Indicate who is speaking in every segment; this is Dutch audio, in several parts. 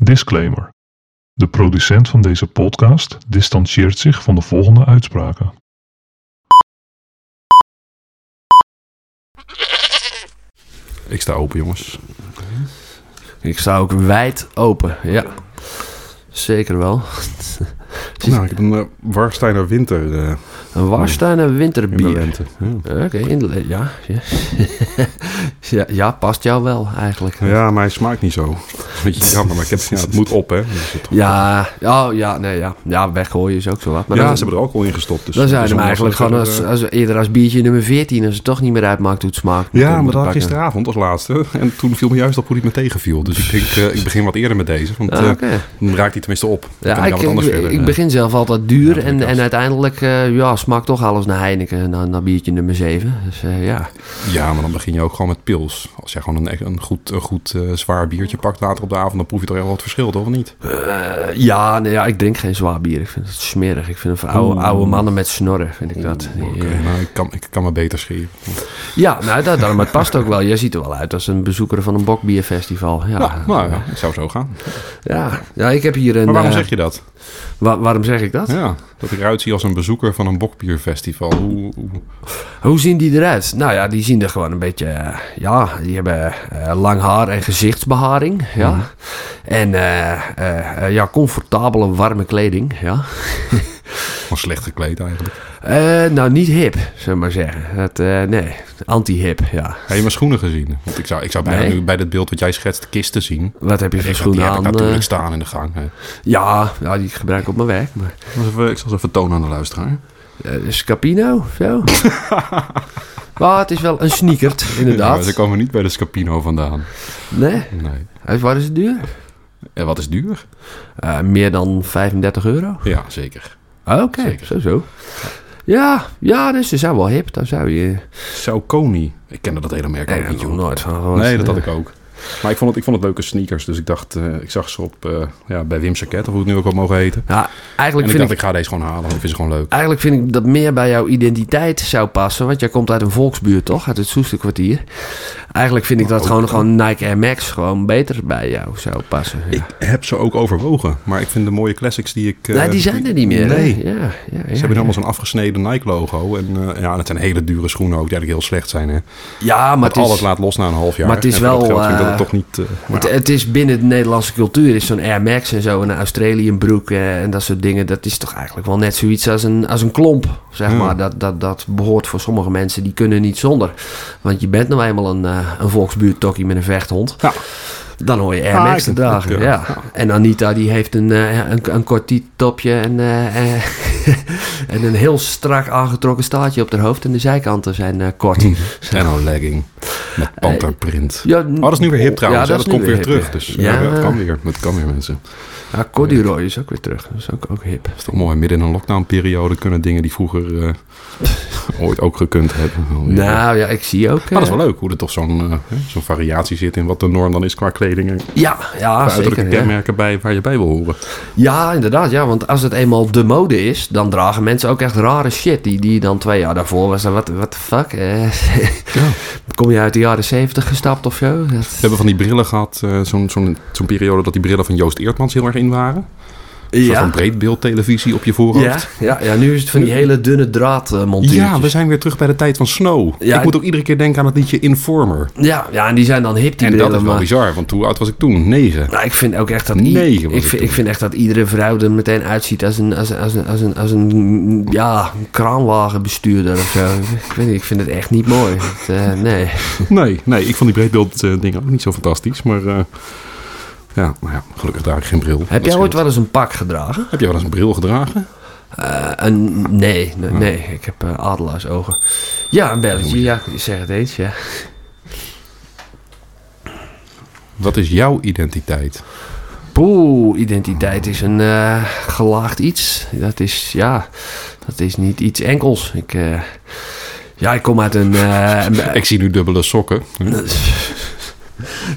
Speaker 1: Disclaimer. De producent van deze podcast distantieert zich van de volgende uitspraken.
Speaker 2: Ik sta open, jongens.
Speaker 3: Ik sta ook wijd open, ja. Zeker wel.
Speaker 2: Nou, ik heb een eh, Warsteiner winter eh,
Speaker 3: Een Warsteiner
Speaker 2: in de
Speaker 3: winterbier.
Speaker 2: lente. Ja.
Speaker 3: Oké, in de le- ja, ja. ja. Ja, past jou wel eigenlijk.
Speaker 2: ja, maar hij smaakt niet zo. Beetje jammer, maar ik heb, ja, het moet op, hè. Dus het-
Speaker 3: Ja, oh ja, nee, ja. Ja, weggooien is ook zo wat. Maar
Speaker 2: ja,
Speaker 3: dan,
Speaker 2: ze hebben er alcohol in gestopt. Dus
Speaker 3: dan
Speaker 2: het
Speaker 3: zou
Speaker 2: is
Speaker 3: je hem
Speaker 2: onmogelijk
Speaker 3: eigenlijk gewoon
Speaker 2: dat
Speaker 3: als,
Speaker 2: er, eh,
Speaker 3: als, eerder als biertje nummer 14, als het toch niet meer uitmaakt hoe het smaakt.
Speaker 2: Ja,
Speaker 3: moeten-
Speaker 2: maar dat had ik
Speaker 3: moeten pakken.
Speaker 2: gisteravond als laatste. En toen viel me juist op hoe die me tegenviel. Dus ik denk, eh, ik begin wat eerder met deze. Want
Speaker 3: Ah,
Speaker 2: eh,
Speaker 3: oké.
Speaker 2: dan raakt die tenminste op. Dan kan
Speaker 3: Ja,
Speaker 2: ik, aan
Speaker 3: ik,
Speaker 2: wat anders
Speaker 3: ik-
Speaker 2: verder. eh.
Speaker 3: ik begin zelf altijd duur
Speaker 2: Ja,
Speaker 3: en,
Speaker 2: podcast.
Speaker 3: en uiteindelijk eh, ja, smaakt toch alles naar Heineken en dan naar biertje nummer 7. Dus eh, ja.
Speaker 2: Ja, maar dan begin je ook gewoon met pils. Als jij gewoon een, een goed, een goed eh, zwaar biertje pakt later op de avond... dan proef je toch echt wel het verschil, toch? Of niet?
Speaker 3: Eh, ja, nee, ja, ik drink geen zwaar bier. Ik vind het smerig. Ik vind het voor oude, oude mannen met snorren, vind ik dat.
Speaker 2: Mm. Oké, nou, ik kan, ik kan me beter scheren.
Speaker 3: Ja, nou, dat, daarom, het past ook wel. Jij ziet er wel uit als een bezoeker van een bokbierfestival. Ja,
Speaker 2: Ja, nou ja, ik zou zo gaan.
Speaker 3: ja. ja ik heb hier een...
Speaker 2: Maar waarom
Speaker 3: eh,
Speaker 2: zeg je dat?
Speaker 3: wa- waarom zeg ik dat?
Speaker 2: Ja, dat ik eruit zie als een bezoeker van een bokbierfestival. Hoe, hoe-
Speaker 3: Hoe zien die eruit? Nou ja, die zien er gewoon een beetje... eh, ja, die hebben eh, lang haar en gezichtsbeharing.
Speaker 2: Mm.
Speaker 3: Ja. En eh, eh, eh, ja, comfortabele, warme kleding. Ja.
Speaker 2: gewoon slecht gekleed eigenlijk.
Speaker 3: Eh, nou, niet hip, zullen we maar zeggen. Het, eh, nee, anti-hip, ja.
Speaker 2: Heb je mijn schoenen gezien? Want ik zou, ik zou bijna
Speaker 3: Nee.
Speaker 2: nu bij dit beeld wat jij schetst kisten zien.
Speaker 3: Wat heb je
Speaker 2: Ik denk,
Speaker 3: voor
Speaker 2: die
Speaker 3: schoenen
Speaker 2: heb ik
Speaker 3: aan?
Speaker 2: natuurlijk
Speaker 3: eh?
Speaker 2: staan in de gang. hè.
Speaker 3: ja, ja, die gebruik ik op mijn werk. Maar,
Speaker 2: Ik zal eens even- Ik zal ze even tonen aan de luisteraar.
Speaker 3: eh, Scapino of zo? maar het is wel een sneakert,
Speaker 2: Ja,
Speaker 3: inderdaad.
Speaker 2: ze komen niet bij de Scapino vandaan.
Speaker 3: Nee,
Speaker 2: Nee.
Speaker 3: Hij is- waar is het duur?
Speaker 2: En wat is duur?
Speaker 3: Eh, meer dan 35 euro. Ah,
Speaker 2: Ja, zeker.
Speaker 3: Oké,
Speaker 2: Zeker.
Speaker 3: zo zo. Ja, ja, dus ze zijn wel hip. Daar zou je...
Speaker 2: Saucony. Ik kende dat hele merk
Speaker 3: Nee,
Speaker 2: ook
Speaker 3: daar
Speaker 2: niet,
Speaker 3: heb ik
Speaker 2: joh.
Speaker 3: nog nooit van gehoord.
Speaker 2: Nee, dat had ik ook. Maar ik vond het, ik vond het leuke sneakers. Dus ik dacht, eh, ik zag ze op, eh, ja, bij Wim Saket, of hoe het nu ook al mogen heten.
Speaker 3: Ja, eigenlijk
Speaker 2: en ik
Speaker 3: vind
Speaker 2: dacht,
Speaker 3: ik...
Speaker 2: ik ga deze gewoon halen. want Ik vind ze gewoon leuk.
Speaker 3: Eigenlijk vind ik dat meer bij jouw identiteit zou passen. Want jij komt uit een volksbuurt, toch? Uit het Soeste kwartier. Eigenlijk
Speaker 2: Oh,
Speaker 3: vind ik dat gewoon, gewoon Nike Air Max gewoon beter bij jou zou passen. Ja.
Speaker 2: Ik heb ze ook overwogen, maar ik vind de mooie classics die ik... eh,
Speaker 3: nee, Nou, die zijn er niet meer. hè?
Speaker 2: Nee.
Speaker 3: Ja, ja, ja,
Speaker 2: Ze hebben allemaal zo'n afgesneden Nike-logo. En eh, ja, dat zijn hele dure schoenen ook, die eigenlijk heel slecht zijn. Hè.
Speaker 3: ja maar het
Speaker 2: Want
Speaker 3: is,
Speaker 2: alles laat los na een half jaar.
Speaker 3: maar het is
Speaker 2: En voor dat
Speaker 3: wel,
Speaker 2: geld vind ik dat het
Speaker 3: eh,
Speaker 2: toch niet... eh, maar
Speaker 3: het,
Speaker 2: ja,
Speaker 3: het is binnen de Nederlandse cultuur is zo'n Air Max en zo, een Australian broek eh, en dat soort dingen. Dat is toch eigenlijk wel net zoiets als een, als een klomp, zeg
Speaker 2: Ja.
Speaker 3: maar. Dat, dat, dat behoort voor sommige mensen, die kunnen niet zonder. Want je bent nou eenmaal een, eh een volksbuurtokkie met een vechthond.
Speaker 2: Ja.
Speaker 3: Dan hoor je Air
Speaker 2: Ah,
Speaker 3: Max
Speaker 2: ik
Speaker 3: te
Speaker 2: vind het
Speaker 3: dragen.
Speaker 2: ook,
Speaker 3: Ja.
Speaker 2: ja.
Speaker 3: En Anita die heeft een, eh, een, een kort topje en, eh, eh, en een heel strak aangetrokken staartje op haar hoofd. En de zijkanten zijn eh, kort.
Speaker 2: En een legging met panterprint.
Speaker 3: Eh, Ja,
Speaker 2: Oh, dat is nu weer hip trouwens. Ja, dat,
Speaker 3: is nu
Speaker 2: komt weer
Speaker 3: hip,
Speaker 2: terug.
Speaker 3: ja.
Speaker 2: Dus ja.
Speaker 3: ja,
Speaker 2: dat kan weer. Dat kan weer, mensen.
Speaker 3: Ja, corduroy is ook weer terug. Dat is ook, ook hip.
Speaker 2: Dat is toch mooi. Midden in een lockdown-periode kunnen dingen die vroeger eh, ooit ook gekund hebben. Wel weer.
Speaker 3: Nou ja, ik zie ook...
Speaker 2: Maar Ah, dat is
Speaker 3: eh,
Speaker 2: wel leuk hoe er toch zo'n eh, hè, zo'n variatie zit in wat de norm dan is qua kleding. En
Speaker 3: Ja, ja zeker.
Speaker 2: uiterlijke
Speaker 3: Ja.
Speaker 2: kenmerken bij, waar je bij wil horen.
Speaker 3: ja, inderdaad. Ja, want als het eenmaal de mode is, dan dragen mensen ook echt rare shit. Die, die dan twee jaar daarvoor was. dan, Wat what the fuck? eh? Kom je uit de jaren zeventig gestapt of zo? Dat-
Speaker 2: We hebben van die brillen gehad, eh, zo'n zo'n zo'n periode dat die brillen van Joost Eertmans heel erg in waren. Een soort van
Speaker 3: Ja.
Speaker 2: breedbeeldtelevisie op je
Speaker 3: Ja,
Speaker 2: voorhoofd.
Speaker 3: ja, ja, nu is het van die hele dunne draad eh, montuurtjes.
Speaker 2: Ja, we zijn weer terug bij de tijd van Snow.
Speaker 3: Ja,
Speaker 2: ik moet ook iedere keer denken aan het liedje Informer.
Speaker 3: ja, ja, en die zijn dan hip,
Speaker 2: En
Speaker 3: die
Speaker 2: dat
Speaker 3: brillen,
Speaker 2: is wel
Speaker 3: maar-
Speaker 2: bizar, want hoe oud was ik toen? Negen.
Speaker 3: Nou, ik vind ook echt dat,
Speaker 2: Negen was
Speaker 3: ik
Speaker 2: het
Speaker 3: vind,
Speaker 2: toen.
Speaker 3: ik vind echt dat iedere vrouw er meteen uitziet als een, als een, als een, als een, als een ja, een kraanwagenbestuurder of zo. ik weet niet, ik vind het echt niet mooi. Het, eh, nee.
Speaker 2: Nee, nee, ik vond die breedbeeld eh, dingen ook niet zo fantastisch, maar... eh, ja, nou ja, gelukkig draag ik geen bril. Dat
Speaker 3: Heb jij
Speaker 2: scheelt.
Speaker 3: ooit wel eens een pak gedragen?
Speaker 2: Heb jij wel eens een bril gedragen?
Speaker 3: Eh, een, nee, nee,
Speaker 2: Hm.
Speaker 3: nee, ik heb eh, adelaarsogen. Ja, een belletje. Ja, ik zeg het eens, ja.
Speaker 2: Wat is jouw identiteit?
Speaker 3: Poeh, identiteit is een eh, gelaagd iets. Dat is, ja, dat is niet iets enkels. Ik, eh, ja, ik kom uit een... eh,
Speaker 2: Ik zie nu dubbele sokken. Hm?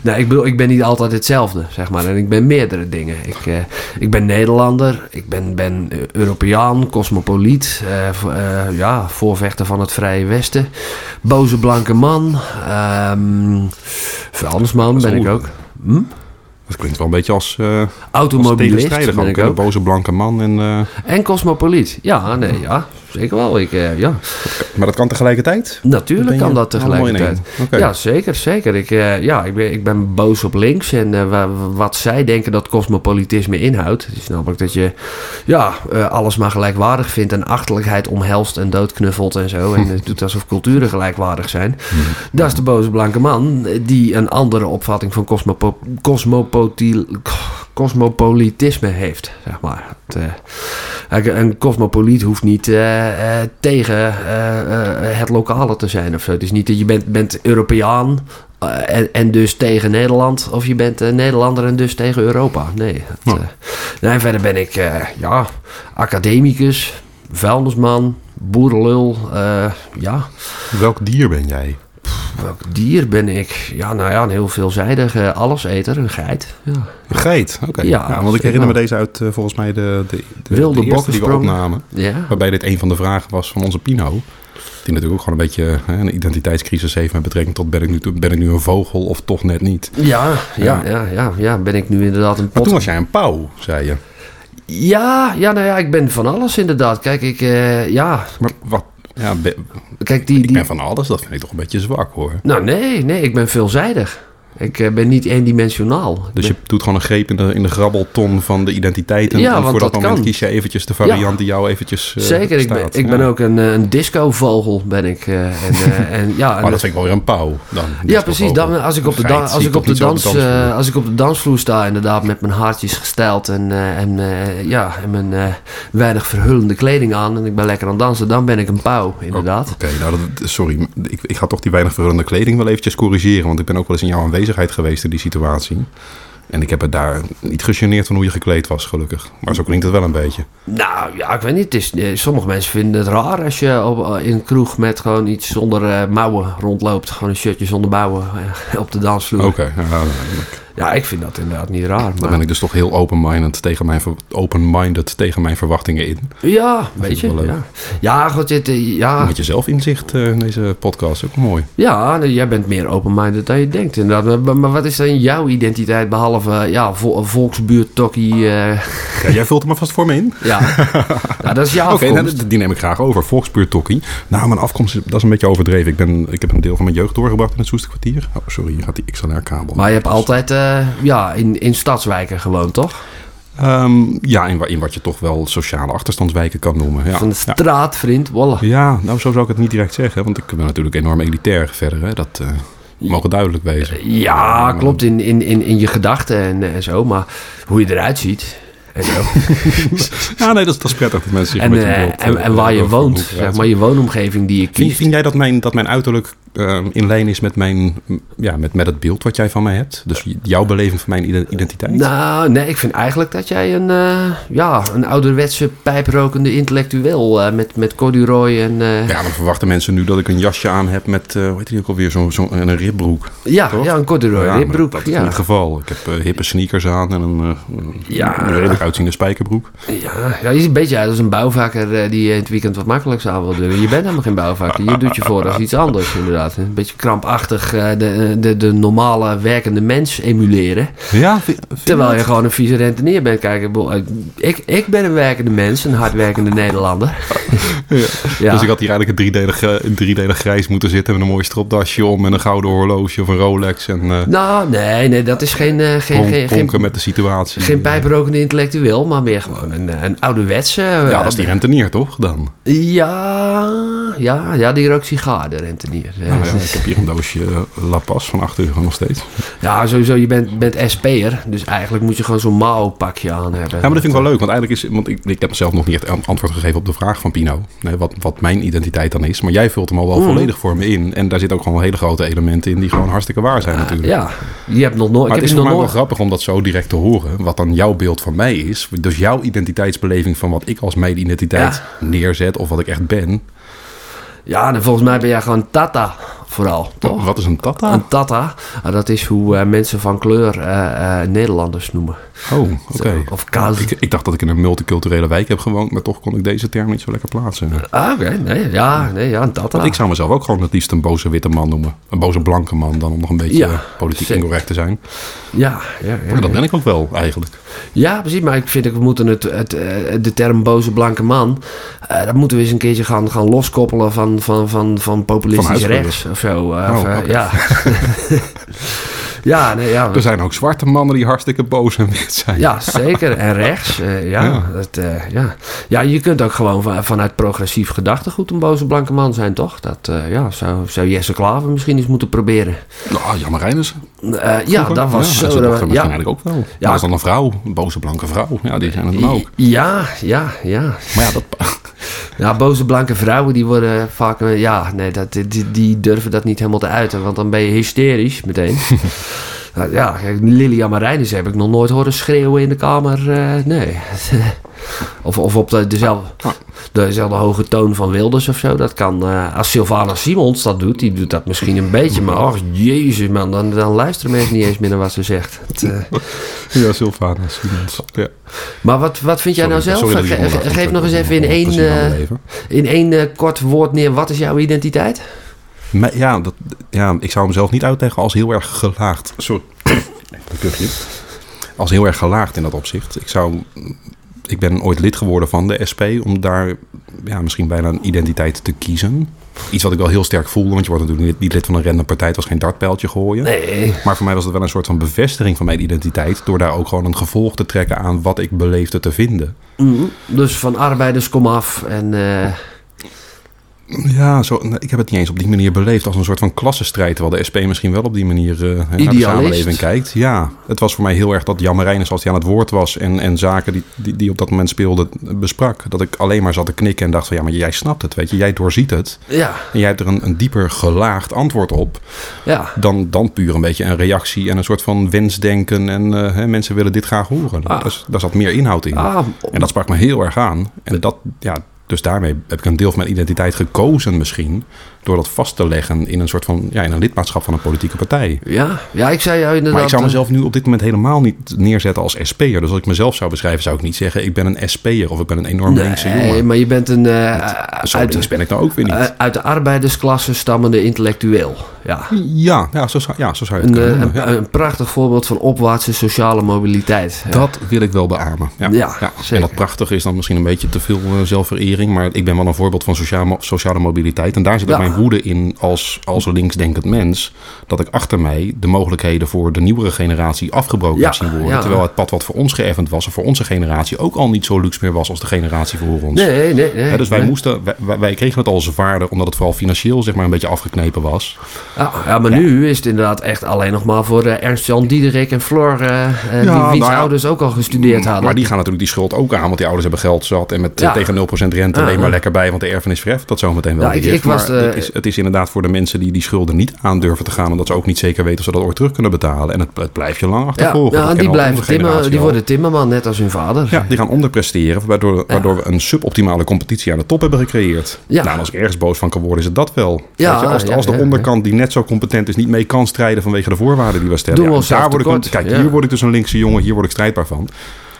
Speaker 3: Nee, ik bedoel, ik ben niet altijd hetzelfde, zeg maar. En ik ben meerdere dingen. Ik, eh, ik ben Nederlander, ik ben, ben eh, Europeaan, cosmopoliet, eh, v- eh, ja, voorvechter van het Vrije Westen, boze blanke man, ehm vuilnisman ben ik
Speaker 2: oer.
Speaker 3: ook. Hm?
Speaker 2: Dat klinkt wel een beetje als, eh als
Speaker 3: Automobilist
Speaker 2: tegenstrijdig.
Speaker 3: ben
Speaker 2: ook,
Speaker 3: ik
Speaker 2: hè? De
Speaker 3: ook.
Speaker 2: boze blanke man. En, eh,
Speaker 3: En cosmopoliet. Ja, nee, ja. Zeker wel. Ik, eh, ja.
Speaker 2: maar dat kan tegelijkertijd?
Speaker 3: Natuurlijk
Speaker 2: Ben
Speaker 3: kan
Speaker 2: je
Speaker 3: dat
Speaker 2: allemaal in één?
Speaker 3: tegelijkertijd.
Speaker 2: Oké.
Speaker 3: Ja, zeker, zeker. Ik, eh, ja, ik, ben, ik ben boos op links en eh, wa- wat zij denken dat cosmopolitisme inhoudt. is namelijk dat je ja, eh, alles maar gelijkwaardig vindt en achterlijkheid omhelst en doodknuffelt en zo. En het doet alsof culturen gelijkwaardig zijn. Dat is de boze blanke man eh, die een andere opvatting van cosmopo cosmopoti- cosmopolitisme heeft, zeg maar. Het, eh, Kijk, Een cosmopoliet hoeft niet eh, eh, tegen eh, eh, het lokale te zijn of zo. Het is niet dat je bent, bent Europeaan eh, en, en dus tegen Nederland. Of je bent eh, Nederlander en dus tegen Europa. Nee. het,
Speaker 2: Ja.
Speaker 3: eh, nee verder ben ik eh, ja, academicus, vuilnisman, boerenlul. eh, ja,
Speaker 2: Welk dier ben jij?
Speaker 3: welk dier ben ik? Ja, nou ja, een heel veelzijdig eh, alleseter, een geit. Ja.
Speaker 2: Een Geit, oké.
Speaker 3: Ja,
Speaker 2: Ja, want ik herinner me
Speaker 3: ja.
Speaker 2: deze uit eh, volgens mij de, de, de,
Speaker 3: Wilde
Speaker 2: de eerste die we
Speaker 3: bokkensprongen.
Speaker 2: opnamen.
Speaker 3: ja.
Speaker 2: Waarbij dit een van de vragen was van onze Pino. Die natuurlijk ook gewoon een beetje hè, een identiteitscrisis heeft met betrekking tot ben ik, nu, ben ik nu een vogel of toch net niet.
Speaker 3: Ja, ja,
Speaker 2: Ja.
Speaker 3: ja, ja, ja, ben ik nu inderdaad een
Speaker 2: Maar
Speaker 3: pot
Speaker 2: toen was jij een pauw, zei je.
Speaker 3: Ja, ja, nou ja, ik ben van alles inderdaad. Kijk, ik, eh, ja,
Speaker 2: Maar wat? Ja, ben-
Speaker 3: kijk, die...
Speaker 2: ik
Speaker 3: die...
Speaker 2: ben van alles, dat vind ik toch een beetje zwak hoor.
Speaker 3: Nou, nee, nee, ik ben veelzijdig. Ik eh, ben niet eendimensionaal. Ik
Speaker 2: Dus
Speaker 3: ben-
Speaker 2: je doet gewoon een greep in de, in de grabbelton van de identiteit. En,
Speaker 3: Ja,
Speaker 2: en
Speaker 3: want
Speaker 2: voor dat,
Speaker 3: dat
Speaker 2: moment
Speaker 3: kan.
Speaker 2: kies je eventjes de variant
Speaker 3: Ja.
Speaker 2: die jou eventjes eh,
Speaker 3: Zeker, ik ben,
Speaker 2: staat.
Speaker 3: ik
Speaker 2: Ja.
Speaker 3: ben ook een, eh, een discovogel, ben ik. eh, en, eh, en, ja, en-
Speaker 2: Maar Oh, dat vind ik wel weer een pauw dan.
Speaker 3: ja, precies. Dan, eh, als ik op de,
Speaker 2: Een geit
Speaker 3: dan-
Speaker 2: zie
Speaker 3: als ik
Speaker 2: toch
Speaker 3: op de,
Speaker 2: niet zo op de
Speaker 3: dans,
Speaker 2: dansvloer?
Speaker 3: eh, als ik op de dansvloer sta, inderdaad, met mijn haartjes gestyled en, eh, en, eh, ja, en mijn eh, weinig verhullende kleding aan en ik ben lekker aan het dansen, dan ben ik een pauw, inderdaad.
Speaker 2: Oké, nou, dat- sorry. Ik, ik ga toch die weinig verhullende kleding wel eventjes corrigeren. Want ik ben ook wel eens in jouw aanwezigheid geweest in die situatie. En ik heb het daar niet gegeneerd van hoe je gekleed was, gelukkig. Maar zo klinkt het wel een beetje.
Speaker 3: Nou ja, ik weet niet. Het is, eh, sommige mensen vinden het raar als je op, eh, in een kroeg met gewoon iets zonder eh, mouwen rondloopt. Gewoon een shirtje zonder mouwen eh, op de dansvloer.
Speaker 2: Oké, nou, nou, nou,
Speaker 3: Ja, ik vind dat inderdaad niet raar.
Speaker 2: dan
Speaker 3: Maar...
Speaker 2: ben ik dus toch heel open-minded tegen mijn, ver- open-minded tegen mijn verwachtingen in.
Speaker 3: Ja, weet
Speaker 2: vind
Speaker 3: je.
Speaker 2: ik wel leuk.
Speaker 3: Ja, ja goed, dit, eh, ja,
Speaker 2: Met je zelfinzicht eh, in deze podcast, ook mooi.
Speaker 3: ja nee, jij bent meer open-minded dan je denkt inderdaad. Maar, maar- maar wat is dan jouw identiteit behalve eh, ja, vol, volksbuurttokkie? eh,
Speaker 2: Ja, jij vult hem maar vast voor me in.
Speaker 3: ja, nou, dat is jouw
Speaker 2: Oké,
Speaker 3: afkomst.
Speaker 2: nou, die- die neem ik graag over. Volksbuurtokkie. Nou, mijn afkomst is, dat is een beetje overdreven. Ik, ben, ik heb een deel van mijn jeugd doorgebracht in het Soesterkwartier. Oh, sorry, hier gaat die XLR-kabel.
Speaker 3: Maar je hebt altijd eh, ja, in, in stadswijken gewoond, toch?
Speaker 2: Ehm, ja, in, wa- in wat je toch wel sociale achterstandswijken kan noemen. Ja.
Speaker 3: Van de
Speaker 2: ja.
Speaker 3: straat, vriend, voilà.
Speaker 2: Ja, nou zo zou ik het niet direct zeggen. Want ik ben natuurlijk enorm elitair verder. Hè. Dat eh, mogen duidelijk wezen.
Speaker 3: Ja,
Speaker 2: Maar-
Speaker 3: klopt. In, in, in, in je gedachten en, eh, en zo. Maar hoe je eruit ziet. En, zo.
Speaker 2: Ja, nee, dat, is- dat is prettig dat mensen zich
Speaker 3: en,
Speaker 2: een beetje
Speaker 3: eh,
Speaker 2: beeld,
Speaker 3: en,
Speaker 2: eh,
Speaker 3: en waar je
Speaker 2: over
Speaker 3: woont.
Speaker 2: hoe ik eruit
Speaker 3: Zeg
Speaker 2: zie.
Speaker 3: maar je woonomgeving die je
Speaker 2: Vind,
Speaker 3: kiest.
Speaker 2: vind jij dat mijn, dat mijn uiterlijk eh, in lijn is met, mijn, ja, met, met het beeld wat jij van mij hebt? Dus
Speaker 3: Eh,
Speaker 2: j- jouw beleving van mijn ide- identiteit?
Speaker 3: Nou, nee, ik vind eigenlijk dat jij een, eh, ja, een ouderwetse pijprokende intellectueel eh, met, met corduroy en... eh, ja,
Speaker 2: Ja, dan verwachten mensen nu dat ik een jasje aan heb met, eh hoe heet die ook alweer, zo'n zo, een ribbroek.
Speaker 3: ja,
Speaker 2: toch?
Speaker 3: een corduroy,
Speaker 2: Ja, maar
Speaker 3: ribbroek.
Speaker 2: Dat is niet
Speaker 3: ja.
Speaker 2: het geval. Ik heb eh, hippe sneakers aan en een, eh, een
Speaker 3: Ja.
Speaker 2: redelijk uitziende spijkerbroek.
Speaker 3: Ja, ja, je ziet een beetje uit als een bouwvakker eh, die je in het weekend wat makkelijks aan wil doen. Je bent helemaal geen bouwvakker. Je doet je voor als iets anders, inderdaad. Een beetje krampachtig eh, de, de, de normale werkende mens emuleren.
Speaker 2: Ja, vind-
Speaker 3: Terwijl je gewoon een vieze rentenier bent. Kijk, ik bedoel, eh, ik, ik ben een werkende mens, een hardwerkende Nederlander. Ja.
Speaker 2: Dus ik had hier eigenlijk een driedelig, eh, een driedelig grijs moeten zitten met een mooi stropdasje om en een gouden horloge of een Rolex en eh
Speaker 3: Nou, nee, nee, dat is geen, eh, geen,
Speaker 2: pronk-
Speaker 3: geen, geen,
Speaker 2: pronken met de situatie.
Speaker 3: geen pijprokende intellectueel, maar meer gewoon een, eh, een ouderwetse... eh,
Speaker 2: Ja, dat is die rentenier toch dan?
Speaker 3: Ja, ja, ja, die rookt sigaren, de rentenier. Ja,
Speaker 2: Nou ja, ik heb hier een doosje eh, La Paz van 8 euro nog steeds.
Speaker 3: Ja, sowieso, je bent, bent SP'er, dus eigenlijk moet je gewoon zo'n Mao-pakje aan hebben.
Speaker 2: Ja, maar dat vind ik wel leuk, want eigenlijk is, want ik, ik heb zelf nog niet echt antwoord gegeven op de vraag van Pino, hè, wat, wat mijn identiteit dan is. Maar jij vult hem al
Speaker 3: Mm.
Speaker 2: wel volledig voor me in en daar zitten ook gewoon hele grote elementen in die gewoon hartstikke waar zijn natuurlijk.
Speaker 3: Ah, Ja, je hebt nog nooit...
Speaker 2: Maar het
Speaker 3: ik heb
Speaker 2: is voor
Speaker 3: je nog
Speaker 2: mij wel
Speaker 3: nooit...
Speaker 2: grappig om dat zo direct te horen. Wat dan jouw beeld van mij is. Dus jouw identiteitsbeleving van wat ik als mijn identiteit neerzet. Of wat ik echt ben.
Speaker 3: Ja, dan volgens mij ben jij gewoon Tata vooral. Toch?
Speaker 2: Wat is een tata?
Speaker 3: Een tata, ah, dat is hoe eh, mensen van kleur eh, eh, Nederlanders noemen.
Speaker 2: Oh, oké.
Speaker 3: Of kaas.
Speaker 2: Ik, ik dacht dat ik in een multiculturele wijk heb gewoond, maar toch kon ik deze term niet zo lekker plaatsen.
Speaker 3: Ah, oké. Nee, ja, nee, ja, een tata.
Speaker 2: Want ik zou mezelf ook gewoon het liefst een boze witte man noemen. Een boze blanke man, dan om nog een beetje
Speaker 3: Ja,
Speaker 2: eh, politiek
Speaker 3: zeker.
Speaker 2: incorrect te zijn.
Speaker 3: Ja, ja, ja,
Speaker 2: Maar dat ben ik ook wel, eigenlijk.
Speaker 3: Ja, precies. Maar ik vind dat we moeten het, het, eh, de term boze blanke man... eh, dat moeten we eens een keertje gaan, gaan loskoppelen van, van, van, van populistisch
Speaker 2: Van
Speaker 3: rechts of zo. eh,
Speaker 2: Oh,
Speaker 3: of, eh,
Speaker 2: oké. Dus-
Speaker 3: Ja, ja, nee, ja.
Speaker 2: Er zijn ook zwarte mannen die hartstikke boos en wit zijn.
Speaker 3: Ja, zeker. En rechts. eh, ja,
Speaker 2: Ja.
Speaker 3: Dat, eh, ja. ja, je kunt ook gewoon va- vanuit progressief gedachtegoed een boze blanke man zijn, toch? Dat eh, ja, zou, zou Jesse Klaver misschien eens moeten proberen.
Speaker 2: Nou, Jan Marijnus.
Speaker 3: Eh, ja, dat was
Speaker 2: ja,
Speaker 3: zo.
Speaker 2: dachten we
Speaker 3: dat-
Speaker 2: misschien
Speaker 3: ja.
Speaker 2: eigenlijk ook wel. Ja.
Speaker 3: Ja.
Speaker 2: Dat is dan een vrouw, een boze blanke vrouw. Ja, die zijn het dan ook.
Speaker 3: Ja, ja, ja.
Speaker 2: Maar ja, dat...
Speaker 3: Ja, boze blanke vrouwen die worden vaak... eh, Ja, nee, dat, die, die durven dat niet helemaal te uiten. Want dan ben je hysterisch meteen. Nou, ja, kijk, Lilian Marijnis heb ik nog nooit horen schreeuwen in de kamer. eh, nee. of, of op de, dezelfde,
Speaker 2: Ah.
Speaker 3: dezelfde hoge toon van Wilders of zo. Dat kan... eh, als Sylvana Simons dat doet, die doet dat misschien een beetje. Maar oh, jezus man, dan, dan luisteren mensen niet eens meer naar wat ze zegt. Het, eh,
Speaker 2: ja, Sylvana Simons. Ja.
Speaker 3: maar wat, wat vind jij
Speaker 2: Sorry,
Speaker 3: nou zelf?
Speaker 2: sorry dat ik
Speaker 3: Ge-
Speaker 2: onderbrak,
Speaker 3: ge-
Speaker 2: want
Speaker 3: geef
Speaker 2: ik
Speaker 3: nog eens
Speaker 2: heb
Speaker 3: even in
Speaker 2: nog
Speaker 3: één,
Speaker 2: plezier aan mijn
Speaker 3: eh,
Speaker 2: leven.
Speaker 3: in één eh, kort woord neer. Wat is jouw identiteit?
Speaker 2: Maar ja, dat, ja, ik zou hem zelf niet uitleggen als heel erg gelaagd. Sorry. Een kuchje. Als heel erg gelaagd in dat opzicht. Ik zou... Ik ben ooit lid geworden van de SP om daar ja, misschien bijna een identiteit te kiezen. Iets wat ik wel heel sterk voelde, want je wordt natuurlijk niet- niet lid van een random partij. Het was geen dartpijltje gooien.
Speaker 3: Nee.
Speaker 2: Maar voor mij was het wel een soort van bevestiging van mijn identiteit. Door daar ook gewoon een gevolg te trekken aan wat ik beleefde te vinden.
Speaker 3: Mm, dus van arbeiders kom af en... eh,
Speaker 2: Ja, zo, nou, ik heb het niet eens op die manier beleefd als een soort van klassenstrijd. Terwijl de SP misschien wel op die manier eh, naar de
Speaker 3: Idealist.
Speaker 2: samenleving kijkt. Ja, het was voor mij heel erg dat Jan Marijnis, als hij aan het woord was... en, en zaken die, die, die op dat moment speelden, besprak. Dat ik alleen maar zat te knikken en dacht van... ja, maar jij snapt het, weet je. Jij doorziet het.
Speaker 3: ja,
Speaker 2: En jij hebt er een, een dieper gelaagd antwoord op...
Speaker 3: ja.
Speaker 2: dan, dan puur een beetje een reactie en een soort van wensdenken. En eh, hè, mensen willen dit graag horen.
Speaker 3: Ah.
Speaker 2: Dus, daar zat meer inhoud in.
Speaker 3: Ah,
Speaker 2: En dat sprak me heel erg aan. En dat, ja, dus daarmee heb ik een deel van mijn identiteit gekozen misschien. Door dat vast te leggen in een soort van, ja, in een lidmaatschap van een politieke partij.
Speaker 3: ja, ja, ik zei jou inderdaad...
Speaker 2: Maar ik zou
Speaker 3: eh,
Speaker 2: mezelf nu op dit moment helemaal niet neerzetten als SP'er. Dus als ik mezelf zou beschrijven, zou ik niet zeggen... ik ben een SP'er of ik ben een enorm linkse
Speaker 3: Nee,
Speaker 2: jongen.
Speaker 3: maar je bent een... eh,
Speaker 2: Zo
Speaker 3: uit,
Speaker 2: links ben ik nou ook weer niet.
Speaker 3: eh, uit de arbeidersklasse stammende intellectueel. Ja.
Speaker 2: ja, ja, zo zou, ja, zo zou je het
Speaker 3: Een, eh,
Speaker 2: kunnen
Speaker 3: een,
Speaker 2: noemen, ja.
Speaker 3: een prachtig voorbeeld van opwaartse sociale mobiliteit. Ja.
Speaker 2: Dat wil ik wel beamen. Ja,
Speaker 3: Ja,
Speaker 2: En
Speaker 3: zeker.
Speaker 2: dat prachtige is dan misschien een beetje te veel eh, zelfverering. Maar ik ben wel een voorbeeld van sociaal mo- sociale mobiliteit. En daar zit ook
Speaker 3: Ja.
Speaker 2: mijn woede in als, als linksdenkend mens. Dat ik achter mij de mogelijkheden voor de nieuwere generatie afgebroken
Speaker 3: Ja,
Speaker 2: heb zien worden.
Speaker 3: ja.
Speaker 2: Terwijl het pad wat voor ons geëffend was. En voor onze generatie ook al niet zo luxe meer was als de generatie voor ons.
Speaker 3: Nee, nee, nee.
Speaker 2: Hè, dus wij,
Speaker 3: nee.
Speaker 2: moesten, wij- wij, wij kregen het al zwaarder omdat het vooral financieel zeg maar, een beetje afgeknepen was.
Speaker 3: Ah, ja, maar nu is het inderdaad echt alleen nog maar voor eh, Ernst-Jan Diederik en Flor... eh, eh, die
Speaker 2: nou
Speaker 3: wiens
Speaker 2: ja.
Speaker 3: ouders ook al gestudeerd hadden.
Speaker 2: Maar die gaan natuurlijk die schuld ook aan, want die ouders hebben geld zat. En met eh,
Speaker 3: Ja.
Speaker 2: tegen 0% rente
Speaker 3: Ja,
Speaker 2: alleen maar
Speaker 3: ja.
Speaker 2: lekker bij, want de erfenis verheft dat zometeen wel.
Speaker 3: Ja, ik-
Speaker 2: weer.
Speaker 3: ik was eh,
Speaker 2: Maar
Speaker 3: de-
Speaker 2: het, is, het is inderdaad voor de mensen die die schulden niet aan durven te gaan, omdat ze ook niet zeker weten of ze dat ooit terug kunnen betalen. En het, het blijft je lang achtervolgen.
Speaker 3: Ja,
Speaker 2: Dat
Speaker 3: ja die
Speaker 2: kennen al
Speaker 3: blijven
Speaker 2: onze generatie
Speaker 3: timmer, die
Speaker 2: al.
Speaker 3: worden timmerman, net als hun vader.
Speaker 2: Ja, die gaan onderpresteren, waardoor, waardoor we een suboptimale competitie aan de top hebben gecreëerd.
Speaker 3: Ja.
Speaker 2: Nou, en als ik ergens boos van kan worden, is het dat wel.
Speaker 3: Ja,
Speaker 2: Weet je, als, de-
Speaker 3: ja,
Speaker 2: als de
Speaker 3: ja, ja.
Speaker 2: onderkant die net zo competent is, niet mee kan strijden vanwege de voorwaarden die we stellen.
Speaker 3: Doen we
Speaker 2: Ja,
Speaker 3: onszelf
Speaker 2: daar word ik
Speaker 3: tekort,
Speaker 2: een- kijk,
Speaker 3: ja.
Speaker 2: hier word ik dus een linkse jongen, hier word ik strijdbaar van.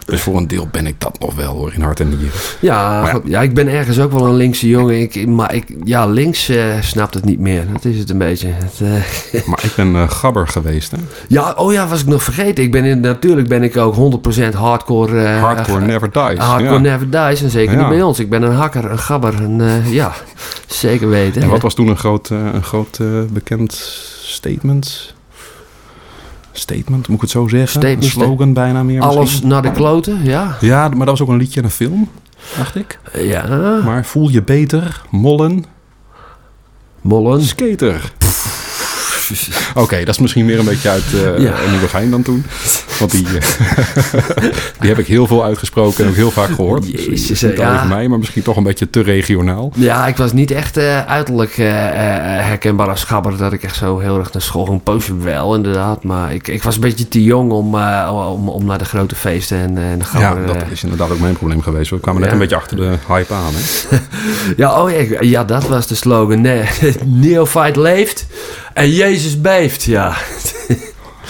Speaker 2: Dus voor een deel ben ik dat nog wel hoor, in hart en nieren.
Speaker 3: Ja,
Speaker 2: Maar ja.
Speaker 3: goed. ja, ik ben ergens ook wel een linkse jongen. Ik, maar ik, ja, links eh, snapt het niet meer. Dat is het een beetje. Het, eh,
Speaker 2: Maar ik ben eh, gabber geweest. Hè?
Speaker 3: ja, oh ja, was ik nog vergeten. Ik ben in, natuurlijk ben ik ook 100% hardcore. eh,
Speaker 2: Hardcore
Speaker 3: eh,
Speaker 2: never dies.
Speaker 3: Hardcore
Speaker 2: ja.
Speaker 3: never dies. En zeker
Speaker 2: Ja.
Speaker 3: niet bij ons. Ik ben een hakker, een gabber. Een, eh, ja, zeker weten.
Speaker 2: En wat was toen een groot, eh, een groot eh, bekend statement? Statement, moet ik het zo zeggen?
Speaker 3: Statement,
Speaker 2: een slogan bijna meer
Speaker 3: Alles
Speaker 2: misschien?
Speaker 3: naar de kloten, ja.
Speaker 2: Ja, maar dat was ook een liedje en een film, dacht ik.
Speaker 3: Ja,
Speaker 2: Maar voel je beter, mollen,
Speaker 3: mollen.
Speaker 2: skater. Oké, dat is misschien weer een beetje uit eh
Speaker 3: Ja.
Speaker 2: Nieuwegein dan toen. Want die, eh, die heb ik heel veel uitgesproken en ook heel vaak gehoord.
Speaker 3: Jezus,
Speaker 2: dus niet
Speaker 3: ja.
Speaker 2: alleen voor mij, maar misschien toch een beetje te regionaal.
Speaker 3: Ja, ik was niet echt eh, uiterlijk eh, eh, herkenbaar als gabber. Dat ik echt zo heel erg naar school ging. Een poosje wel, inderdaad. Maar ik, ik was een beetje te jong om, eh, om, om naar de grote feesten en, en de
Speaker 2: Ja,
Speaker 3: gabber...
Speaker 2: dat
Speaker 3: eh,
Speaker 2: is inderdaad ook mijn probleem geweest. We kwamen net
Speaker 3: Ja.
Speaker 2: een beetje achter de hype aan. Hè?
Speaker 3: Ja, oh ja, ik- ja, dat was de slogan. Nee, Neophyte leeft en Jezus beeft, ja.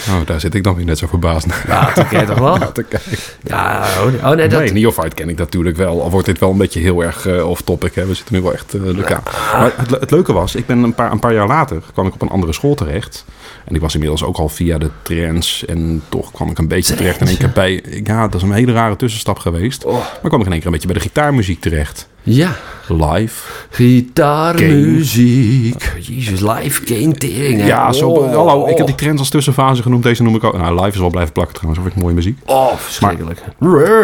Speaker 2: Oh, daar zit ik dan weer net zo verbaasd naar.
Speaker 3: Ja, dat ken je toch wel?
Speaker 2: Ja, te kijken.
Speaker 3: Ja, oh, oh nee, dat...
Speaker 2: Nee, Neophyte ken ik natuurlijk wel. Al wordt dit wel een beetje heel erg eh off-topic. hè. We zitten nu wel echt eh leuk aan. Maar het, le- het leuke was, ik ben een paar, een paar jaar later kwam ik op een andere school terecht. En ik was inmiddels ook al via de trends. En toch kwam ik een beetje terecht in één keer bij... Ja, dat is een hele rare tussenstap geweest.
Speaker 3: Oh.
Speaker 2: Maar kwam ik in één keer een beetje bij de gitaarmuziek terecht.
Speaker 3: Ja,
Speaker 2: Live.
Speaker 3: gitaarmuziek. Jezus, live game tering. hè.
Speaker 2: Ja, zo,
Speaker 3: Oh,
Speaker 2: hallo, ik heb die trends als tussenfase genoemd. Deze noem ik al... Nou, live is wel blijven plakken trouwens. Of ik mooie muziek.
Speaker 3: Oh, verschrikkelijk.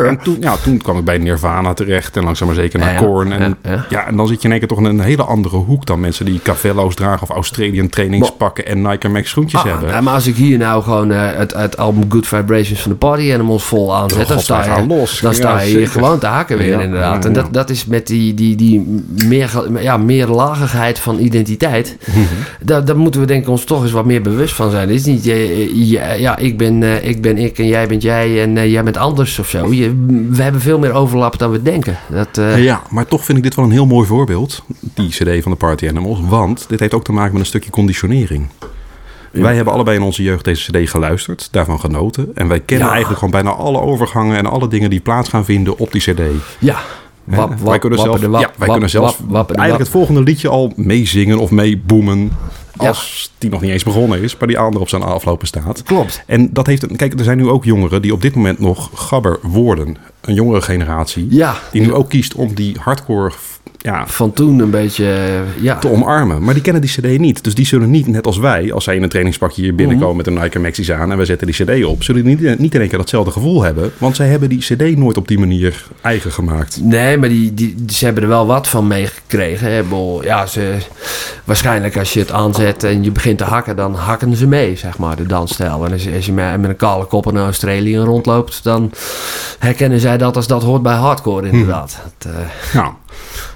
Speaker 2: En toen, ja, toen kwam ik bij Nirvana terecht en langzaam maar zeker naar
Speaker 3: Ja, ja.
Speaker 2: Korn. En,
Speaker 3: Ja,
Speaker 2: ja,
Speaker 3: ja.
Speaker 2: en dan zit je in één keer toch in een hele andere hoek dan mensen die Cavello's dragen of Australian trainingspakken en Nike Max schoentjes
Speaker 3: Ah,
Speaker 2: hebben.
Speaker 3: nou, maar als ik hier nou gewoon eh, het, het album Good Vibrations van de Party Animals vol aanzet,
Speaker 2: Oh,
Speaker 3: dan
Speaker 2: God,
Speaker 3: sta
Speaker 2: wij gaan
Speaker 3: je,
Speaker 2: los.
Speaker 3: Dan sta
Speaker 2: Ja,
Speaker 3: je hier
Speaker 2: zeker.
Speaker 3: gewoon te hakken weer,
Speaker 2: Ja,
Speaker 3: inderdaad.
Speaker 2: ja,
Speaker 3: En
Speaker 2: ja.
Speaker 3: dat, dat is met die, die, die meer, ja, meerlagigheid van identiteit.
Speaker 2: Mhm.
Speaker 3: daar, daar moeten we denk ik ons toch eens wat meer bewust van zijn. Het is niet, eh, ja, ja, ik ben, eh, ik ben ik en jij bent jij en eh, jij bent anders of zo. Je, we hebben veel meer overlap dan we denken. Dat, eh,
Speaker 2: Ja, maar toch vind ik dit wel een heel mooi voorbeeld, die CD van de Party Animals. Want dit heeft ook te maken met een stukje conditionering. Wij hebben allebei in onze jeugd deze CD geluisterd, daarvan genoten. En wij kennen
Speaker 3: Ja.
Speaker 2: eigenlijk gewoon bijna alle overgangen en alle dingen die plaats gaan vinden op die CD.
Speaker 3: ja.
Speaker 2: Hè?
Speaker 3: Wap, wap,
Speaker 2: wij kunnen zelf,
Speaker 3: wappen de wap,
Speaker 2: ja, wij
Speaker 3: wap,
Speaker 2: kunnen zelfs
Speaker 3: wap, wappen de
Speaker 2: eigenlijk
Speaker 3: wap.
Speaker 2: het volgende liedje al meezingen of meeboomen. Als die nog niet eens begonnen is, maar die andere op zijn aflopen staat.
Speaker 3: Klopt.
Speaker 2: En dat heeft een. Kijk, er zijn nu ook jongeren die op dit moment nog gabber worden. Een jongere generatie.
Speaker 3: Ja.
Speaker 2: Die nu ook kiest om die hardcore f- ja,
Speaker 3: Van toen een beetje, eh, ja.
Speaker 2: te omarmen. Maar die kennen die CD niet. Dus die zullen niet, net als wij, als zij in een trainingspakje hier binnenkomen
Speaker 3: Mhm.
Speaker 2: met een Nike Maxis aan en we zetten die CD op, zullen die niet, niet in één keer datzelfde gevoel hebben. Want zij hebben die CD nooit op die manier eigen gemaakt.
Speaker 3: Nee, maar die, die, ze hebben er wel wat van meegekregen. hè. Ik bedoel, Ja, ze, waarschijnlijk als je het aanzet en je begint te hakken, dan hakken ze mee, zeg maar, de dansstijl. En als, je- als je met, met een kale kop in Australië rondloopt, dan herkennen zij dat als dat hoort bij hardcore, inderdaad. Het, eh,
Speaker 2: Nou,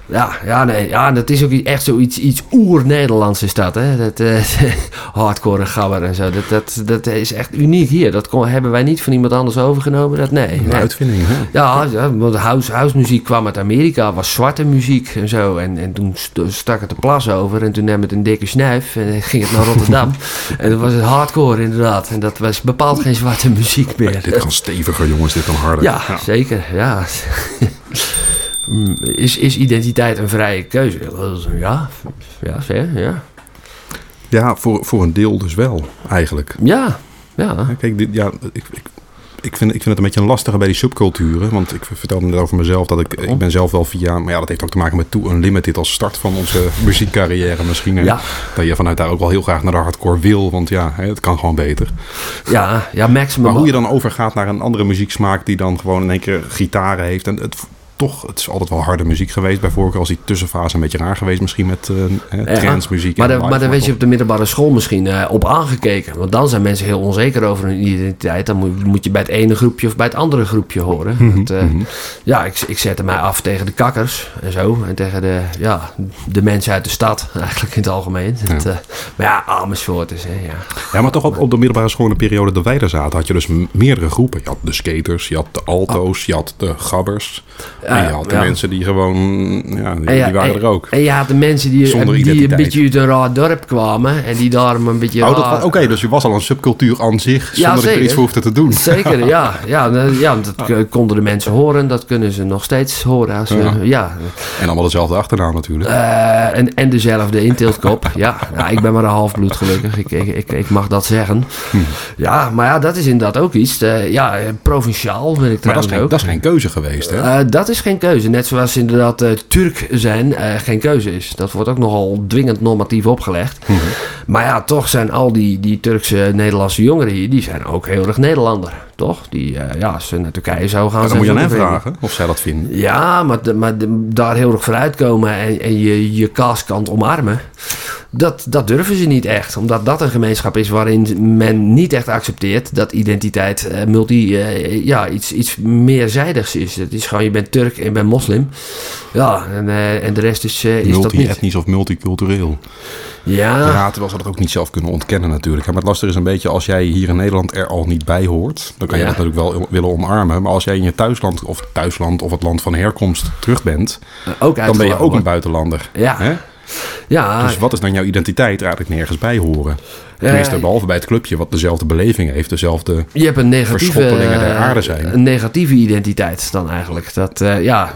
Speaker 3: ja, ja, nee, ja, dat is ook i- echt zoiets iets oer-Nederlands is dat, hè. Dat, eh, hardcore en gabber en zo, dat, dat, dat is echt uniek hier. Dat kon, hebben wij niet van iemand anders overgenomen, dat nee.
Speaker 2: een
Speaker 3: nee.
Speaker 2: uitvinding. Hè?
Speaker 3: Ja, ja, want house, house muziek kwam uit Amerika, was zwarte muziek en zo. En, en toen st- stak het de plas over en toen nam het een dikke snuif en ging het naar Rotterdam. en dat was het hardcore inderdaad. En dat was bepaald geen zwarte muziek
Speaker 2: Ja,
Speaker 3: meer.
Speaker 2: dit kan steviger, jongens. Dit kan harder.
Speaker 3: Ja, zeker. Ja. Mm, Is, is identiteit een vrije keuze? Ja, ja, zeker, ja.
Speaker 2: Ja, voor, voor een deel dus wel, eigenlijk.
Speaker 3: Ja, ja.
Speaker 2: Ja, Kijk, dit, ja, ik, ik, ik, vind, ik vind het een beetje een lastige bij die subculturen. Want ik vertelde net over mezelf dat ik...
Speaker 3: Oh.
Speaker 2: Ik ben zelf wel via... Maar ja, dat heeft ook te maken met Too Unlimited als start van onze muziekcarrière misschien. hè.
Speaker 3: Ja.
Speaker 2: Dat je vanuit daar ook wel heel graag naar de hardcore wil. Want ja, hè, het kan gewoon beter.
Speaker 3: Ja, ja, maximum.
Speaker 2: Maar hoe je dan overgaat naar een andere muzieksmaak die dan gewoon in één keer gitaren heeft. En het, toch, het is altijd wel harde muziek geweest. Bijvoorbeeld als die tussenfase een beetje raar geweest misschien met eh, hè,
Speaker 3: Ja.
Speaker 2: transmuziek.
Speaker 3: Maar,
Speaker 2: en
Speaker 3: daar-
Speaker 2: live
Speaker 3: maar daar werd je
Speaker 2: metal.
Speaker 3: op de middelbare school misschien eh, op aangekeken. Want dan zijn mensen heel onzeker over hun identiteit. Dan moet, moet je bij het ene groepje of bij het andere groepje horen.
Speaker 2: Mhm,
Speaker 3: Dat, eh, Ja, ik, ik zette mij af tegen de kakkers en zo. En tegen de, ja, de mensen uit de stad eigenlijk in het algemeen. Dat, eh, maar ja, Amersfoort is, hè, ja.
Speaker 2: Ja, maar toch op, op de middelbare school in de periode dat wij daar zaten, had je dus m- meerdere groepen. Je had de skaters, je had de alto's, je had de gabbers. en je had de
Speaker 3: ja.
Speaker 2: mensen die gewoon, ja, die,
Speaker 3: En ja,
Speaker 2: die waren
Speaker 3: en-
Speaker 2: er ook.
Speaker 3: En je had de mensen die,
Speaker 2: Zonder
Speaker 3: die een
Speaker 2: identiteit.
Speaker 3: beetje uit een raar dorp kwamen. En die daarom een beetje
Speaker 2: oh, dat
Speaker 3: raar-
Speaker 2: was- oké, dus je was al een subcultuur aan zich, zonder dat je er
Speaker 3: zeker.
Speaker 2: iets voor hoefde te doen.
Speaker 3: Zeker, ja. Ja, nou, ja want dat k- konden de mensen horen. Dat kunnen ze nog steeds horen. Als, ze-
Speaker 2: Ja.
Speaker 3: ja.
Speaker 2: En allemaal dezelfde achternaam natuurlijk.
Speaker 3: Eh, en, en dezelfde inteeltkop. ja, nou, ik ben maar een halfbloed gelukkig. Ik, ik, ik, ik mag dat zeggen.
Speaker 2: Hm.
Speaker 3: Ja, maar ja, dat is inderdaad ook iets. Eh, ja, eh, provinciaal ben ik
Speaker 2: maar dat is,
Speaker 3: trouwens
Speaker 2: geen,
Speaker 3: ook.
Speaker 2: dat is geen keuze geweest, hè?
Speaker 3: Eh, dat is geen keuze. Net zoals inderdaad eh, Turk zijn eh, geen keuze is. Dat wordt ook nogal dwingend normatief opgelegd.
Speaker 2: Mhm.
Speaker 3: Maar ja, toch zijn al die, die Turkse Nederlandse jongeren hier, die zijn ook heel erg Nederlander. Toch? Die, eh, ja, als ze naar Turkije zou gaan...
Speaker 2: Maar dan
Speaker 3: zijn
Speaker 2: moet je
Speaker 3: ze
Speaker 2: aan hen
Speaker 3: ook weer-
Speaker 2: vragen of zij dat vinden.
Speaker 3: Ja, maar, de- maar de- daar heel erg vooruit komen en, en je, je kaaskant omarmen. Dat, dat durven ze niet echt, omdat dat een gemeenschap is waarin men niet echt accepteert dat identiteit eh, multi, eh, ja, iets, iets meerzijders is. Het is gewoon, je bent Turk en je bent moslim. Ja, en, eh, en de rest is, eh, is dat niet.
Speaker 2: Multi-etnisch of multicultureel.
Speaker 3: Ja,
Speaker 2: Ja, terwijl ze dat ook niet zelf kunnen ontkennen natuurlijk. hè. Maar het lastige is een beetje als jij hier in Nederland er al niet bij hoort. Dan kan je
Speaker 3: Ja.
Speaker 2: dat natuurlijk wel willen omarmen. Maar als jij in je thuisland of thuisland of het land van herkomst terug bent,
Speaker 3: ook
Speaker 2: dan ben je ook een
Speaker 3: uitgelachen.
Speaker 2: buitenlander.
Speaker 3: Ja.
Speaker 2: Hè?
Speaker 3: Ah, Ja,
Speaker 2: Dus wat is dan jouw identiteit? Raad ik nergens bij horen. Tenminste,
Speaker 3: ja.
Speaker 2: behalve bij het clubje, wat dezelfde beleving heeft, dezelfde
Speaker 3: Je hebt een negatieve,
Speaker 2: verschoppelingen der
Speaker 3: eh,
Speaker 2: aarde zijn.
Speaker 3: een negatieve identiteit dan eigenlijk. Dat, eh, ja,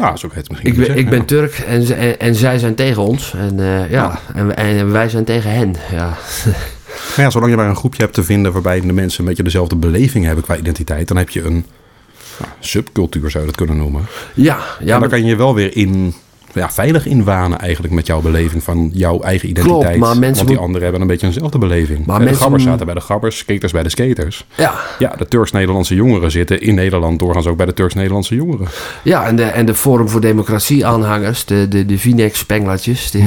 Speaker 2: Ja, zo kan je het misschien
Speaker 3: ik
Speaker 2: wel
Speaker 3: ben, ik
Speaker 2: zeggen,
Speaker 3: ben Turk en, ze- en, en zij zijn tegen ons. En, eh, ja, en, en wij zijn tegen hen. Ja.
Speaker 2: ja. Maar ja, zolang je maar een groepje hebt te vinden waarbij de mensen een beetje dezelfde beleving hebben qua identiteit, dan heb je een nou, subcultuur, zou je dat kunnen noemen.
Speaker 3: Ja, ja
Speaker 2: en dan
Speaker 3: maar,
Speaker 2: kan je je wel weer in, ja, veilig inwanen eigenlijk met jouw beleving van jouw eigen
Speaker 3: Klopt,
Speaker 2: identiteit.
Speaker 3: maar mensen
Speaker 2: Want die
Speaker 3: moet-
Speaker 2: anderen hebben een beetje eenzelfde beleving.
Speaker 3: Maar
Speaker 2: Ja, de
Speaker 3: mensen-
Speaker 2: gabbers zaten bij de gabbers, skaters bij de skaters.
Speaker 3: ja,
Speaker 2: Ja, de Turks-Nederlandse jongeren zitten in Nederland doorgaans ook bij de Turks-Nederlandse jongeren.
Speaker 3: ja en, de, en de Forum voor Democratie aanhangers, de, de, de Vinex-spengelatjes, de,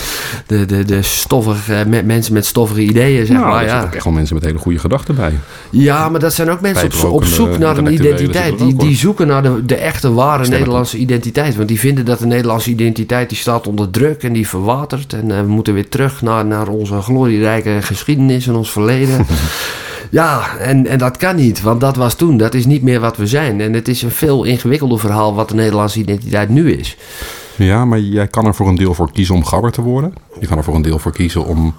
Speaker 3: de, de, de stoffige, eh, me- mensen met stoffige ideeën, zeg
Speaker 2: nou,
Speaker 3: maar.
Speaker 2: er
Speaker 3: Ja.
Speaker 2: zitten ook echt wel mensen met hele goede gedachten bij.
Speaker 3: Ja, maar dat zijn ook mensen op, zo- op zoek
Speaker 2: Pijpenrokende
Speaker 3: naar een
Speaker 2: intellectuelen
Speaker 3: identiteit.
Speaker 2: zitten er
Speaker 3: Die,
Speaker 2: ook,
Speaker 3: die
Speaker 2: hoor.
Speaker 3: zoeken naar de, de echte, ware
Speaker 2: Stemmen.
Speaker 3: Nederlandse identiteit. Want die vinden dat de Nederlandse identiteit die staat onder druk en die verwatert. En eh, we moeten weer terug naar, naar onze glorierijke geschiedenis en ons verleden. Ja, en, en dat kan niet, want dat was toen. Dat is niet meer wat we zijn. En het is een veel ingewikkelder verhaal wat de Nederlandse identiteit nu is.
Speaker 2: Ja, maar jij kan er voor een deel voor kiezen om gabber te worden. Je kan er voor een deel voor kiezen om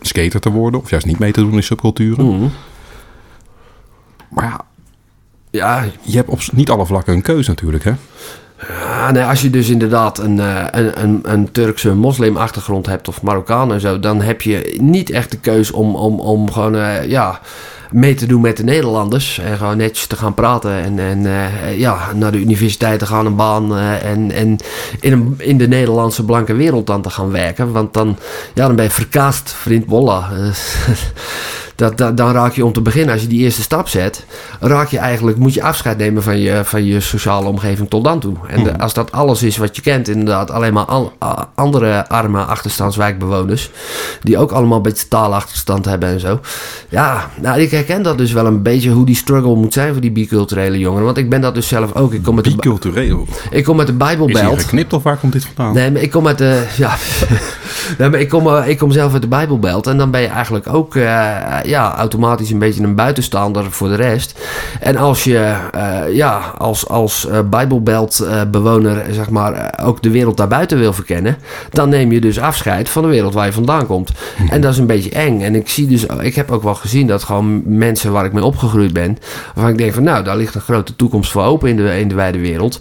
Speaker 2: skater te worden. Of juist niet mee te doen in subculturen.
Speaker 3: Mm.
Speaker 2: Maar ja,
Speaker 3: Ja,
Speaker 2: je hebt op niet alle vlakken een keuze natuurlijk, hè?
Speaker 3: Ah, nee, als je dus inderdaad een, eh, een, een, een Turkse moslimachtergrond hebt of Marokkaan en zo, dan heb je niet echt de keus om, om, om gewoon eh, ja, mee te doen met de Nederlanders. En gewoon netjes te gaan praten en, en eh, ja, naar de universiteit te gaan, een baan eh, en, en in, een, in de Nederlandse blanke wereld dan te gaan werken. Want dan, ja, dan ben je verkaast, vriend Bolla. Dat, dat- dan raak je om te beginnen, als je die eerste stap zet, raak je eigenlijk, moet je afscheid nemen van je, van je sociale omgeving tot dan toe. En de- als dat alles is wat je kent, inderdaad, alleen maar al, a- andere arme achterstandswijkbewoners, die ook allemaal een beetje taalachterstand hebben en zo. Ja, nou, ik herken dat dus wel een beetje hoe die struggle moet zijn voor die biculturele jongeren. Want ik ben dat dus zelf ook. Ik kom met, de, Bi-
Speaker 2: Bicultureel.
Speaker 3: ik kom met de
Speaker 2: Is hij
Speaker 3: Bijbelbelt.
Speaker 2: geknipt of waar komt dit vandaan?
Speaker 3: Nee, maar ik kom uit de. Ja. nee, maar ik kom, eh, ik kom zelf uit de Bijbelbelt. En dan ben je eigenlijk ook eh, ja, automatisch een beetje een buitenstaander voor de rest. En als je eh, ja, als, als eh, Bijbelbelt eh, bewoner zeg maar, eh, ook de wereld daarbuiten wil verkennen. dan neem je dus afscheid van de wereld waar je vandaan komt. En dat is een beetje eng. En ik zie dus. Ik heb ook wel gezien dat gewoon mensen waar ik mee opgegroeid ben. waarvan ik denk van nou, daar ligt een grote toekomst voor open in de, in de wijde wereld.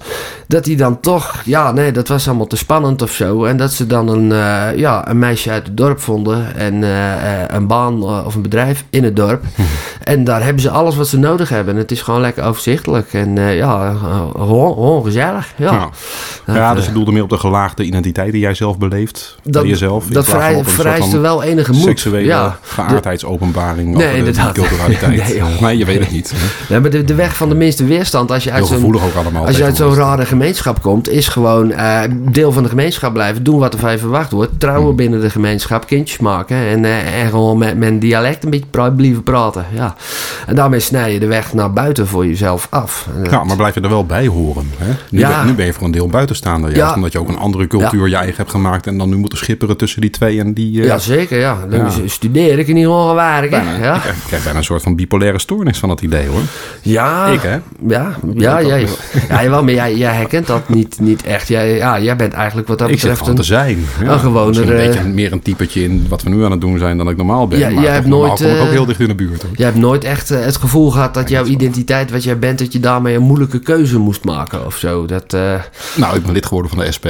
Speaker 3: Dat die dan toch, ja, nee, dat was allemaal te spannend of zo. En dat ze dan een, eh, ja, een meisje uit het dorp vonden. En eh, eh, een baan eh, of een bedrijf in het dorp.
Speaker 2: Hm.
Speaker 3: en daar hebben ze alles wat ze nodig hebben. En het is gewoon lekker overzichtelijk. En eh, ja, eh, gewoon gewoon gezellig. Ja.
Speaker 2: Nou, ja, dus je doelde meer op de gelaagde identiteit die jij zelf beleeft. bij jezelf. in
Speaker 3: dat
Speaker 2: plaats van
Speaker 3: vrij-
Speaker 2: op een soort
Speaker 3: vereiste
Speaker 2: van
Speaker 3: wel enige moed.
Speaker 2: Seksuele
Speaker 3: Ja.
Speaker 2: geaardheidsopenbaring
Speaker 3: Nee,
Speaker 2: over
Speaker 3: inderdaad.
Speaker 2: de culturaliteit.
Speaker 3: Nee, joh.
Speaker 2: nee, je weet het niet.
Speaker 3: Ja, maar de, de weg van de minste weerstand als je uit
Speaker 2: Heel
Speaker 3: zo'n
Speaker 2: gevoelig ook allemaal.
Speaker 3: Als je uit zo'n
Speaker 2: tegenwoordig.
Speaker 3: rare gemeenschap komt, is gewoon eh, deel van de gemeenschap blijven. Doen wat er van je verwacht wordt. Trouwen
Speaker 2: Hmm.
Speaker 3: binnen de gemeenschap. Kindjes maken. En, eh, en gewoon met mijn dialect een beetje pra- blijven praten. Ja. En daarmee snij je de weg naar buiten voor jezelf af. En eh, dat-
Speaker 2: Ja, Nou, maar blijf je er wel bij horen. Hè? Nu,
Speaker 3: Ja.
Speaker 2: ben, nu ben je voor een deel buitenstaander. Juist
Speaker 3: Ja.
Speaker 2: omdat je ook een andere cultuur je eigen hebt gemaakt. En dan nu moet schipperen tussen die twee en die... eh,
Speaker 3: ja, zeker. Ja. Dan
Speaker 2: Ja.
Speaker 3: is- studeer ik in ieder geval werken.
Speaker 2: bijna-
Speaker 3: Ja,
Speaker 2: Ik krijg- ik krijg bijna een soort van bipolaire stoornis van dat idee hoor.
Speaker 3: ja.
Speaker 2: Ik, hè?
Speaker 3: Ja, ja,
Speaker 2: Ik ook.
Speaker 3: jij, ja jawel, maar jij, jij herkent dat niet, niet echt. Jij, ja, jij bent eigenlijk wat dat
Speaker 2: Ik zit
Speaker 3: betreft
Speaker 2: gewoon te zijn. Ja,
Speaker 3: een gewone,
Speaker 2: misschien een
Speaker 3: eh,
Speaker 2: beetje meer een typetje in wat we nu aan het doen zijn dan ik normaal ben.
Speaker 3: Ja,
Speaker 2: maar
Speaker 3: jij
Speaker 2: toch
Speaker 3: hebt
Speaker 2: normaal
Speaker 3: nooit,
Speaker 2: kom ik ook
Speaker 3: eh,
Speaker 2: heel dicht in de buurt. Hoor.
Speaker 3: Jij hebt nooit echt eh, het gevoel gehad dat jouw identiteit, wat jij bent, dat je daarmee een moeilijke keuze moest maken of zo. Dat, eh,
Speaker 2: Nou, ik ben lid geworden van de SP.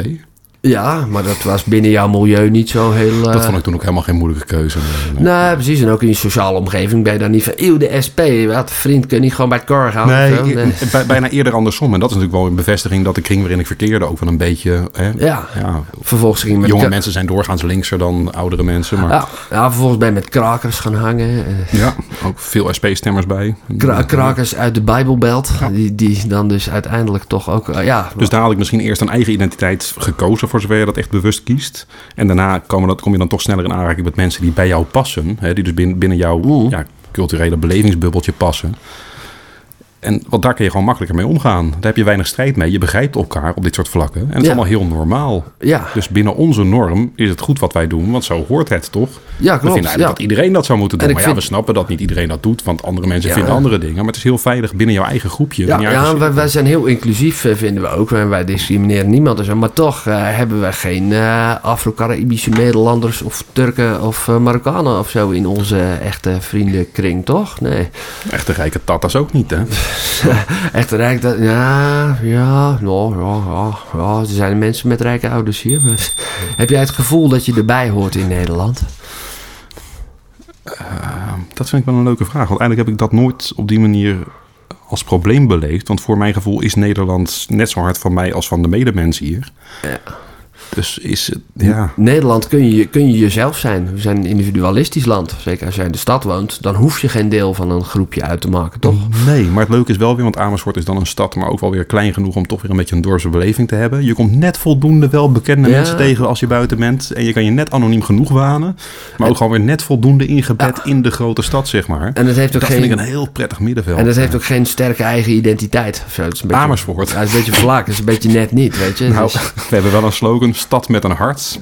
Speaker 3: ja, maar dat was binnen jouw milieu niet zo heel. eh,
Speaker 2: Dat vond ik toen ook helemaal geen moeilijke keuze. Nee, nee.
Speaker 3: Nee, precies. En ook in je sociale omgeving ben je dan niet van, eeuw, de SP, wat, vriend, kun je niet gewoon bij het kor gaan? of zo?
Speaker 2: Nee,
Speaker 3: Nee.
Speaker 2: ik- bij- bijna eerder andersom. En dat is natuurlijk wel een bevestiging dat de kring waarin ik verkeerde ook wel een beetje... Hè,
Speaker 3: Ja.
Speaker 2: ja,
Speaker 3: Vervolgens ging je met
Speaker 2: jonge
Speaker 3: kra-
Speaker 2: mensen zijn doorgaans linkser dan oudere mensen. Maar
Speaker 3: Ja, ja, vervolgens ben je met krakers gaan hangen. eh,
Speaker 2: Ja, ook veel SP-stemmers bij.
Speaker 3: Kra- krakers uit de Bijbelbelt, die, die dan dus uiteindelijk toch ook, eh, ja,
Speaker 2: Dus daar had ik misschien eerst een eigen identiteit gekozen voor zover je dat echt bewust kiest. En daarna komen dat, kom je dan toch sneller in aanraking met mensen die bij jou passen. Hè, die dus binnen, binnen jouw
Speaker 3: Mm.
Speaker 2: ja, culturele belevingsbubbeltje passen. En want daar kun je gewoon makkelijker mee omgaan. Daar heb je weinig strijd mee. Je begrijpt elkaar op dit soort vlakken. En het is
Speaker 3: Ja.
Speaker 2: allemaal heel normaal.
Speaker 3: Ja,
Speaker 2: Dus binnen onze norm is het goed wat wij doen, want zo hoort het toch?
Speaker 3: ja
Speaker 2: We vinden
Speaker 3: klopt.
Speaker 2: eigenlijk
Speaker 3: Ja.
Speaker 2: dat iedereen dat zou moeten doen.
Speaker 3: En ik
Speaker 2: Maar ja,
Speaker 3: vind-
Speaker 2: we snappen dat niet iedereen dat doet, want andere mensen
Speaker 3: Ja.
Speaker 2: vinden andere dingen. Maar het is heel veilig binnen jouw eigen groepje. dus
Speaker 3: Ja,
Speaker 2: binnen jouw
Speaker 3: ja
Speaker 2: eigen
Speaker 3: wij, wij zijn heel inclusief, eh, vinden we ook. En wij discrimineren niemand en zo. Maar toch eh, hebben we geen eh, Afro-Caribische Nederlanders of Turken of eh, Marokkanen of zo in onze eh, echte vriendenkring, toch? Nee.
Speaker 2: cirkel. Echte rijke tata's ook niet, hè?
Speaker 3: Echt rijk, dat, ja, ja, nou, ja, ja, ja. Er zijn mensen met rijke ouders hier. maar- heb jij het gevoel dat je erbij hoort in Nederland?
Speaker 2: Eh, dat vind ik wel een leuke vraag. Want eigenlijk heb ik dat nooit op die manier als probleem beleefd. Want voor mijn gevoel is Nederland net zo hard van mij als van de medemensen hier.
Speaker 3: Ja.
Speaker 2: Dus is het, ja...
Speaker 3: Nederland kun je, kun je jezelf zijn. We zijn een individualistisch land. Zeker als jij in de stad woont, dan hoef je geen deel van een groepje uit te maken, toch?
Speaker 2: Nee, maar het leuke is wel weer, want Amersfoort is dan een stad, maar ook wel weer klein genoeg om toch weer een beetje een dorpse beleving te hebben. Je komt net voldoende wel bekende
Speaker 3: Ja.
Speaker 2: mensen tegen als je buiten bent. En je kan je net anoniem genoeg wanen, maar ook gewoon weer net voldoende ingebed in de grote stad, zeg maar.
Speaker 3: En het heeft ook
Speaker 2: dat
Speaker 3: geen...
Speaker 2: vind ik een heel prettig middenveld.
Speaker 3: En dat heeft ook geen sterke eigen identiteit. Of zo. Het is een beetje,
Speaker 2: Amersfoort.
Speaker 3: Ja, het is een beetje vlak. Het is een beetje net niet, weet je.
Speaker 2: Nou,
Speaker 3: Dus-
Speaker 2: we hebben wel een slogan, stad met een hart.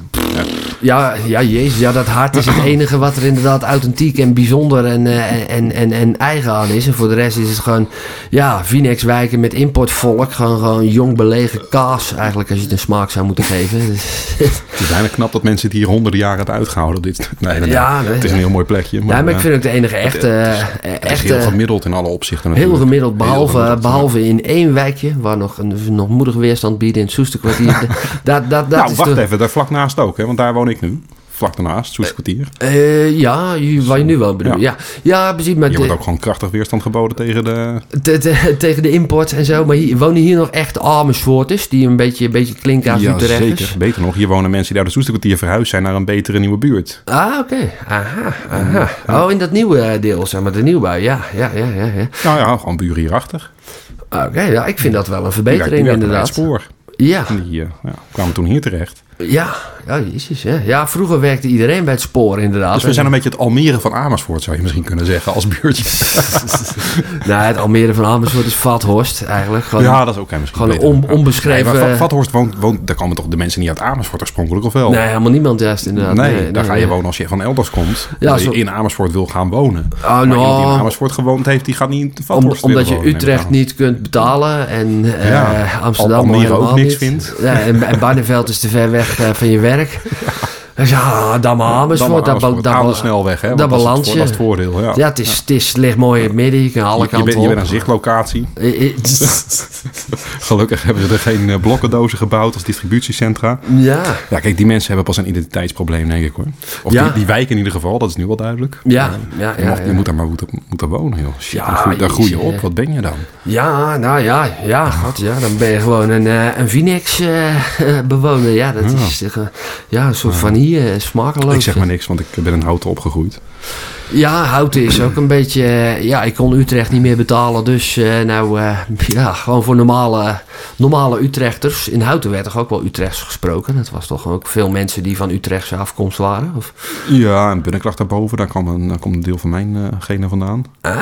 Speaker 3: ja, ja, jezus. Ja, dat hart is het enige wat er inderdaad authentiek en bijzonder en, eh, en, en, en eigen aan is. En voor de rest is het gewoon, ja, Vinex-wijken met importvolk. Gewoon, gewoon jong belegen kaas eigenlijk, als je het een smaak zou moeten geven. Dus-
Speaker 2: Het is eigenlijk knap dat mensen het hier honderden jaren hebben uitgehouden. Dit, nee, inderdaad.
Speaker 3: Ja, nee.
Speaker 2: het is een heel mooi plekje. Maar,
Speaker 3: ja, maar ik
Speaker 2: eh,
Speaker 3: vind ook de enige echte... eh,
Speaker 2: het is heel
Speaker 3: echte
Speaker 2: gemiddeld in alle opzichten
Speaker 3: Heel
Speaker 2: natuurlijk.
Speaker 3: gemiddeld, behalve,
Speaker 2: Heel gemiddeld,
Speaker 3: behalve in één wijkje, waar nog, een, nog moedig weerstand bieden in het Soesterkwartier. dat, dat, dat
Speaker 2: Nou,
Speaker 3: is
Speaker 2: wacht
Speaker 3: de-
Speaker 2: even, daar vlak naast ook, hè, want daar woon ik nu. Vlak daarnaast, Soesterkwartier.
Speaker 3: Eh, ja, je- waar je nu wel bedoelt. Ja, ja. precies. Maar
Speaker 2: Je wordt
Speaker 3: te-
Speaker 2: ook gewoon krachtig weerstand geboden tegen de...
Speaker 3: te- te- tegen de import en zo. Maar hier, wonen hier nog echt arme soorters die een beetje, een beetje klinken uit Utrecht.
Speaker 2: zeker. Beter nog, hier wonen mensen die uit het Soesterkwartier verhuisd zijn naar een betere nieuwe buurt.
Speaker 3: Ah, oké. Aha, aha. Oh, in dat nieuwe eh, deel, zeg maar, de nieuwbouw. Ja, ja, ja, ja. ja.
Speaker 2: Nou ja, gewoon buren hierachter.
Speaker 3: Oké, ja, ik vind dat wel een
Speaker 2: Die werken- die
Speaker 3: verbetering,
Speaker 2: werken bij het
Speaker 3: inderdaad.
Speaker 2: spoor.
Speaker 3: Ja,
Speaker 2: En die eh, ja, kwamen toen hier terecht.
Speaker 3: ja, ja, jezus, ja. Ja, vroeger werkte iedereen bij het spoor, inderdaad.
Speaker 2: Dus we zijn een beetje het Almere van Amersfoort, zou je misschien kunnen zeggen, als buurtje.
Speaker 3: Nou, het Almere van Amersfoort is Vathorst, eigenlijk. Gewoon,
Speaker 2: Ja, dat is ook hè, misschien
Speaker 3: gewoon
Speaker 2: beter.
Speaker 3: on-
Speaker 2: Ja.
Speaker 3: onbeschreven-
Speaker 2: Nee, maar Va- Vathorst woont, woont... Daar komen toch de mensen niet uit Amersfoort oorspronkelijk, of wel?
Speaker 3: Nee, helemaal niemand juist, inderdaad.
Speaker 2: Nee, daar
Speaker 3: nee,
Speaker 2: ga je
Speaker 3: nee.
Speaker 2: wonen als je van elders komt.
Speaker 3: Ja,
Speaker 2: als je
Speaker 3: zo-
Speaker 2: in Amersfoort wil gaan wonen. Oh, maar
Speaker 3: nou.
Speaker 2: iemand die in Amersfoort gewoond heeft, die gaat niet in
Speaker 3: Om-
Speaker 2: Vathorst
Speaker 3: omdat
Speaker 2: willen
Speaker 3: je
Speaker 2: wonen, neem ik
Speaker 3: Utrecht
Speaker 2: aan.
Speaker 3: niet kunt betalen en eh,
Speaker 2: Ja,
Speaker 3: Amsterdam
Speaker 2: Almere
Speaker 3: helemaal
Speaker 2: ook niks
Speaker 3: niet.
Speaker 2: vindt.
Speaker 3: Ja, en, en Barneveld is te ver weg eh, van je werk. Dus Ja, dan maar Amersfoort.
Speaker 2: Dan
Speaker 3: Dat
Speaker 2: maar Amersfoort, aan de snelweg, hè? want
Speaker 3: dat
Speaker 2: is het
Speaker 3: balans
Speaker 2: voor-
Speaker 3: je.
Speaker 2: Dat is het voordeel, ja.
Speaker 3: Ja, het, is, het is, ligt mooi in het midden. Je kan alle
Speaker 2: je, je,
Speaker 3: kanten
Speaker 2: bent, je bent
Speaker 3: op.
Speaker 2: een zichtlocatie.
Speaker 3: Eh, eh,
Speaker 2: Gelukkig hebben ze er geen eh, blokkendozen gebouwd als distributiecentra.
Speaker 3: ja,
Speaker 2: Ja, kijk, die mensen hebben pas een identiteitsprobleem, denk ik hoor. Of
Speaker 3: Ja.
Speaker 2: die, die wijk in ieder geval, dat is nu wel duidelijk.
Speaker 3: ja, ja,
Speaker 2: je,
Speaker 3: ja,
Speaker 2: mag- je
Speaker 3: ja.
Speaker 2: moet daar maar moeten, moeten wonen, joh. Shit,
Speaker 3: Ja,
Speaker 2: daar groei, daar
Speaker 3: jezus,
Speaker 2: groei je op.
Speaker 3: hè.
Speaker 2: Wat ben je dan?
Speaker 3: Ja, nou ja, ja, god, ja, dan ben je gewoon een, eh, een Vinex-bewoner. ja, dat is eh, ja, een soort van hier, eh, smakeloos.
Speaker 2: Ik zeg maar niks, want ik ben in houten opgegroeid.
Speaker 3: Ja, houten is ook een beetje... eh, Ja, ik kon Utrecht niet meer betalen. Dus eh, nou, eh, ja, gewoon voor normale, normale Utrechters. In houten werd toch ook wel Utrechts gesproken? Dat was toch ook veel mensen die van Utrechtse afkomst waren? Of?
Speaker 2: Ja, en Bunneklacht daarboven, daar kwam een, daar komt een deel van mijn eh genen vandaan.
Speaker 3: Ah,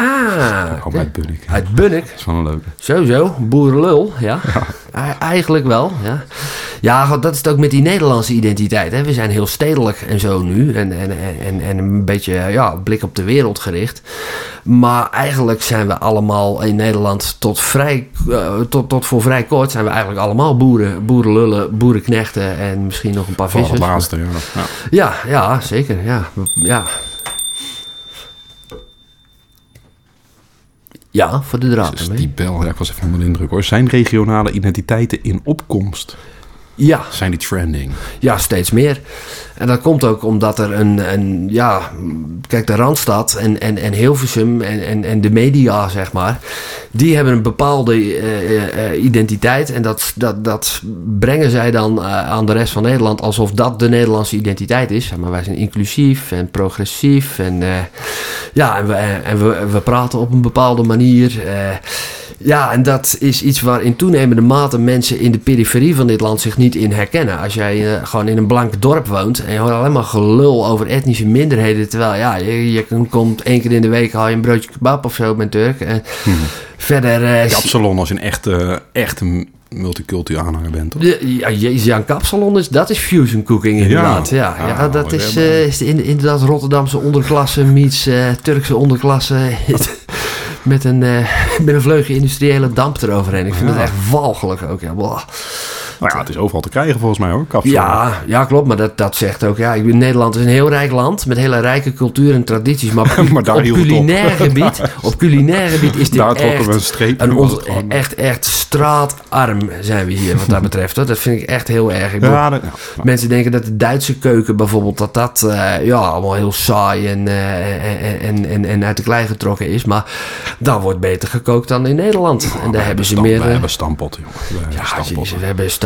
Speaker 2: Ik kom uit Bunnik. Dat
Speaker 3: uit Bunnik.
Speaker 2: is wel een leuke.
Speaker 3: Sowieso, boerenlul, ja. E- Eigenlijk wel, ja. Ja, god, dat is het ook met die Nederlandse identiteit. Hè. We zijn heel stedelijk en zo nu. En, en, en, en een beetje ja, blik op de wereld gericht. Maar eigenlijk zijn we allemaal in Nederland tot, vrij, eh, tot, tot voor vrij kort... zijn we eigenlijk allemaal boeren, boerenlullen, boerenknechten... en misschien nog een paar
Speaker 2: Vooral het
Speaker 3: vissers.
Speaker 2: laatste, ja. ja.
Speaker 3: Ja, ja, zeker. Ja. ja. Ja, voor de draad.
Speaker 2: Dus die bel, ja, ik was even onder de indruk hoor. Zijn regionale identiteiten in opkomst?
Speaker 3: Ja,
Speaker 2: Zijn die trending?
Speaker 3: Ja, steeds meer. En dat komt ook omdat er een, een ja, kijk, de Randstad en, en, en Hilversum en, en, en de media, zeg maar, die hebben een bepaalde eh, eh, eh, identiteit. En dat, dat, dat brengen zij dan eh, aan de rest van Nederland alsof dat de Nederlandse identiteit is. Zeg Maar wij zijn inclusief en progressief en eh, ja, en, we, en we, we praten op een bepaalde manier. eh. Ja, en dat is iets waar in toenemende mate mensen in de periferie van dit land zich niet in herkennen. Als jij eh, gewoon in een blank dorp woont en je hoort alleen maar gelul over etnische minderheden. Terwijl ja, je, je komt één keer in de week haal je een broodje kebab of zo met Turk. En Verder. eh,
Speaker 2: Mhm. Kapsalon als je een echte, echte multicultuur aanhanger bent, toch?
Speaker 3: Ja, ja, jezus, ja, een kapsalon is, dat is fusion cooking inderdaad. Ja, ja,
Speaker 2: Ah,
Speaker 3: dat is,
Speaker 2: whatever.
Speaker 3: eh, is in- inderdaad Rotterdamse onderklasse meets eh, Turkse onderklasse. met, een, eh, met een vleugje industriële damp eroverheen. Ik vind het echt walgelijk ook. Ja, blah.
Speaker 2: Nou ja, het is overal te krijgen volgens mij hoor, kapsalon.
Speaker 3: ja, ja klopt, maar dat, dat zegt ook. Ja, ik bedoel, Nederland is een heel rijk land met hele rijke cultuur en tradities. Maar, op-
Speaker 2: Maar daar
Speaker 3: op,
Speaker 2: hield het op.
Speaker 3: culinair gebied, op culinair gebied is dit
Speaker 2: Daar trokken
Speaker 3: echt
Speaker 2: we een streep.
Speaker 3: en
Speaker 2: door als
Speaker 3: ons,
Speaker 2: het gewoon-
Speaker 3: echt, echt straatarm zijn we hier wat dat betreft. Hoor. Dat vind ik echt heel erg. Ik bedoel,
Speaker 2: Ja, dat- ja.
Speaker 3: Mensen denken dat de Duitse keuken bijvoorbeeld, dat dat eh, ja, allemaal heel saai en, eh, en- en, en, en uit de klei getrokken is. Maar daar wordt beter gekookt dan in Nederland. en daar hebben ze
Speaker 2: Stam-
Speaker 3: meer...
Speaker 2: Wij
Speaker 3: eh,
Speaker 2: hebben stampotten, jongen. Wij hebben
Speaker 3: ja,
Speaker 2: stampotten.
Speaker 3: jezus, we hebben stampot.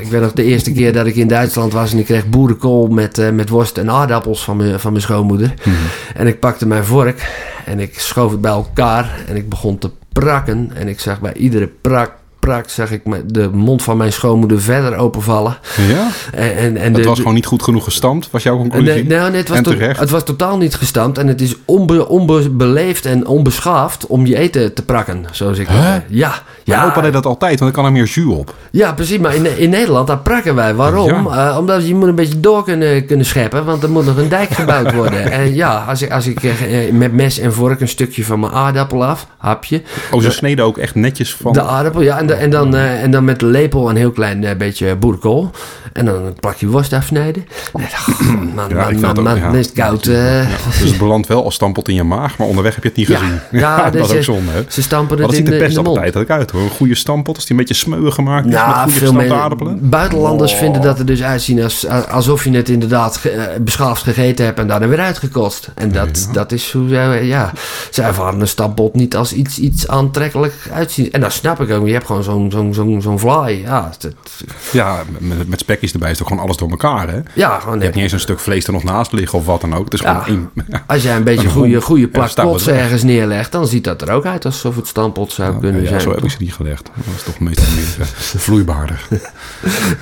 Speaker 3: Ik weet nog de eerste keer dat ik in Duitsland was en ik kreeg boerenkool met, eh, met worst en aardappels van mijn, van mijn schoonmoeder.
Speaker 2: Mhm.
Speaker 3: En ik pakte mijn vork en ik schoof het bij elkaar en ik begon te prakken. En ik zag bij iedere prak, prak zag ik me- de mond van mijn schoonmoeder verder openvallen.
Speaker 2: Ja?
Speaker 3: En, en, en
Speaker 2: Het
Speaker 3: de-
Speaker 2: was gewoon niet goed genoeg gestampt, was jouw conclusie?
Speaker 3: Nee, nou, nee, het, was
Speaker 2: en
Speaker 3: to-
Speaker 2: terecht.
Speaker 3: het was totaal niet gestampt. En het is onbe- onbeleefd en onbeschaafd om je eten te prakken, zoals ik dat
Speaker 2: Hè?
Speaker 3: zei. Ja,
Speaker 2: Mijn
Speaker 3: ja.
Speaker 2: opa deed dat altijd, want dan kan er meer jus op.
Speaker 3: Ja, precies. Maar in, in Nederland, daar prakken wij. Waarom? Eh, omdat je moet een beetje door kunnen, kunnen scheppen. Want er moet nog een dijk gebouwd worden. En ja, als ik, als ik eh, met mes en vork een stukje van mijn aardappel af, hapje.
Speaker 2: Oh, ze sneden ook echt netjes van...
Speaker 3: De aardappel, ja. En, da- en, dan, eh, en dan met de lepel een heel klein eh, beetje boerenkool. En dan een plakje worst afsnijden. Nee, man, man,
Speaker 2: ik vind
Speaker 3: man,
Speaker 2: dat ook,
Speaker 3: man,
Speaker 2: ja.
Speaker 3: dan is het koud. eh.
Speaker 2: Dus het belandt wel als stampot in je maag, maar onderweg heb je het niet
Speaker 3: Ja,
Speaker 2: gezien.
Speaker 3: ja,
Speaker 2: dat is
Speaker 3: dus,
Speaker 2: ook
Speaker 3: eh,
Speaker 2: zonde, hè?
Speaker 3: Ze stampen
Speaker 2: Maar
Speaker 3: het
Speaker 2: dat
Speaker 3: in
Speaker 2: ziet
Speaker 3: de,
Speaker 2: er
Speaker 3: in
Speaker 2: best
Speaker 3: de mond.
Speaker 2: altijd ook uit, hoor. Een goede stampot, als die een beetje smeuig gemaakt is met
Speaker 3: Nou,
Speaker 2: goede
Speaker 3: veel
Speaker 2: gestampte
Speaker 3: men-
Speaker 2: aardappelen.
Speaker 3: buitenlanders
Speaker 2: Oh.
Speaker 3: vinden dat er dus uitzien als, a- alsof je het inderdaad ge- eh, beschaafd gegeten hebt en daarna weer uitgekost. En dat, dat is hoe zij, ja, zij ervaren een stampot niet als iets, iets aantrekkelijk uitzien. En dat snap ik ook, je hebt gewoon zo'n zo'n zo'n zo'n fly. Ja, het- het-
Speaker 2: Ja, met, met spekjes erbij is toch gewoon alles door elkaar, hè? Je
Speaker 3: ja gewoon,
Speaker 2: hebt niet eens een stuk vlees er nog naast liggen of wat dan ook. Het is
Speaker 3: Ja.
Speaker 2: gewoon één... Ja.
Speaker 3: als jij een beetje
Speaker 2: Een
Speaker 3: goede,
Speaker 2: hond.
Speaker 3: goede
Speaker 2: Ja,
Speaker 3: plak
Speaker 2: stampot
Speaker 3: kots
Speaker 2: weg.
Speaker 3: ergens neerlegt, dan ziet dat er ook uit alsof het stampot zou kunnen
Speaker 2: Ja,
Speaker 3: zijn.
Speaker 2: zo heb ik ze niet gelegd. Dat is toch meestal meer eh, vloeibaarder.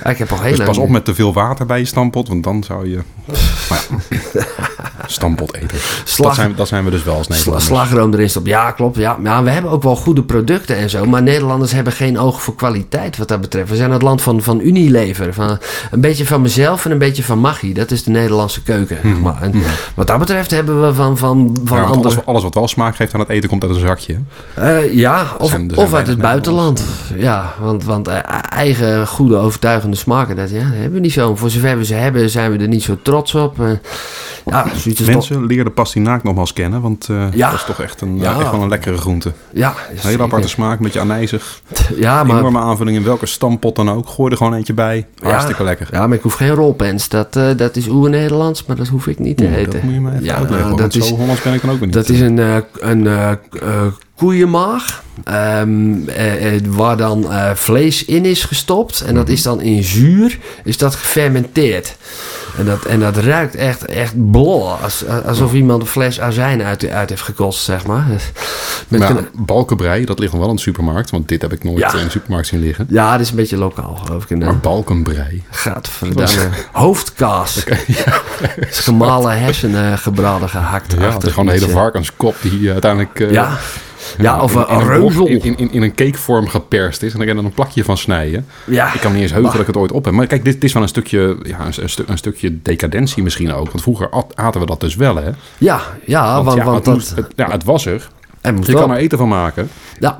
Speaker 3: Ah, Ik heb al heel
Speaker 2: Dus pas
Speaker 3: lang-
Speaker 2: op met te veel water bij je stampot, want dan zou je... Maar ja, stampot eten.
Speaker 3: Slag-
Speaker 2: Dat zijn, dat zijn we dus wel als
Speaker 3: Sla-
Speaker 2: Nederlanders.
Speaker 3: slagroom erin stopt. Ja, klopt. Ja. Maar we hebben ook wel goede producten en zo. Maar Nederlanders hebben geen oog voor kwaliteit wat dat betreft. We zijn het land van, van Unilever. Van, een beetje van mezelf en een beetje van Maggi. Dat is de Nederlandse keuken. zeg maar. en, Wat dat betreft hebben we van, van, van
Speaker 2: Hmm. Ja, want
Speaker 3: andere...
Speaker 2: alles, alles wat wel smaak geeft aan het eten komt uit een zakje. hè?
Speaker 3: Eh, ja, of,
Speaker 2: zijn- er zijn
Speaker 3: of uit
Speaker 2: weinig
Speaker 3: het buitenland. Ja, want, want eh, eigen goede overtuigende smaken, dat, ja, dat hebben we niet zo. Voor zover we ze hebben, zijn we er niet zo trots op. Eh, ja, zoiets als dat-
Speaker 2: Mensen leer de pastinaak nogmaals kennen, want eh,
Speaker 3: Ja.
Speaker 2: dat is toch echt, een,
Speaker 3: Ja.
Speaker 2: echt wel een lekkere groente. Een
Speaker 3: Ja,
Speaker 2: hele aparte smaak, een beetje anijzig.
Speaker 3: Ja, maar
Speaker 2: Enorme aanvulling in welke stampot dan ook. Gooi er gewoon eentje bij. Hartstikke lekker.
Speaker 3: Ja, maar ik hoef geen rolpens. Dat, eh, dat is oer-Nederlands, maar dat hoef ik niet te
Speaker 2: Oeh,
Speaker 3: eten.
Speaker 2: dat moet je mij even
Speaker 3: ja,
Speaker 2: uitleggen, hoor,
Speaker 3: dat
Speaker 2: want
Speaker 3: is,
Speaker 2: zo Hollands ben ik dan ook weer niet.
Speaker 3: dat is een, eh, een eh, k- eh, koeienmaag. ehm, eh, eh, waar dan eh, vlees in is gestopt. En
Speaker 2: Mhm.
Speaker 3: dat is dan in zuur. Is dat gefermenteerd. En dat, en dat ruikt echt, echt blol. Als, alsof iemand een fles azijn uit, uit heeft gekost, zeg maar. Met
Speaker 2: maar
Speaker 3: kna-
Speaker 2: ja, balkenbrei, dat ligt nog wel in de supermarkt, want dit heb ik nooit
Speaker 3: Ja.
Speaker 2: eh, in de supermarkt zien liggen.
Speaker 3: ja, dat is een beetje lokaal, geloof ik.
Speaker 2: Maar balkenbrei.
Speaker 3: Gadverdamme. Hoofdkaas. Is Gemalen hersenen gebraden gehakt.
Speaker 2: Ja, het
Speaker 3: achter
Speaker 2: is gewoon een
Speaker 3: iets,
Speaker 2: hele
Speaker 3: eh.
Speaker 2: varkenskop die eh, uiteindelijk eh,
Speaker 3: Ja. Ja, of eh,
Speaker 2: in-
Speaker 3: een,
Speaker 2: in
Speaker 3: een
Speaker 2: blok-
Speaker 3: reuzel.
Speaker 2: In, in, in een cakevorm geperst is. En daar kan je dan een plakje van snijden.
Speaker 3: Ja.
Speaker 2: Ik kan me niet eens heugen dat ik het ooit op heb. Maar kijk, dit, dit is wel een stukje, ja, een, een stu- een stukje decadentie misschien ook. Want vroeger at- aten we dat dus wel, hè?
Speaker 3: Ja, ja, Ah, want,
Speaker 2: ja,
Speaker 3: want
Speaker 2: het, moest-
Speaker 3: dat...
Speaker 2: het- ja, het was er.
Speaker 3: hij moest
Speaker 2: Je
Speaker 3: wel.
Speaker 2: kan er eten van maken. Dus
Speaker 3: Ja.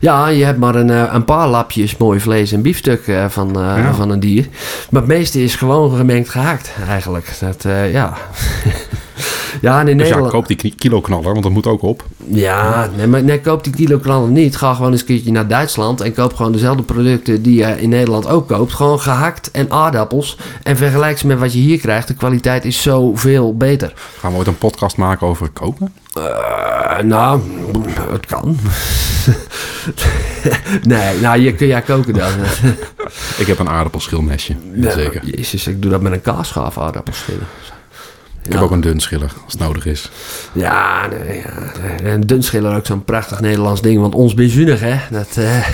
Speaker 3: ja, je hebt maar een, eh, een paar lapjes mooi vlees en biefstuk eh, van, eh,
Speaker 2: Ja.
Speaker 3: van een dier. Maar het meeste is gewoon gemengd gehakt, eigenlijk. Dat, eh, ja. ja, en in
Speaker 2: Dus ja,
Speaker 3: Nederland...
Speaker 2: koop die kni- kiloknaller, want dat moet ook op.
Speaker 3: Ja, nee, maar nee, koop die kilo knallen niet. Ga gewoon eens een keertje naar Duitsland en koop gewoon dezelfde producten die je in Nederland ook koopt. Gewoon gehakt en aardappels. En vergelijk ze met wat je hier krijgt. De kwaliteit is zoveel beter.
Speaker 2: Gaan we ooit een podcast maken over koken?
Speaker 3: Eh, nou, het kan. nee, nou, je kun jij koken dan.
Speaker 2: Ik heb een aardappelschilmesje.
Speaker 3: Nee,
Speaker 2: Zeker.
Speaker 3: Jezus, ik doe dat met een kaasschaaf aardappelschillen.
Speaker 2: Ik heb ook een dun schiller, als het nodig is.
Speaker 3: Ja, nee, ja. en dunschiller ook zo'n prachtig Nederlands ding. Want ons bezuinig, hè. Dat, eh,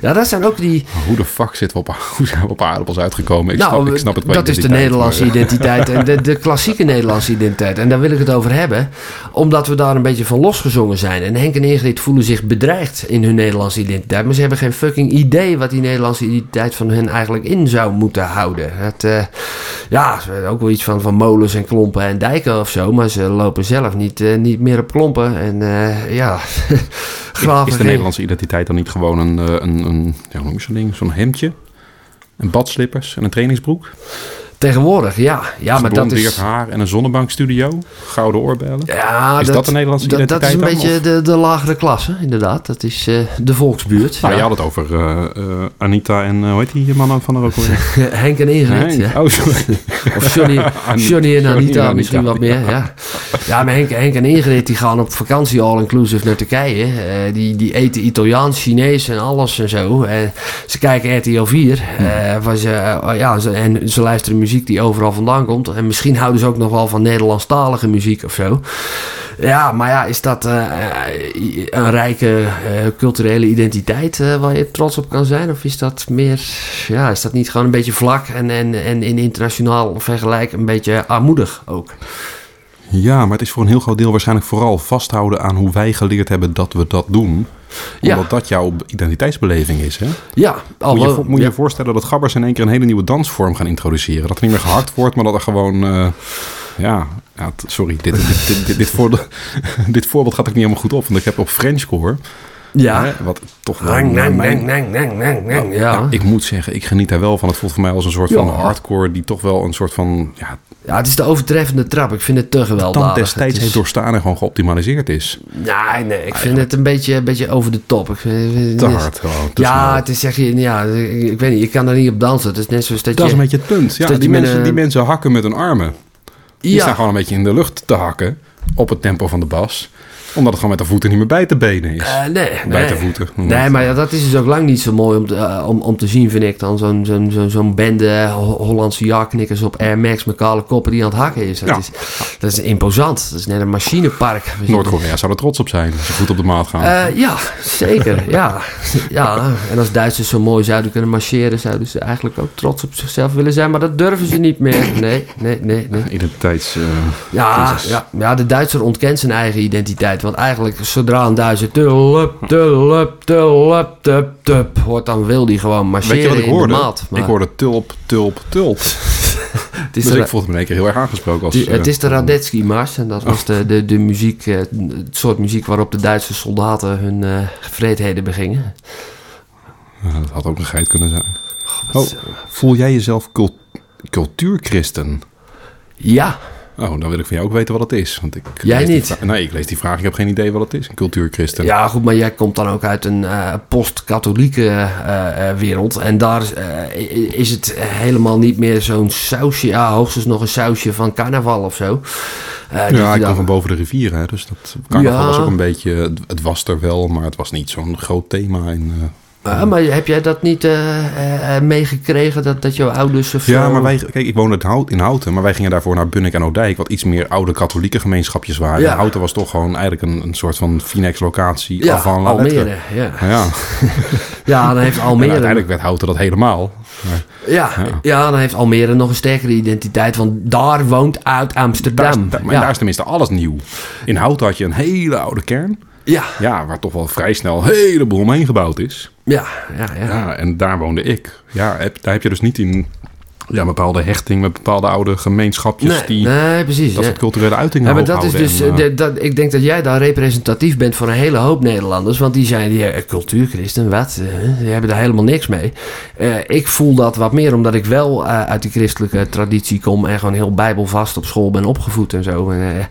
Speaker 3: ja, dat zijn ook die...
Speaker 2: Maar Hoe de fuck zit we op, a- hoe zijn we op aardappels uitgekomen? Ik,
Speaker 3: nou,
Speaker 2: snap, ik snap het qua
Speaker 3: dat is de
Speaker 2: identiteit,
Speaker 3: Nederlandse
Speaker 2: maar,
Speaker 3: identiteit. En de, de klassieke Nederlandse identiteit. En daar wil ik het over hebben. Omdat we daar een beetje van losgezongen zijn. En Henk en Ingrid voelen zich bedreigd in hun Nederlandse identiteit. Maar ze hebben geen fucking idee wat die Nederlandse identiteit van hen eigenlijk in zou moeten houden. Het, eh, ja, ze weten ook wel iets van, van molens en klompen en dijken of zo. Maar ze lopen zelf niet, eh, niet meer op klompen. En eh, ja,
Speaker 2: eh,
Speaker 3: graven.
Speaker 2: Is de
Speaker 3: geen-
Speaker 2: Nederlandse identiteit dan niet gewoon een, eh, een, een ja, hoe noem je zo'n ding? Zo'n hemdje, een badslippers en een trainingsbroek?
Speaker 3: Tegenwoordig, ja. Ja, maar dat
Speaker 2: Geblondeerd
Speaker 3: is...
Speaker 2: haar en een zonnebankstudio, gouden oorbellen.
Speaker 3: Ja,
Speaker 2: Is dat de Nederlandse
Speaker 3: dat- Dat is een
Speaker 2: identiteit dan,
Speaker 3: beetje de, de lagere klasse, inderdaad. Dat is eh, de volksbuurt.
Speaker 2: Nou, je
Speaker 3: ja.
Speaker 2: had het over eh, eh, Anita en eh, hoe heet die mannen van de ook alweer?
Speaker 3: Henk en Ingrid.
Speaker 2: Henk.
Speaker 3: ja.
Speaker 2: Oh, sorry.
Speaker 3: Of Johnny, Johnny en
Speaker 2: Johnny en
Speaker 3: Anita
Speaker 2: Anita,
Speaker 3: misschien wat meer. Ja, ja maar Henk, Henk en Ingrid die gaan op vakantie all-inclusive naar Turkije. Eh, die, die eten Italiaans, Chinees en alles en zo. Eh, ze kijken RTL 4.
Speaker 2: Hmm.
Speaker 3: eh, waar ze, eh, ja, ze- en ze luisteren muziek die overal vandaan komt. En misschien houden ze ook nog wel van Nederlandstalige muziek of zo. Ja, maar ja, is dat eh, een rijke eh, culturele identiteit eh, waar je trots op kan zijn? Of is dat meer, ja, is dat niet gewoon een beetje vlak en, en, en in internationaal vergelijk een beetje armoedig ook?
Speaker 2: Ja, maar het is voor een heel groot deel waarschijnlijk vooral vasthouden aan hoe wij geleerd hebben dat we dat doen.
Speaker 3: Ja.
Speaker 2: Omdat dat jouw identiteitsbeleving is. Hè?
Speaker 3: Ja,
Speaker 2: Moet je
Speaker 3: alhoewel-
Speaker 2: vo- moet je
Speaker 3: ja.
Speaker 2: je voorstellen dat gabbers in één keer een hele nieuwe dansvorm gaan introduceren. Dat er niet meer gehakt wordt, maar dat er gewoon... eh, ja, ja, t- sorry, dit, dit, dit, dit, dit voor- dit voorbeeld gaat ook niet helemaal goed op. Want ik heb op Frenchcore,
Speaker 3: ja.
Speaker 2: hè, wat toch wel
Speaker 3: Nang,
Speaker 2: naar
Speaker 3: nang,
Speaker 2: mijn-
Speaker 3: nang, nang, nang, nang, nang.
Speaker 2: Ja,
Speaker 3: Ja,
Speaker 2: ik moet zeggen, ik geniet daar wel van. Het voelt voor mij als een soort van
Speaker 3: Ja.
Speaker 2: hardcore die toch wel een soort van... Ja,
Speaker 3: Ja, het is de overtreffende trap. Ik vind het te gewelddadig.
Speaker 2: tand
Speaker 3: Het
Speaker 2: destijds
Speaker 3: is-
Speaker 2: heeft doorstaan en gewoon geoptimaliseerd is.
Speaker 3: Nee, nee, ik vind het een beetje, een beetje over de top. Ik vind,
Speaker 2: Te hard gewoon. te snel.
Speaker 3: Ja, het is echt... Ja, ik, ik weet niet, ik kan er niet op dansen. Het is net zoals dat
Speaker 2: Dat is
Speaker 3: je...
Speaker 2: een beetje het punt. Ja,
Speaker 3: dat je
Speaker 2: die,
Speaker 3: met
Speaker 2: mensen,
Speaker 3: een-
Speaker 2: die mensen hakken met hun armen. Die
Speaker 3: ja.
Speaker 2: staan gewoon een beetje in de lucht te hakken op het tempo van de bas. Omdat het gewoon met de voeten niet meer bij te benen is.
Speaker 3: Eh, nee,
Speaker 2: bij
Speaker 3: nee.
Speaker 2: te voeten.
Speaker 3: Nee, maar ja, dat is dus ook lang niet zo mooi om te, eh, om, om te zien, vind ik dan. Zo'n zo'n zo'n zo'n bende Ho- Hollandse jaarknikkers op Air Max met kale koppen die aan het hakken is. Dat,
Speaker 2: Ja.
Speaker 3: is, dat is imposant. Dat is net een machinepark.
Speaker 2: Noord-Korea zou er trots op zijn als ze goed op de maat gaan.
Speaker 3: Eh, ja, zeker. ja. ja. En als Duitsers zo mooi zouden kunnen marcheren, zouden ze eigenlijk ook trots op zichzelf willen zijn. Maar dat durven ze niet meer. Nee, nee, nee, nee.
Speaker 2: Identiteits... eh,
Speaker 3: Ja,
Speaker 2: crisis.
Speaker 3: ja, ja, de Duitser ontkent zijn eigen identiteit. Want eigenlijk, zodra een Duitser tullup, tullup, tullup, tup, tup hoort, dan wil die gewoon marcheren
Speaker 2: Weet je wat ik
Speaker 3: in
Speaker 2: hoorde?
Speaker 3: de maat. Maar
Speaker 2: Ik hoorde tulp, tulp, tulp.
Speaker 3: het is,
Speaker 2: Dus
Speaker 3: de,
Speaker 2: ik voelde me in één keer heel erg aangesproken. Als,
Speaker 3: het- het
Speaker 2: eh,
Speaker 3: is de Radetzky-mars. En dat was de, de, de muziek, eh, het soort muziek waarop de Duitse soldaten hun eh vreedheden begingen.
Speaker 2: Ja, dat eh, had ook een geit kunnen zijn. Oh, voel jij jezelf cult- cultuurchristen?
Speaker 3: Ja,
Speaker 2: Oh, dan wil ik van jou ook weten wat het is. Want ik
Speaker 3: Jij
Speaker 2: lees die
Speaker 3: niet.
Speaker 2: vra- nee, ik lees die vraag. Ik heb geen idee wat het is, een cultuurchristen.
Speaker 3: ja, goed, maar jij komt dan ook uit een eh, post-katholieke eh, eh, wereld. En daar eh, i- is het helemaal niet meer zo'n sausje. Ja, hoogstens nog een sausje van carnaval of zo. Eh, dus
Speaker 2: Ja, ik
Speaker 3: dan-
Speaker 2: kom van boven de rivier, hè, dus dat carnaval
Speaker 3: Ja.
Speaker 2: was ook een beetje... Het, het was er wel, maar het was niet zo'n groot thema. In, eh,
Speaker 3: Ah, maar heb jij dat niet eh, eh, eh, meegekregen, dat, dat jouw ouders of
Speaker 2: Ja,
Speaker 3: zo-
Speaker 2: maar wij, kijk, ik woonde in Hout- in Houten, maar wij gingen daarvoor naar Bunnik en Oudijk, wat iets meer oude katholieke gemeenschapjes waren.
Speaker 3: Ja.
Speaker 2: Houten was toch gewoon eigenlijk een, een soort van Finex-locatie
Speaker 3: Ja,
Speaker 2: van
Speaker 3: Almere, ja.
Speaker 2: Ja,
Speaker 3: Ja, dan heeft
Speaker 2: en
Speaker 3: Almere...
Speaker 2: uiteindelijk werd Houten dat helemaal. Maar
Speaker 3: ja, ja, dan heeft Almere nog een sterkere identiteit, want daar woont uit
Speaker 2: daar, is-
Speaker 3: Amsterdam.
Speaker 2: daar- maar
Speaker 3: ja.
Speaker 2: daar is tenminste alles nieuw. In Houten had je een hele oude kern,
Speaker 3: ja,
Speaker 2: ja, waar toch wel vrij snel een heleboel omheen gebouwd is.
Speaker 3: ja, ja, ja.
Speaker 2: Ja, en daar woonde ik. Ja, heb, daar heb je dus niet in ja, een bepaalde hechting met bepaalde oude gemeenschapjes
Speaker 3: Nee,
Speaker 2: die
Speaker 3: nee, precies.
Speaker 2: dat
Speaker 3: ja.
Speaker 2: soort culturele uitingen
Speaker 3: Ja, maar
Speaker 2: hoog
Speaker 3: dat is
Speaker 2: houden
Speaker 3: dus,
Speaker 2: en, eh,
Speaker 3: eh, de- dat, ik denk dat jij daar representatief bent voor een hele hoop Nederlanders. Want die zijn die, eh, cultuurchristen, wat? Eh, die hebben daar helemaal niks mee. Eh, ik voel dat wat meer omdat ik wel eh, uit die christelijke traditie kom. En gewoon heel bijbelvast op school ben opgevoed en zo. En, eh,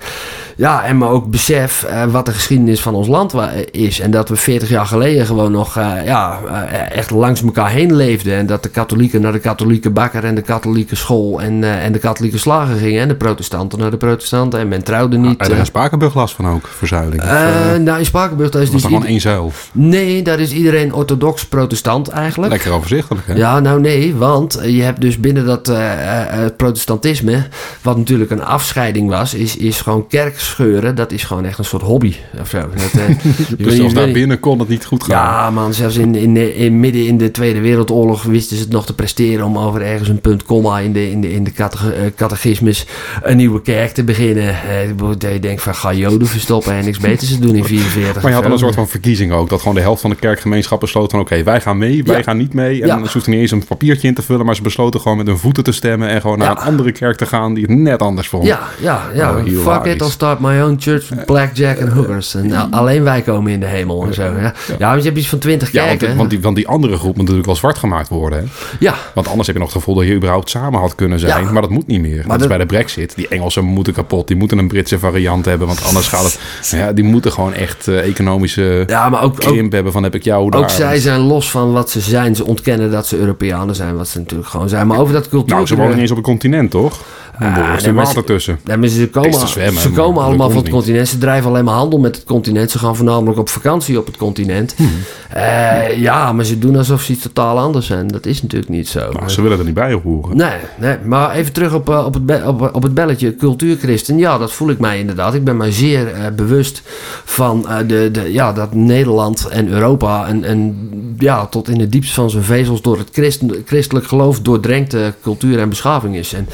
Speaker 3: ja, en maar ook besef eh, wat de geschiedenis van ons land wa- is. En dat we 40 jaar geleden gewoon nog eh, ja, eh, echt langs elkaar heen leefden. En dat de katholieken naar de katholieke bakker en de katholieke school en, eh, en de katholieke slager gingen. En de protestanten naar de protestanten. En men trouwde niet.
Speaker 2: En
Speaker 3: eh.
Speaker 2: daar Spakenburg last van ook, verzuiling. Of,
Speaker 3: Eh,
Speaker 2: eh,
Speaker 3: nou, in Spakenburg daar is
Speaker 2: was
Speaker 3: dus
Speaker 2: er gewoon
Speaker 3: ieder-
Speaker 2: één zuil.
Speaker 3: Nee, daar is iedereen orthodox protestant eigenlijk.
Speaker 2: Lekker overzichtelijk, hè?
Speaker 3: Ja, nou nee, want je hebt dus binnen dat eh, eh, het protestantisme, wat natuurlijk een afscheiding was, is, is gewoon kerkscheuren, dat is gewoon echt een soort hobby. Of zo. Dat, eh, je weet niet-
Speaker 2: Dus
Speaker 3: weet
Speaker 2: zelfs daar
Speaker 3: niet-
Speaker 2: binnen kon het niet goed gaan.
Speaker 3: Ja, man, zelfs in, in, de- in, midden in de Tweede Wereldoorlog wisten ze het nog te presteren om over ergens een punt, komma in de, in de, in de catege- eh, catechismus een nieuwe kerk te beginnen. Eh, ik bedoel, je denkt van, ga joden verstoppen en niks beters te doen in 44.
Speaker 2: Maar je had
Speaker 3: of
Speaker 2: dan een
Speaker 3: zo.
Speaker 2: soort van verkiezing ook. Dat gewoon de helft van de kerkgemeenschap besloot van... oké, wij gaan mee, wij
Speaker 3: Ja.
Speaker 2: gaan niet mee. En
Speaker 3: Ja.
Speaker 2: ze hoefden niet eens een papiertje in te vullen... maar ze besloten gewoon met hun voeten te stemmen... en gewoon naar
Speaker 3: Ja.
Speaker 2: een andere kerk te gaan die het net anders vond.
Speaker 3: Ja, ja, ja.
Speaker 2: Oh,
Speaker 3: Fuck
Speaker 2: hilarisch.
Speaker 3: it, I'll start my own church, blackjack en hookers. En nou, alleen wij komen in de hemel en zo. Ja, ja want je hebt iets van twintig
Speaker 2: Ja, want,
Speaker 3: kerken.
Speaker 2: want die, want die andere groep moet natuurlijk wel zwart gemaakt worden. Hè?
Speaker 3: Ja,
Speaker 2: Want anders heb je nog het gevoel dat je überhaupt samen had kunnen zijn.
Speaker 3: Ja.
Speaker 2: Maar dat moet niet meer. dat, is
Speaker 3: dat-
Speaker 2: bij de brexit. Die Engelsen moeten kapot. Die moeten een Britse variant hebben. Want anders gaat het... Ja, die moeten gewoon echt eh, economische
Speaker 3: ja maar ook, ook,
Speaker 2: krimp hebben van heb ik jou daar. Nou,
Speaker 3: ook zij zijn los van wat ze zijn. Ze ontkennen dat ze Europeanen zijn, wat ze natuurlijk gewoon zijn. Maar over dat cultuur...
Speaker 2: Nou, ze wonen niet eens op het continent, toch? er
Speaker 3: Ah,
Speaker 2: is
Speaker 3: nee,
Speaker 2: er
Speaker 3: maar
Speaker 2: water
Speaker 3: ze-
Speaker 2: tussen.
Speaker 3: Nee, maar ze
Speaker 2: Het is
Speaker 3: komen,
Speaker 2: te zwemmen,
Speaker 3: ze
Speaker 2: maar dat
Speaker 3: komen allemaal
Speaker 2: komt
Speaker 3: van het
Speaker 2: niet.
Speaker 3: continent. Ze drijven alleen maar handel met het continent. Ze gaan voornamelijk op vakantie op het continent.
Speaker 2: Hm.
Speaker 3: Eh, ja, maar ze doen alsof ze iets totaal anders zijn. Dat is natuurlijk niet zo.
Speaker 2: Nou, ze willen er niet bij horen.
Speaker 3: Nee, nee, maar even terug op, eh, op, het, be- op, op het belletje cultuurchristen. Ja, dat voel ik mij inderdaad. Ik ben mij zeer eh, bewust van eh, de, de, ja, dat Nederland en Europa... En, en, ja, tot in het diepst van zijn vezels door het christen, christelijk geloof... doordrenkte cultuur en beschaving is. En,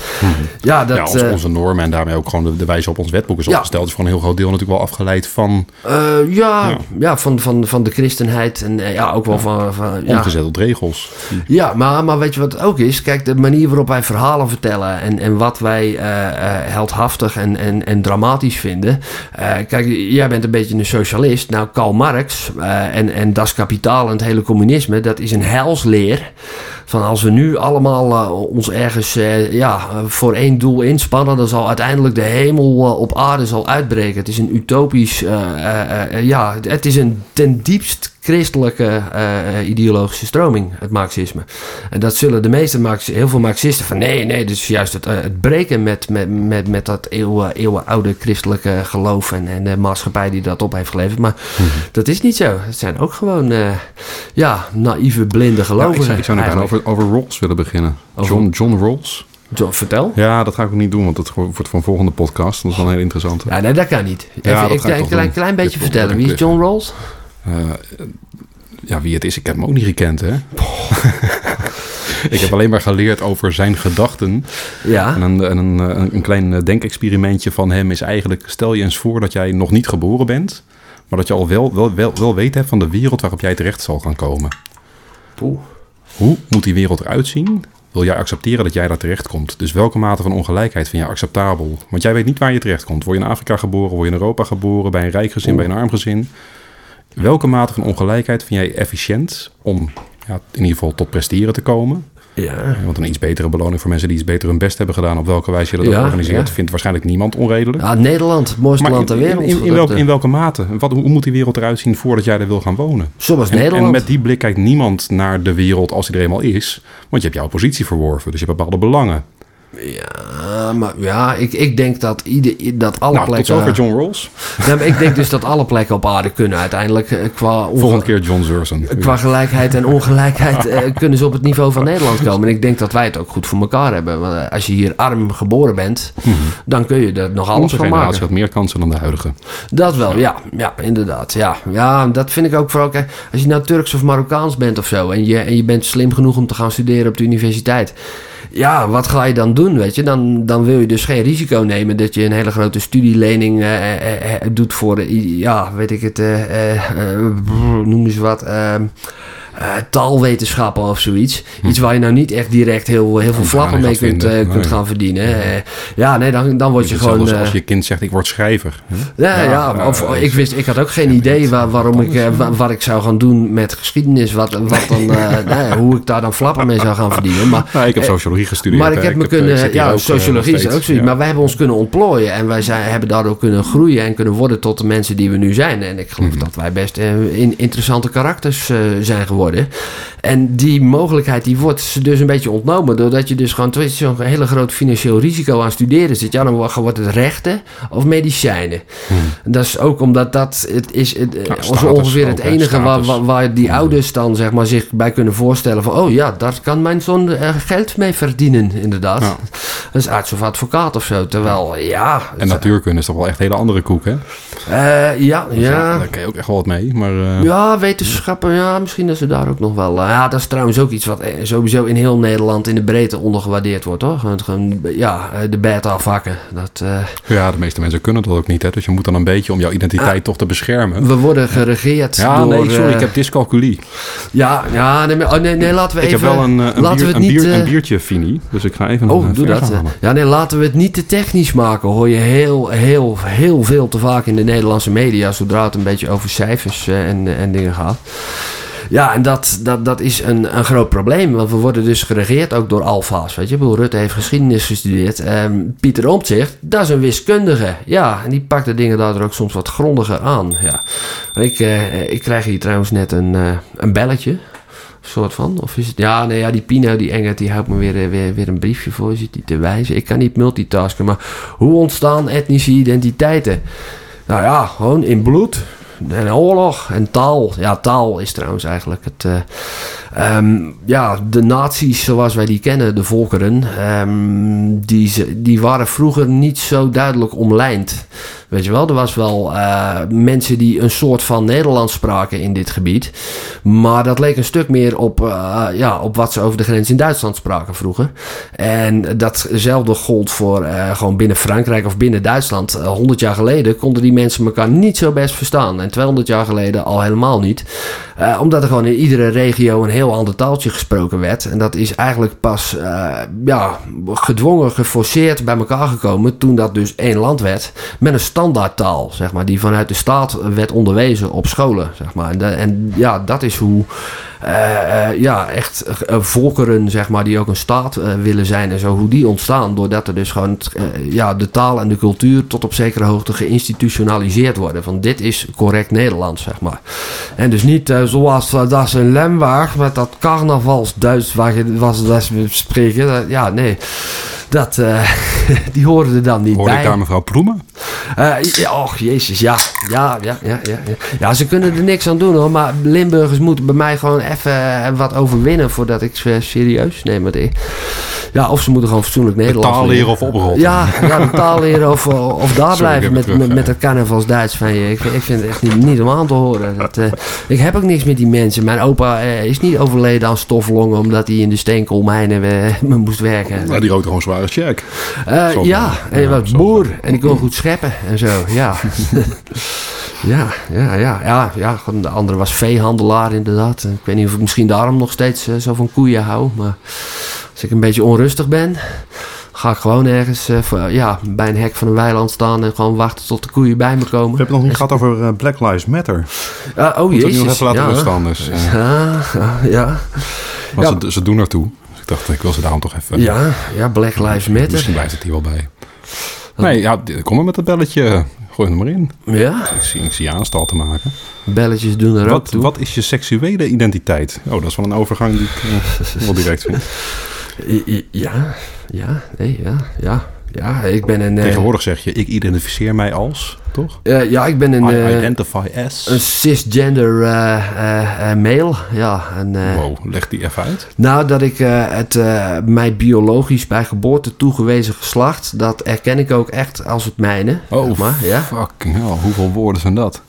Speaker 3: ja, dat,
Speaker 2: Hm. ja, als
Speaker 3: eh,
Speaker 2: onze normen en daarmee ook gewoon de, de wijze op ons wetboek is
Speaker 3: Ja.
Speaker 2: opgesteld, is voor een heel groot deel natuurlijk wel afgeleid van
Speaker 3: eh, ja,
Speaker 2: Ja.
Speaker 3: ja. van, van, van de christenheid en eh, ja, ook wel van... van ja.
Speaker 2: omgezet tot regels.
Speaker 3: Ja, maar, maar weet je wat het ook is? Kijk, de manier waarop wij verhalen vertellen en, en wat wij eh, eh, heldhaftig en, en, en dramatisch vinden. Eh, kijk, jij bent een beetje een socialist. Nou, Karl Marx eh, en, en Das Kapitaal en het hele communisme, dat is een heilsleer. Van als we nu allemaal eh, ons ergens eh, ja, eh, voor één doel inspannen, dan zal uiteindelijk de hemel eh, op aarde zal uitbreken. Het is een utopisch, eh, eh, eh, ja, het is een ten diepst christelijke eh, eh, ideologische stroming, het Marxisme. En dat zullen de meeste Marx, heel veel Marxisten van nee, nee, dit is juist het, eh, het breken met, met, met, met dat eeuwen, eeuwenoude christelijke geloof en, en de maatschappij die dat op heeft geleverd. Maar
Speaker 2: Mhm.
Speaker 3: dat is niet zo. Het zijn ook gewoon eh, ja, naïeve, blinde
Speaker 2: Ja,
Speaker 3: gelovigen.
Speaker 2: Nou, ik zou, ik zou nu bijna
Speaker 3: eigenlijk.
Speaker 2: over, over Rawls willen beginnen.
Speaker 3: Over-
Speaker 2: John, John Rawls?
Speaker 3: Zo, vertel.
Speaker 2: Ja, dat ga ik ook niet doen, want dat wordt voor een volgende podcast. Dat is wel een heel interessante.
Speaker 3: Ja, nee, dat kan niet. Even
Speaker 2: dat ga
Speaker 3: een
Speaker 2: ik
Speaker 3: klein,
Speaker 2: toch
Speaker 3: klein,
Speaker 2: doen.
Speaker 3: klein
Speaker 2: Dit
Speaker 3: beetje
Speaker 2: wordt
Speaker 3: vertellen.
Speaker 2: een
Speaker 3: Wie is John Rawls?
Speaker 2: Eh, ja, wie het is, ik heb hem ook niet gekend, hè? ik heb alleen maar geleerd over zijn gedachten.
Speaker 3: Ja.
Speaker 2: En een, en een, eh, een klein eh, denkexperimentje van hem is eigenlijk... stel je eens voor dat jij nog niet geboren bent... maar dat je al wel, wel, wel, wel weet hebt van de wereld waarop jij terecht zal gaan komen. Hoe moet die wereld eruit zien? Wil jij accepteren dat jij daar terecht komt? Dus welke mate van ongelijkheid vind jij acceptabel? Want jij weet niet waar je terecht komt. Word je in Afrika geboren? Word je in Europa geboren? Bij een rijk gezin? Bij een arm gezin? Welke mate van ongelijkheid vind jij efficiënt om ja, in ieder geval tot presteren te komen?
Speaker 3: Ja.
Speaker 2: Want een iets betere beloning voor mensen die iets beter hun best hebben gedaan, op welke wijze je dat
Speaker 3: Ja,
Speaker 2: ook organiseert,
Speaker 3: ja.
Speaker 2: vindt waarschijnlijk niemand onredelijk.
Speaker 3: Ja, Ah, Nederland, het mooiste
Speaker 2: maar
Speaker 3: land ter
Speaker 2: in, in,
Speaker 3: wereld.
Speaker 2: in, in
Speaker 3: Dat,
Speaker 2: welke,
Speaker 3: eh,
Speaker 2: in welke mate? Wat, hoe moet die wereld eruit zien voordat jij er wil gaan wonen?
Speaker 3: Zoals
Speaker 2: En,
Speaker 3: Nederland.
Speaker 2: en met die blik kijkt niemand naar de wereld als die er eenmaal is. Want je hebt jouw positie verworven, dus je hebt bepaalde belangen.
Speaker 3: Ja, Eh, maar ja, ik, ik denk dat, ieder, dat alle
Speaker 2: Nou, tot
Speaker 3: plekken...
Speaker 2: zover John Rawls.
Speaker 3: Nee, maar ik denk dus dat alle plekken op aarde kunnen uiteindelijk eh, qua, onge-
Speaker 2: Volgende keer John Zursen.
Speaker 3: qua gelijkheid en ongelijkheid eh, kunnen ze op het niveau van Nederland komen. En ik denk dat wij het ook goed voor elkaar hebben. Want eh, als je hier arm geboren bent,
Speaker 2: Mhm.
Speaker 3: dan kun je er nog alles
Speaker 2: Onze
Speaker 3: van maken.
Speaker 2: generatie had meer kansen dan de huidige.
Speaker 3: Dat wel, ja. Ja, inderdaad. Ja. ja, dat vind ik ook vooral. Kijk, als je nou Turks of Marokkaans bent of zo... En je, en je bent slim genoeg om te gaan studeren op de universiteit... Ja, wat ga je dan doen, weet je? Dan, dan wil je dus geen risico nemen dat je een hele grote studielening eh, eh, eh, doet voor... eh, i- ja, weet ik het... eh, eh, eh, brr, noem eens wat... ehm, eh, taalwetenschappen of zoiets. Iets waar je nou niet echt direct heel, heel veel
Speaker 2: gaan
Speaker 3: flappen
Speaker 2: niet
Speaker 3: mee
Speaker 2: gaan
Speaker 3: kunt, eh,
Speaker 2: vinden,
Speaker 3: kunt
Speaker 2: nee.
Speaker 3: gaan verdienen. Eh, ja, nee, dan, dan word je
Speaker 2: Hetzelfde
Speaker 3: gewoon...
Speaker 2: Dus als
Speaker 3: eh,
Speaker 2: als je kind zegt, ik word schrijver. Huh?
Speaker 3: ja, ja,
Speaker 2: Ja,
Speaker 3: of oh,
Speaker 2: eh,
Speaker 3: ik, wist, ik had ook geen idee waar, waarom ik, eh, wa- wat ik zou gaan doen met geschiedenis. Wat, wat dan, eh, nou ja, hoe ik daar dan flappen mee zou gaan verdienen. Maar,
Speaker 2: Nou, ik heb
Speaker 3: eh,
Speaker 2: sociologie gestudeerd.
Speaker 3: maar
Speaker 2: hè.
Speaker 3: ik heb me
Speaker 2: eh, ik
Speaker 3: kunnen,
Speaker 2: zit hier ook,
Speaker 3: ja,
Speaker 2: eh,
Speaker 3: sociologie
Speaker 2: nog
Speaker 3: is ook
Speaker 2: steeds.
Speaker 3: zoiets.
Speaker 2: Ja.
Speaker 3: Maar wij hebben ons kunnen ontplooien. En wij zijn, hebben daardoor kunnen groeien en
Speaker 2: Mhm.
Speaker 3: kunnen worden tot de mensen die we nu zijn. En ik geloof dat wij best eh, in, interessante karakters eh, zijn geworden. worden. En die mogelijkheid die wordt ze dus een beetje ontnomen. Doordat je dus gewoon het is zo'n hele groot financieel risico aan studeren zit. Ja, dan wordt wordt het rechten of medicijnen. En Dat is ook omdat dat het is het, eh,
Speaker 2: Mhm. status
Speaker 3: ons ongeveer het
Speaker 2: ook, hè,
Speaker 3: enige waar,
Speaker 2: status. Mhm.
Speaker 3: waar, waar die ouders dan zeg maar, zich bij kunnen voorstellen. Van, oh ja, daar kan mijn zoon eh, geld mee verdienen, inderdaad.
Speaker 2: Ja.
Speaker 3: Dat is arts of advocaat of zo. Terwijl, ja...
Speaker 2: En natuurkunde is toch wel echt een hele andere koek, hè?
Speaker 3: eh, ja, ja.
Speaker 2: Daar kan je ook echt wel wat mee, maar... eh,
Speaker 3: Ja, wetenschappen, ja, misschien dat ze daar ook nog wel. eh, ja, dat is trouwens ook iets wat eh, sowieso in heel Nederland in de breedte ondergewaardeerd wordt, hoor. Gewoon, gewoon, ja, eh, de beta vakken. Dat, eh,
Speaker 2: Ja, de meeste mensen kunnen dat ook niet, hè? Dus je moet dan een beetje om jouw identiteit toch te beschermen.
Speaker 3: we worden geregeerd
Speaker 2: Ja,
Speaker 3: door.
Speaker 2: nee, sorry,
Speaker 3: Ah. eh,
Speaker 2: ik heb dyscalculie.
Speaker 3: Ja, ja, nee, maar- oh, nee, nee, laten we
Speaker 2: Ik
Speaker 3: even.
Speaker 2: heb wel een, eh, een,
Speaker 3: laten
Speaker 2: bier-
Speaker 3: we het
Speaker 2: een,
Speaker 3: niet.
Speaker 2: bier-
Speaker 3: eh,
Speaker 2: een biertje, Fini. Dus ik ga even nog
Speaker 3: Oh,
Speaker 2: een
Speaker 3: doe
Speaker 2: vers
Speaker 3: dat. hè.
Speaker 2: halen.
Speaker 3: Ja, nee, laten we het niet te technisch maken. Hoor je heel, heel, heel veel te vaak in de Nederlandse media. Zodra het een beetje over cijfers eh, en, en dingen gaat. Ja, en dat, dat, dat is een, een groot probleem. Want we worden dus geregeerd ook door alfa's. Weet je, Ik bedoel, Rutte heeft geschiedenis gestudeerd. Ehm, Pieter Omtzigt, dat is een wiskundige. Ja, en die pakt de dingen daardoor ook soms wat grondiger aan. Ja. Ik, eh, ik krijg hier trouwens net een, eh, een belletje. Soort van. Of is het, ja, nee, ja, die Pino, die Engert, die houdt me weer, eh, weer, weer een briefje voor. Zit die te wijzen. Ik kan niet multitasken. Maar hoe ontstaan etnische identiteiten? Nou ja, gewoon in bloed. En oorlog en taal. Ja, taal is trouwens eigenlijk het. eh, ehm, ja, de naties zoals wij die kennen, de volkeren, ehm, die, ze- die waren vroeger niet zo duidelijk omlijnd. Weet je wel, er was wel eh, mensen die een soort van Nederlands spraken in dit gebied. Maar dat leek een stuk meer op, eh, ja, op wat ze over de grens in Duitsland spraken vroeger. En datzelfde gold voor eh, gewoon binnen Frankrijk of binnen Duitsland. Eh, 100 jaar geleden konden die mensen elkaar niet zo best verstaan. En 200 jaar geleden al helemaal niet. Eh, omdat er gewoon in iedere regio een heel ander taaltje gesproken werd. En dat is eigenlijk pas eh, ja, gedwongen, geforceerd bij elkaar gekomen. Toen dat dus één land werd. Met een standaardtaal, zeg maar. Die vanuit de staat werd onderwezen op scholen, zeg maar. En, da- en ja, dat is hoe. eh, eh, ja, echt eh, volkeren, zeg maar, die ook een staat eh, willen zijn en zo, hoe die ontstaan. Doordat er dus gewoon het, eh, ja, de taal en de cultuur tot op zekere hoogte geïnstitutionaliseerd worden. Van dit is correct Nederlands, zeg maar. En dus niet eh, zoals eh, dat ze in Lemberg met dat carnavalsduits waar je- was dat ze spreken. Dat- ja, nee. Dat, eh, die horen er dan niet
Speaker 2: Hoorde
Speaker 3: bij.
Speaker 2: ik daar mevrouw Ploemen?
Speaker 3: Eh, ja, och, jezus, ja. Ja, ja, ja, ja, ja. Ja, ze kunnen er niks aan doen hoor. Maar Limburgers moeten bij mij gewoon even eh, wat overwinnen voordat ik ze serieus neem. Want ik- Ja, of ze moeten gewoon fatsoenlijk Nederlands
Speaker 2: Taal leren of oprotten?
Speaker 3: Ja, ja, de taal leren of, eh, of daar
Speaker 2: ik
Speaker 3: blijven
Speaker 2: heb
Speaker 3: met,
Speaker 2: het terug,
Speaker 3: met, met
Speaker 2: ja.
Speaker 3: dat carnavalsduits van je. Ik, ik vind het echt niet, niet om aan te horen. Dat, eh, ik heb ook niks met die mensen. Mijn opa eh, is niet overleden aan stoflongen omdat hij in de steenkoolmijnen eh, moest werken.
Speaker 2: Ja, die rookte gewoon zware check.
Speaker 3: Eh,
Speaker 2: Zo
Speaker 3: ja,
Speaker 2: van,
Speaker 3: en je
Speaker 2: ja,
Speaker 3: was
Speaker 2: zo
Speaker 3: boer en ik kon goed scheppen en zo, ja. ja, ja, ja, ja, ja. gewoon De andere was veehandelaar inderdaad. Ik weet niet of ik misschien daarom nog steeds eh, zo van koeien hou, maar als ik een beetje onrustig ben, ga ik gewoon ergens eh, voor- ja, bij een hek van een weiland staan en gewoon wachten tot de koeien bij me
Speaker 4: We
Speaker 3: komen.
Speaker 4: hebben het nog niet gehad over eh, Black Lives Matter.
Speaker 3: Ah, oh
Speaker 2: Moet ik nog
Speaker 3: jezus,
Speaker 2: even laten
Speaker 3: ja.
Speaker 2: rusten anders. eh.
Speaker 3: Ja, ja, ja,
Speaker 2: Want
Speaker 3: Ja.
Speaker 2: ze, ze doen ertoe. Dus ik dacht, ik wil ze daarom toch even...
Speaker 3: ja, ja, Black Lives
Speaker 2: Misschien
Speaker 3: Matter.
Speaker 2: blijft het hier wel bij. Nee, ja, d- kom maar met dat belletje. Gooi hem maar in.
Speaker 3: Ja,
Speaker 2: Ik zie, ik zie je aanstal te maken.
Speaker 3: belletjes doen er ook
Speaker 2: Wat,
Speaker 3: toe.
Speaker 2: wat is je seksuele identiteit? Oh, dat is wel een overgang die ik eh, wel direct vind.
Speaker 3: I- i- Ja, ja, nee, ja, ja. Ja, ik ben een... eh,
Speaker 2: Tegenwoordig zeg je, ik identificeer mij als, toch?
Speaker 3: eh, ja, ik ben een,
Speaker 2: I
Speaker 3: eh,
Speaker 2: identify as.
Speaker 3: een cisgender eh, eh, eh, male. Ja, en, eh,
Speaker 2: Wow, leg die even uit.
Speaker 3: Nou, dat ik eh, het eh, mij biologisch bij geboorte toegewezen geslacht... dat erken ik ook echt als het mijne.
Speaker 2: Oh,
Speaker 3: zeg maar, ja.
Speaker 2: fucking hell. Hoeveel woorden zijn dat?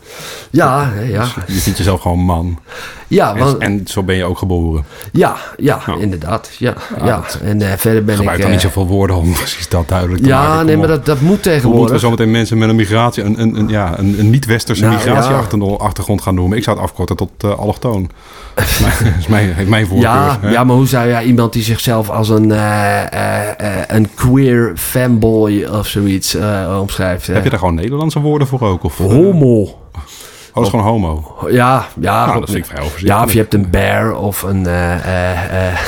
Speaker 3: Ja, hè, ja.
Speaker 2: Je vindt jezelf gewoon man.
Speaker 3: Ah. Ja,
Speaker 2: En,
Speaker 3: want,
Speaker 2: en zo ben je ook geboren.
Speaker 3: ja, ja,
Speaker 2: Nou.
Speaker 3: inderdaad. Ja, ja. En eh, verder ben ik...
Speaker 2: Gebruik dan
Speaker 3: eh,
Speaker 2: niet zoveel woorden om precies dat duidelijk te maken.
Speaker 3: ja,
Speaker 2: Kom
Speaker 3: nee,
Speaker 2: op.
Speaker 3: maar dat, dat moet
Speaker 2: Hoe moeten we
Speaker 3: tegenwoordig.
Speaker 2: zometeen mensen met een migratie, een, een, een, ja, een, een niet-westerse
Speaker 3: Nou,
Speaker 2: migratieachtergrond gaan noemen? Ik zou het afkorten tot eh allochtoon. Dat is mijn- is mijn, heeft mijn voorkeur.
Speaker 3: Ja,
Speaker 2: hè?
Speaker 3: ja, maar hoe zou jij iemand die zichzelf als een, eh, eh, eh, een queer fanboy of zoiets eh, omschrijft? eh?
Speaker 2: Heb je daar gewoon Nederlandse woorden voor ook? Of,
Speaker 3: Homo.
Speaker 2: eh? Oh, dat is gewoon homo.
Speaker 3: Ja, ja,
Speaker 2: nou,
Speaker 3: goed.
Speaker 2: dat vind ik vrij overzichtelijk.
Speaker 3: ja, of je hebt een bear of een. eh, eh, eh,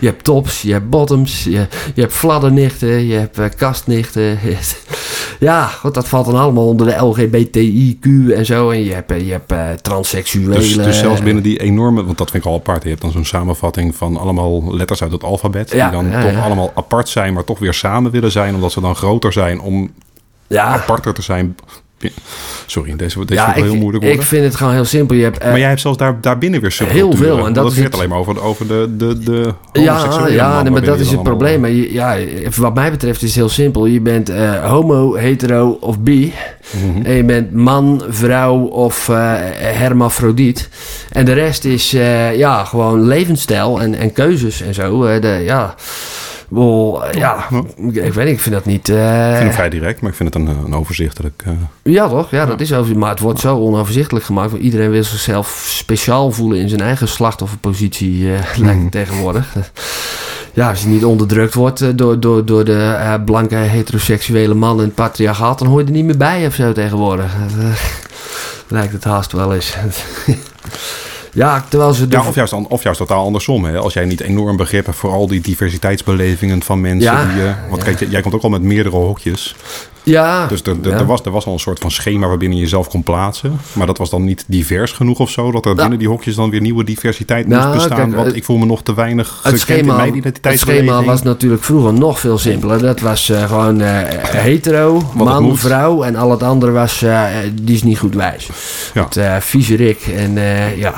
Speaker 3: je hebt tops, je hebt bottoms, je, je hebt fladdernichten, je hebt eh, kastnichten. ja, goed, dat valt dan allemaal onder de LGBTIQ en zo. En je hebt, eh, je hebt eh, transseksuelen.
Speaker 2: Dus, dus zelfs binnen die enorme, want dat vind ik al apart. Je hebt dan zo'n samenvatting van allemaal letters uit het alfabet.
Speaker 3: Ja,
Speaker 2: die dan
Speaker 3: ja,
Speaker 2: toch
Speaker 3: ja.
Speaker 2: allemaal apart zijn, maar toch weer samen willen zijn. Omdat ze dan groter zijn om
Speaker 3: ja,
Speaker 2: aparter te zijn. Sorry, deze, deze
Speaker 3: ja
Speaker 2: vind ik wel heel moeilijk worden.
Speaker 3: ik vind het gewoon heel simpel. Je hebt, eh,
Speaker 2: maar jij hebt zelfs daar, daarbinnen weer subculturen.
Speaker 3: Heel veel, en
Speaker 2: Want
Speaker 3: dat
Speaker 2: dat
Speaker 3: is
Speaker 2: gaat
Speaker 3: het-
Speaker 2: alleen maar over, over de, de, de
Speaker 3: Ja,
Speaker 2: homoseksuele
Speaker 3: ja
Speaker 2: mannen
Speaker 3: nee, maar dat
Speaker 2: binnen
Speaker 3: is
Speaker 2: die
Speaker 3: het
Speaker 2: dan
Speaker 3: probleem.
Speaker 2: allemaal-
Speaker 3: Maar je- Ja, even wat mij betreft is het heel simpel. Je bent eh, homo, hetero of bi.
Speaker 2: Mhm.
Speaker 3: En je bent man, vrouw of eh, hermafrodiet. En de rest is eh, ja, gewoon levensstijl en, en keuzes en zo. Eh, de, ja, wel, eh, ja ik, ik weet niet, ik vind dat niet... eh,
Speaker 2: Ik vind het vrij direct, maar ik vind het een, een overzichtelijk... eh,
Speaker 3: ja, toch? Ja, dat is over. Maar het wordt zo onoverzichtelijk gemaakt. Want iedereen wil zichzelf speciaal voelen in zijn eigen slachtofferpositie, eh, lijkt
Speaker 2: Mhm.
Speaker 3: het tegenwoordig. Ja, als je niet onderdrukt wordt eh, door, door, door de eh, blanke heteroseksuele man in het patriarchaat, dan hoor je er niet meer bij of zo tegenwoordig. Dat, eh, lijkt het haast wel eens. ja, terwijl ze. de-
Speaker 2: ja, of, juist, an- of juist totaal andersom. Hè? Als jij niet enorm begrip hebt voor al die diversiteitsbelevingen van mensen.
Speaker 3: Ja,
Speaker 2: die, eh, want kijk, jij- jij komt ook al met meerdere hokjes.
Speaker 3: ja,
Speaker 2: Dus er, er-
Speaker 3: ja.
Speaker 2: er, was, er was al een soort van schema waarbinnen je jezelf kon plaatsen. Maar dat was dan niet divers genoeg of zo. Dat er binnen die hokjes dan weer nieuwe diversiteit
Speaker 3: Nou,
Speaker 2: moest bestaan.
Speaker 3: kijk,
Speaker 2: want
Speaker 3: het-
Speaker 2: ik voel me nog te weinig
Speaker 3: Het
Speaker 2: gekend in
Speaker 3: schema,
Speaker 2: mijn
Speaker 3: het schema
Speaker 2: identiteitsbeleving.
Speaker 3: was natuurlijk vroeger nog veel simpeler. Dat was eh, gewoon eh, hetero, man,
Speaker 2: moet.
Speaker 3: vrouw. En al het andere was, eh, eh, die is niet goed wijs.
Speaker 2: Ja.
Speaker 3: Het eh vieze Rick en eh, ja.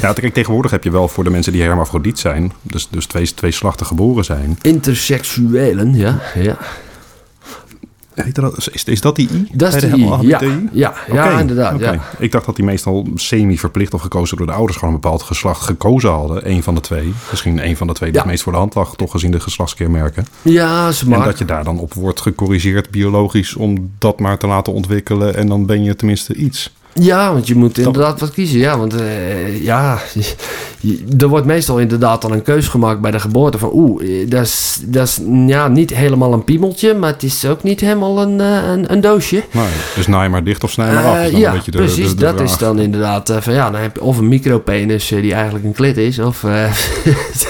Speaker 2: Ja, kijk, tegenwoordig heb je wel voor de mensen die hermafrodiet zijn. Dus, dus twee, twee slachten geboren zijn.
Speaker 3: Interseksuelen, ja. ja.
Speaker 2: Heette dat- Is, is dat die I?
Speaker 3: Dat
Speaker 2: Bij
Speaker 3: is
Speaker 2: de
Speaker 3: de I,
Speaker 2: helemaal
Speaker 3: ja,
Speaker 2: HBTI?
Speaker 3: ja, ja,
Speaker 2: Oké,
Speaker 3: inderdaad,
Speaker 2: oké.
Speaker 3: ja.
Speaker 2: Ik dacht dat die meestal semi-verplicht of gekozen door de ouders gewoon een bepaald geslacht gekozen hadden. Eén van de twee. Misschien één van de twee die
Speaker 3: Ja.
Speaker 2: het meest voor de hand lag, toch gezien de geslachtskenmerken.
Speaker 3: Ja, ze
Speaker 2: En
Speaker 3: mag.
Speaker 2: dat je daar dan op wordt gecorrigeerd biologisch om dat maar te laten ontwikkelen. En dan ben je tenminste iets.
Speaker 3: Ja, want je moet inderdaad wat kiezen. Ja, want eh, ja, je- er wordt meestal inderdaad dan een keus gemaakt bij de geboorte. Van oeh, eh, dat is, dat is ja, niet helemaal een piemeltje, maar het is ook niet helemaal een, eh, een, een doosje.
Speaker 2: Nee, dus naai maar dicht of snij maar af.
Speaker 3: Eh,
Speaker 2: is dan
Speaker 3: ja,
Speaker 2: een beetje de-
Speaker 3: precies.
Speaker 2: de- Ah, de
Speaker 3: dat
Speaker 2: vraag.
Speaker 3: is dan inderdaad eh, van ja, dan heb je of een micropenis eh, die eigenlijk een klit is, of. eh,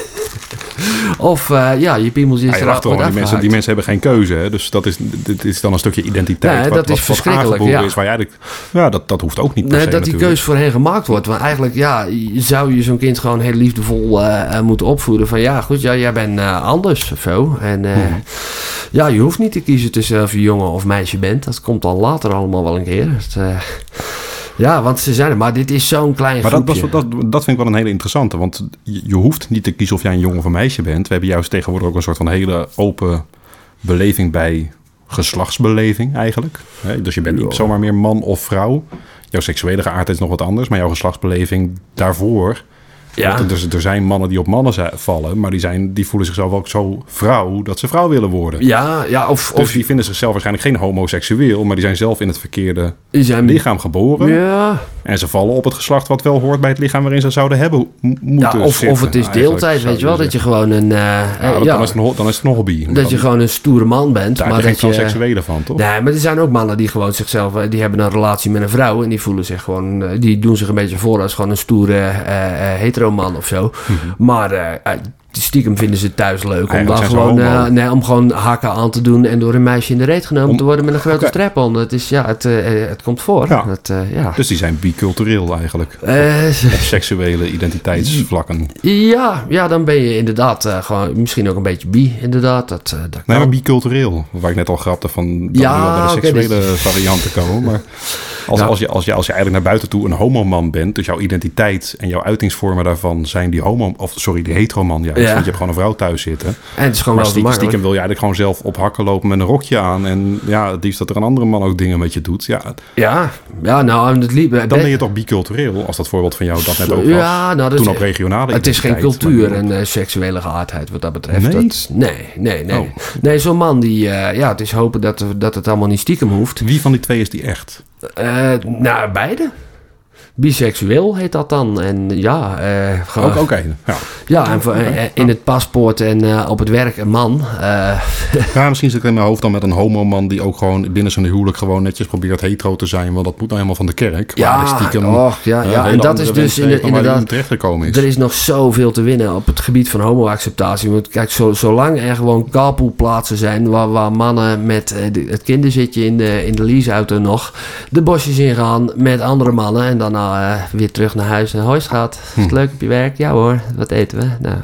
Speaker 3: of eh, ja, je piemeltje is
Speaker 2: Ja, je
Speaker 3: er
Speaker 2: lacht
Speaker 3: wordt
Speaker 2: erom, die mensen, die
Speaker 3: afgehaakt.
Speaker 2: mensen hebben geen keuze. Hè? Dus dat is, dit is dan een stukje identiteit.
Speaker 3: Ja,
Speaker 2: wat-
Speaker 3: dat
Speaker 2: wat,
Speaker 3: is
Speaker 2: wat
Speaker 3: verschrikkelijk,
Speaker 2: aangeboren
Speaker 3: ja.
Speaker 2: Is, waar je eigenlijk, ja, dat, dat hoeft ook niet per
Speaker 3: Nee,
Speaker 2: se
Speaker 3: dat die
Speaker 2: natuurlijk.
Speaker 3: keus voor hen gemaakt wordt. Want eigenlijk, ja, je- zou je zo'n kind gewoon heel liefdevol eh, eh, moeten opvoeden. Van ja, goed, ja, jij bent eh, anders of zo. En eh,
Speaker 2: Hmm.
Speaker 3: ja, je hoeft niet te kiezen tussen of je jongen of meisje bent. Dat komt dan later allemaal wel een keer. Dat, eh, ja, want ze zijn er. Maar dit is zo'n klein
Speaker 2: Maar dat,
Speaker 3: groepje.
Speaker 2: was, dat, dat vind ik wel een hele interessante. Want je, je hoeft niet te kiezen of jij een jongen of een meisje bent. We hebben juist tegenwoordig ook een soort van hele open beleving bij geslachtsbeleving eigenlijk. Hè, Dus je bent niet zomaar meer man of vrouw. Jouw seksuele geaardheid is nog wat anders. Maar jouw geslachtsbeleving daarvoor...
Speaker 3: Ja.
Speaker 2: Want er, er zijn mannen die op mannen zijn- vallen. Maar die, zijn, die voelen zichzelf ook zo vrouw dat ze vrouw willen worden.
Speaker 3: ja, ja, of,
Speaker 2: Dus
Speaker 3: of
Speaker 2: die vinden zichzelf waarschijnlijk geen homoseksueel. Maar die zijn zelf in het verkeerde
Speaker 3: die zijn...
Speaker 2: lichaam geboren.
Speaker 3: Mm. Ja,
Speaker 2: En ze vallen op het geslacht wat wel hoort bij het lichaam waarin ze zouden hebben mo-
Speaker 3: ja
Speaker 2: moeten
Speaker 3: of,
Speaker 2: zitten,
Speaker 3: of het is
Speaker 2: eigenlijk,
Speaker 3: deeltijd,
Speaker 2: zou
Speaker 3: weet je wel. Dat je gewoon een... eh, eh,
Speaker 2: zeggen. Ja, dat-
Speaker 3: ja,
Speaker 2: Dan, is het een, ho- dan is het een hobby. Dan-
Speaker 3: dat je gewoon een stoere man bent.
Speaker 2: daar
Speaker 3: maar
Speaker 2: heb je
Speaker 3: dat
Speaker 2: geen
Speaker 3: je...
Speaker 2: seksuele van, toch?
Speaker 3: Nee, maar er zijn ook mannen die gewoon zichzelf, eh, die hebben een relatie met een vrouw en die voelen zich gewoon, eh, die doen zich een beetje voor als gewoon een stoere eh, eh, hetero man of zo. Maar eh, eh, stiekem vinden ze het thuis leuk om,
Speaker 2: Mhm. Eigenlijk
Speaker 3: dan
Speaker 2: zijn ze
Speaker 3: gewoon,
Speaker 2: homo.
Speaker 3: eh, nee, om gewoon hakken aan te doen en door een meisje in de reet genomen
Speaker 2: Om-
Speaker 3: te worden met een grote
Speaker 2: Oké.
Speaker 3: strap on. Het is, ja, het, eh, eh, het komt voor.
Speaker 2: Ja.
Speaker 3: Dat, eh, ja.
Speaker 2: Dus die zijn bicultureel eigenlijk.
Speaker 3: Eh,
Speaker 2: Op seksuele identiteitsvlakken.
Speaker 3: ja, ja, dan ben je inderdaad eh, gewoon misschien ook een beetje bi, inderdaad. Dat, eh, dat
Speaker 2: Nee,
Speaker 3: kan.
Speaker 2: maar bicultureel. Waar ik net al grapte van dat
Speaker 3: Ja,
Speaker 2: we wel bij de
Speaker 3: oké,
Speaker 2: seksuele
Speaker 3: dit-
Speaker 2: varianten komen. Maar als,
Speaker 3: Ja.
Speaker 2: als, je, als, je, als je eigenlijk naar buiten toe een homoman bent, dus jouw identiteit en jouw uitingsvormen daarvan zijn die homo, of sorry, die heteroman juist.
Speaker 3: Ja.
Speaker 2: Want je hebt gewoon een vrouw thuis zitten.
Speaker 3: en het is gewoon
Speaker 2: Maar
Speaker 3: wel te
Speaker 2: stiekem,
Speaker 3: makkelijk.
Speaker 2: stiekem wil je eigenlijk gewoon zelf op hakken lopen met een rokje aan. En ja, het liefst dat er een andere man ook dingen met je doet. Ja,
Speaker 3: Ja, ja, nou, en het liep.
Speaker 2: dan ben je toch bicultureel, als dat voorbeeld van jou dat net ook was.
Speaker 3: Ja, nou, dat
Speaker 2: Toen
Speaker 3: is-
Speaker 2: op regionale
Speaker 3: Het is geen
Speaker 2: identiteit,
Speaker 3: cultuur
Speaker 2: maar-
Speaker 3: en eh, seksuele geaardheid wat dat betreft.
Speaker 2: Nee?
Speaker 3: Dat, nee, nee, nee.
Speaker 2: Oh.
Speaker 3: Nee, zo'n man die... eh, ja, het is hopen dat, dat het allemaal niet stiekem hoeft.
Speaker 2: Wie van die twee is die echt?
Speaker 3: Eh nou, beide. biseksueel heet dat dan. En ja, eh, gewoon-
Speaker 2: Ook, ook één. Ja.
Speaker 3: ja en, voor- eh, in het paspoort en eh, op het werk een man. eh,
Speaker 2: Ja, misschien zit ik in mijn hoofd dan met een homoman die ook gewoon binnen zijn huwelijk gewoon netjes probeert hetero te zijn. Want dat moet nou helemaal van de kerk.
Speaker 3: Ja,
Speaker 2: Waar hij stiekem,
Speaker 3: och, ja,
Speaker 2: eh,
Speaker 3: ja,
Speaker 2: hele
Speaker 3: en dat
Speaker 2: andere
Speaker 3: is
Speaker 2: wensen
Speaker 3: dus
Speaker 2: heeft dan waar hij
Speaker 3: inderdaad-
Speaker 2: in terechtgekomen is.
Speaker 3: Er is nog zoveel te winnen op het gebied van homoacceptatie. Want kijk, zo, zolang er gewoon carpoolplaatsen zijn waar, waar mannen met eh, de- het kinderzitje in de, in de leaseauto nog de bosjes in gaan met andere mannen en daarna eh, weer terug naar huis en hoi schat, is
Speaker 2: Hm.
Speaker 3: het leuk op je werk? Ja hoor, wat eten we? Nou,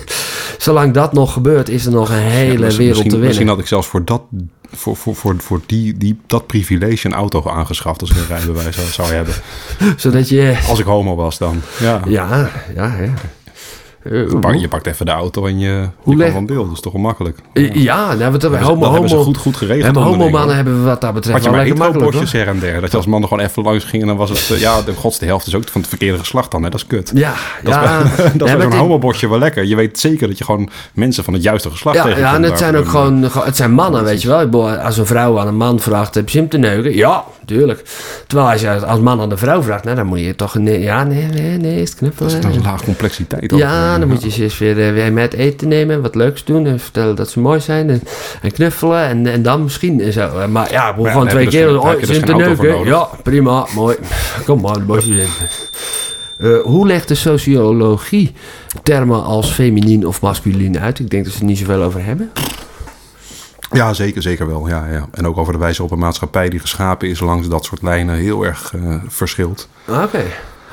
Speaker 3: zolang dat nog gebeurt is er nog een
Speaker 2: Ja,
Speaker 3: hele
Speaker 2: misschien-
Speaker 3: wereld te
Speaker 2: misschien, misschien
Speaker 3: winnen.
Speaker 2: had ik zelfs voor dat, voor, voor, voor, voor die, die, dat privilege een auto aangeschaft als ik een rijbewijs zou, zou hebben.
Speaker 3: Zodat je...
Speaker 2: Als ik homo was dan. Ja.
Speaker 3: Ja, ja, ja. Eh,
Speaker 2: Je pakt- Je pakt even de auto en je,
Speaker 3: Hoe
Speaker 2: je
Speaker 3: leg-
Speaker 2: kan van beeld. Dat is toch wel makkelijk.
Speaker 3: Ja, nou, want
Speaker 2: Dat
Speaker 3: homo,
Speaker 2: hebben ze
Speaker 3: homo,
Speaker 2: goed, goed geregeld.
Speaker 3: hebben
Speaker 2: onderling, hoor.
Speaker 3: homomannen hebben we wat dat betreft
Speaker 2: Had je
Speaker 3: wel
Speaker 2: maar
Speaker 3: lekker makkelijk.
Speaker 2: hetero-postjes
Speaker 3: hoor.
Speaker 2: her en der. Dat je als mannen gewoon even langs ging en dan was het... eh, Ja, de gods, de helft is ook van het verkeerde geslacht dan. Hè? Dat is kut.
Speaker 3: Ja,
Speaker 2: Dat
Speaker 3: ja.
Speaker 2: is bij- dat
Speaker 3: Nee,
Speaker 2: is
Speaker 3: maar
Speaker 2: bij
Speaker 3: het-
Speaker 2: zo'n homobordje wel lekker. Je weet zeker dat je gewoon mensen van het juiste geslacht
Speaker 3: Ja,
Speaker 2: tegenkomt.
Speaker 3: ja, en het
Speaker 2: daar.
Speaker 3: zijn ook
Speaker 2: eh.
Speaker 3: gewoon, gewoon- het zijn mannen, weet je wel. Ik bedoel, Als een vrouw aan een man vraagt, heb je hem te neuken? Ja, tuurlijk. Terwijl als je als man aan de vrouw vraagt, nou, dan moet je toch... Nee, ja, nee, nee, nee, is het knuffelen.
Speaker 2: Dat is een laag complexiteit. ook.
Speaker 3: Ja, dan moet je ze eens weer, eh, weer met eten nemen, wat leuks doen en vertellen dat ze mooi zijn en, en knuffelen en, en dan misschien en zo. Eh, Maar ja, we
Speaker 2: ja, daar
Speaker 3: gewoon twee
Speaker 2: heb je dus
Speaker 3: keer,
Speaker 2: geen- daar
Speaker 3: oh,
Speaker 2: heb je
Speaker 3: ze
Speaker 2: dus
Speaker 3: zijn te
Speaker 2: geen auto voor
Speaker 3: neuken. Ja,
Speaker 2: nodig.
Speaker 3: prima, mooi. Kom maar, de bosjes in. Eh, hoe legt de sociologie termen als feminien of masculien uit? Ik denk dat ze er niet zoveel over hebben.
Speaker 2: Ja, zeker, zeker wel. Ja, ja. En ook over de wijze op een maatschappij die geschapen is langs dat soort lijnen heel erg eh, verschilt.
Speaker 3: Oké.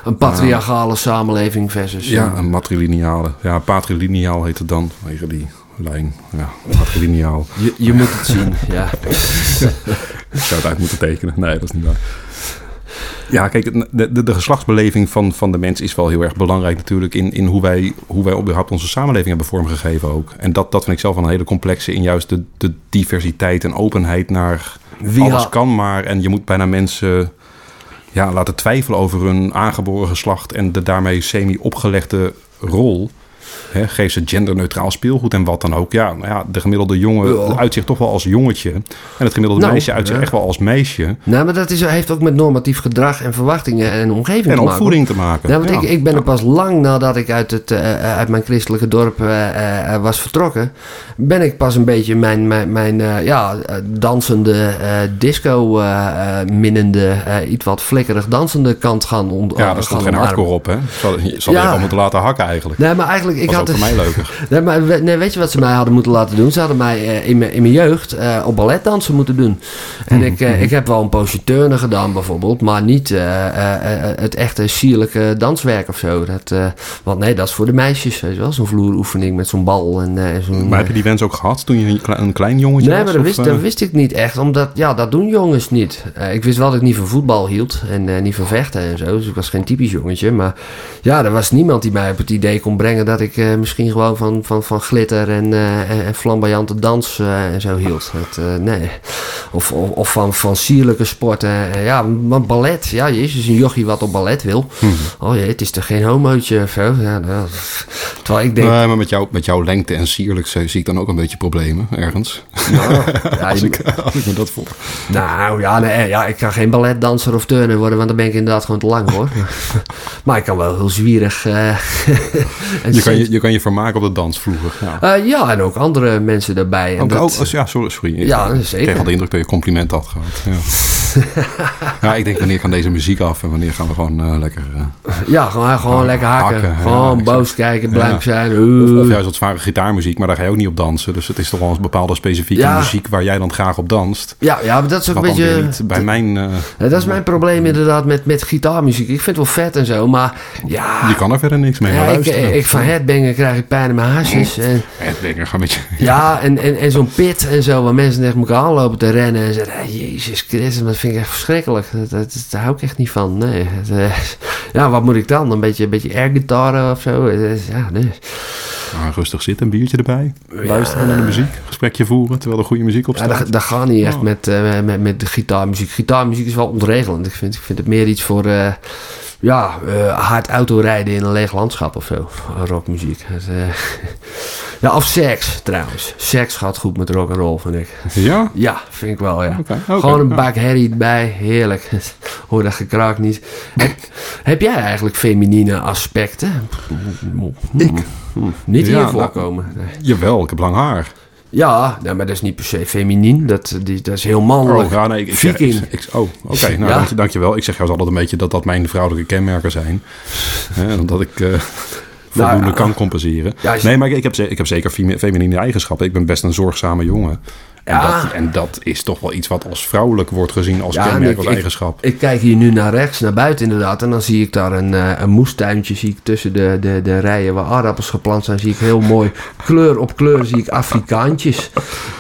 Speaker 3: Een patriarchale samenleving versus...
Speaker 2: Ja, een matrilineale. Ja, patrilineaal heet het dan, vanwege die lijn. Ja, matrilineaal.
Speaker 3: Je, je moet het zien, ja.
Speaker 2: Ik zou het uit moeten tekenen. Nee, dat is niet waar. Ja, kijk, de, de, de geslachtsbeleving van, van de mens is wel heel erg belangrijk natuurlijk in, in hoe wij, hoe wij überhaupt onze samenleving hebben vormgegeven ook. En dat, dat vind ik zelf wel een hele complexe in juist de, de diversiteit en openheid naar
Speaker 3: Wie
Speaker 2: alles
Speaker 3: ha-
Speaker 2: kan maar. En je moet bijna mensen ja, laten twijfelen over hun aangeboren geslacht en de daarmee semi-opgelegde rol. Hè, geef ze genderneutraal speelgoed en wat dan ook. Ja, nou ja de gemiddelde jongen
Speaker 3: Ja.
Speaker 2: uit zich toch wel als jongetje. En het gemiddelde
Speaker 3: Nou,
Speaker 2: meisje uit zich
Speaker 3: ja.
Speaker 2: echt wel als meisje.
Speaker 3: Nou, maar dat is, heeft ook met normatief gedrag en verwachtingen en omgeving te
Speaker 2: En
Speaker 3: maken. hoor.
Speaker 2: opvoeding te maken.
Speaker 3: Ja, want ik,
Speaker 2: Ja.
Speaker 3: ik ben er pas lang nadat ik uit, het, eh, eh, uit mijn christelijke dorp eh, eh, eh, was vertrokken, ben ik pas een beetje mijn, mijn, mijn eh, ja, eh, dansende, eh, disco eh, eh, minnende, eh, iets wat flikkerig dansende kant gaan ont-
Speaker 2: Ja, daar
Speaker 3: eh,
Speaker 2: stond
Speaker 3: gaan
Speaker 2: geen
Speaker 3: omarmen.
Speaker 2: hardcore op, hè? Ze hadden- Ze hadden
Speaker 3: Ja.
Speaker 2: je gewoon moeten laten hakken eigenlijk.
Speaker 3: Nee, maar eigenlijk, ik
Speaker 2: Dat was
Speaker 3: had
Speaker 2: ook voor
Speaker 3: het-
Speaker 2: mij leuker.
Speaker 3: Nee, maar we- nee, weet je wat ze mij hadden moeten laten doen? Ze hadden mij eh, in, mijn, in mijn jeugd eh, op balletdansen moeten doen. En ik, eh, ik heb wel een poosje turnen gedaan bijvoorbeeld, maar niet eh, eh, eh, het echte sierlijke danswerk of zo. Dat, eh, want nee, dat is voor de meisjes, weet je wel. Zo'n vloeroefening met zo'n bal en eh, en zo'n...
Speaker 2: Maar heb
Speaker 3: eh,
Speaker 2: je die wens ook gehad toen je een klein, een klein jongetje
Speaker 3: Nee,
Speaker 2: was?
Speaker 3: maar dat
Speaker 2: Of,
Speaker 3: wist,
Speaker 2: eh,
Speaker 3: dat wist ik niet echt. Omdat, ja, dat doen jongens niet. Eh, ik wist wel dat ik niet van voetbal hield. En eh, niet van vechten en zo. Dus ik was geen typisch jongetje. Maar ja, er was niemand die mij op het idee kon brengen... dat ik eh, misschien gewoon van, van, van glitter en, eh, en- en flamboyante dans eh, en zo hield. Dat, eh, nee. Of, of, of van, van sierlijke sporten. Eh, ja, want ballet. Ja, jezus, een jochie wat op ballet wil.
Speaker 2: Hm.
Speaker 3: Oh jee, het is toch geen homootje of zo? Ja, nou, terwijl ik denk...
Speaker 2: Nee, maar met, jou, met jouw lengte en sierlijk zie zie ik dan ook een beetje problemen ergens.
Speaker 3: ja,
Speaker 2: Als
Speaker 3: je-
Speaker 2: ik, als ik me dat voor.
Speaker 3: Nou ja, nee, ja, ik kan geen balletdanser of turner worden, want dan ben ik inderdaad gewoon te lang hoor. maar ik kan wel heel zwierig. eh, en
Speaker 2: Je kan je,
Speaker 3: zin-
Speaker 2: je kan je vermaken op de dansvloer. Ja.
Speaker 3: Eh, ja, en ook andere mensen daarbij. En
Speaker 2: Ook,
Speaker 3: dat-
Speaker 2: ook- oh, ja, sorry. sorry.
Speaker 3: Ja,
Speaker 2: Ik
Speaker 3: zeker.
Speaker 2: kreeg al de indruk dat je compliment had gehad. Ja. ja, ik denk wanneer kan deze muziek af en wanneer gaan we gewoon eh, lekker... eh,
Speaker 3: ja, gewoon, gewoon lekker hakken.
Speaker 2: Oh, Hakken, ja,
Speaker 3: gewoon
Speaker 2: exact.
Speaker 3: boos kijken, blank
Speaker 2: Ja.
Speaker 3: zijn.
Speaker 2: Of,
Speaker 3: eh.
Speaker 2: of juist wat zware gitaarmuziek, maar daar ga je ook niet op dansen. Dus het is toch wel een bepaalde specifieke
Speaker 3: Ja.
Speaker 2: muziek waar jij dan graag op danst.
Speaker 3: ja, ja, maar dat is ook
Speaker 2: Wat
Speaker 3: een
Speaker 2: dan
Speaker 3: beetje...
Speaker 2: weer niet bij mijn... eh,
Speaker 3: Eh, dat is mijn probleem inderdaad met, met gitaarmuziek. Ik vind het wel vet en zo, maar ja...
Speaker 2: je kan er verder niks mee, maar
Speaker 3: ja, ik,
Speaker 2: luisteren.
Speaker 3: ik van headbangen krijg ik pijn in mijn haarsjes. En,
Speaker 2: Het ding, ga met je...
Speaker 3: Ja, en, en, en zo'n pit en zo, waar mensen tegen elkaar aanlopen te rennen en zeggen, "Hey, Jezus Christus, dat vind ik echt verschrikkelijk. Dat, dat, dat- daar hou ik echt niet van. Nee. Het, eh, ja, wat moet ik dan? Een beetje, een beetje airgitaren of zo? Het is- Ja, nee.
Speaker 2: Ah, rustig zitten, een biertje erbij. Luisteren naar de muziek. Gesprekje voeren terwijl er goede muziek op
Speaker 3: ja
Speaker 2: staat.
Speaker 3: dat, dat gaat niet echt met, eh, met, met de gitaarmuziek. Gitaarmuziek is wel ontregelend. Ik vind, ik vind het meer iets voor, eh, ja, eh, hard autorijden in een leeg landschap of zo. Rockmuziek. Het, eh, ja, of seks trouwens. Seks gaat goed met rock and roll, vind ik.
Speaker 2: Ja?
Speaker 3: Ja, vind ik wel, ja.
Speaker 2: Oké, oké.
Speaker 3: Gewoon een
Speaker 2: Ja.
Speaker 3: bak herrie erbij, heerlijk. Hoor dat gekraak niet. Heb, heb jij eigenlijk feminine aspecten?
Speaker 2: Ik?
Speaker 3: Niet
Speaker 2: Ja,
Speaker 3: hier
Speaker 2: nou-
Speaker 3: voorkomen. Nee.
Speaker 2: Jawel, ik heb lang haar.
Speaker 3: Ja, nou, maar dat is niet per se feminien. Dat, die, dat is heel mannelijk.
Speaker 2: Oh, ja, nee, ik, ik, ik,
Speaker 3: Viking.
Speaker 2: ik- ik- oh, oké. nou,
Speaker 3: Ja.
Speaker 2: dank, dankjewel. Ik zeg juist altijd een beetje dat dat mijn vrouwelijke kenmerken zijn. Hè, omdat ik eh, voldoende
Speaker 3: ja.
Speaker 2: kan compenseren.
Speaker 3: Nou, eh, Ja, als je-
Speaker 2: Nee, maar ik, ik, heb, ze- ik heb zeker femi- feminine eigenschappen. Ik ben best een zorgzame jongen. En,
Speaker 3: Ja.
Speaker 2: dat, en dat is toch wel iets wat als vrouwelijk wordt gezien als
Speaker 3: Ja, en
Speaker 2: kenmerk,
Speaker 3: ik-
Speaker 2: als
Speaker 3: ik-
Speaker 2: eigenschap.
Speaker 3: Ik kijk hier nu naar rechts, naar buiten inderdaad. En dan zie ik daar een, eh, een moestuintje zie ik tussen de, de, de rijen waar aardappels geplant zijn. Zie ik heel mooi kleur op kleur zie ik Afrikaantjes.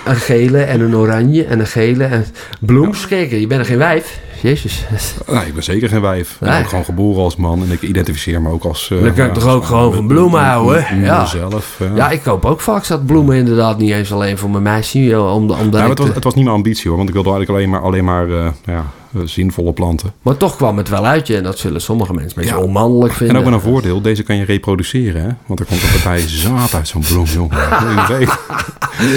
Speaker 3: Een gele en een oranje en een gele. En bloems, kijk, je bent er geen wijf. Jezus.
Speaker 2: Nee, Nou, ik ben zeker geen wijf. Ik ben
Speaker 3: Nee.
Speaker 2: ook gewoon geboren als man en ik identificeer me ook als... eh,
Speaker 3: Dan kan ik toch ook gewoon van bloemen houden,
Speaker 2: Ja.
Speaker 3: ja.
Speaker 2: Mezelf. ja.
Speaker 3: Ja, ik koop ook vaak zat bloemen inderdaad niet eens alleen voor mijn meisje. joh, Om, omdat
Speaker 2: Ja, maar
Speaker 3: ik
Speaker 2: het, was,
Speaker 3: te-
Speaker 2: het was niet mijn ambitie hoor, want ik wilde eigenlijk alleen maar, alleen maar eh, ja, eh, zinvolle planten.
Speaker 3: maar toch kwam het wel uit je. En dat zullen sommige mensen een beetje
Speaker 2: Ja.
Speaker 3: onmannelijk vinden.
Speaker 2: En ook met een voordeel, deze kan je reproduceren, hè? Want er komt een partij zaad uit zo'n bloem, jongen. Je weet.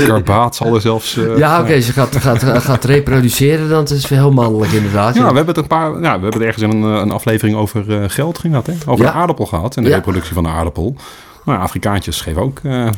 Speaker 2: Karbaat zal er zelfs... eh,
Speaker 3: Ja, oké, ze gaat, gaat, gaat reproduceren, dan is het wel heel mannelijk inderdaad.
Speaker 2: Ja, we hebben het een paar. Ja, we hebben het ergens in een, eh, een aflevering over eh, geld gehad, hè? Over
Speaker 3: Ja.
Speaker 2: de aardappel gehad en de
Speaker 3: Ja.
Speaker 2: reproductie van de aardappel. Nou, ja, Afrikaantjes geven ook. eh,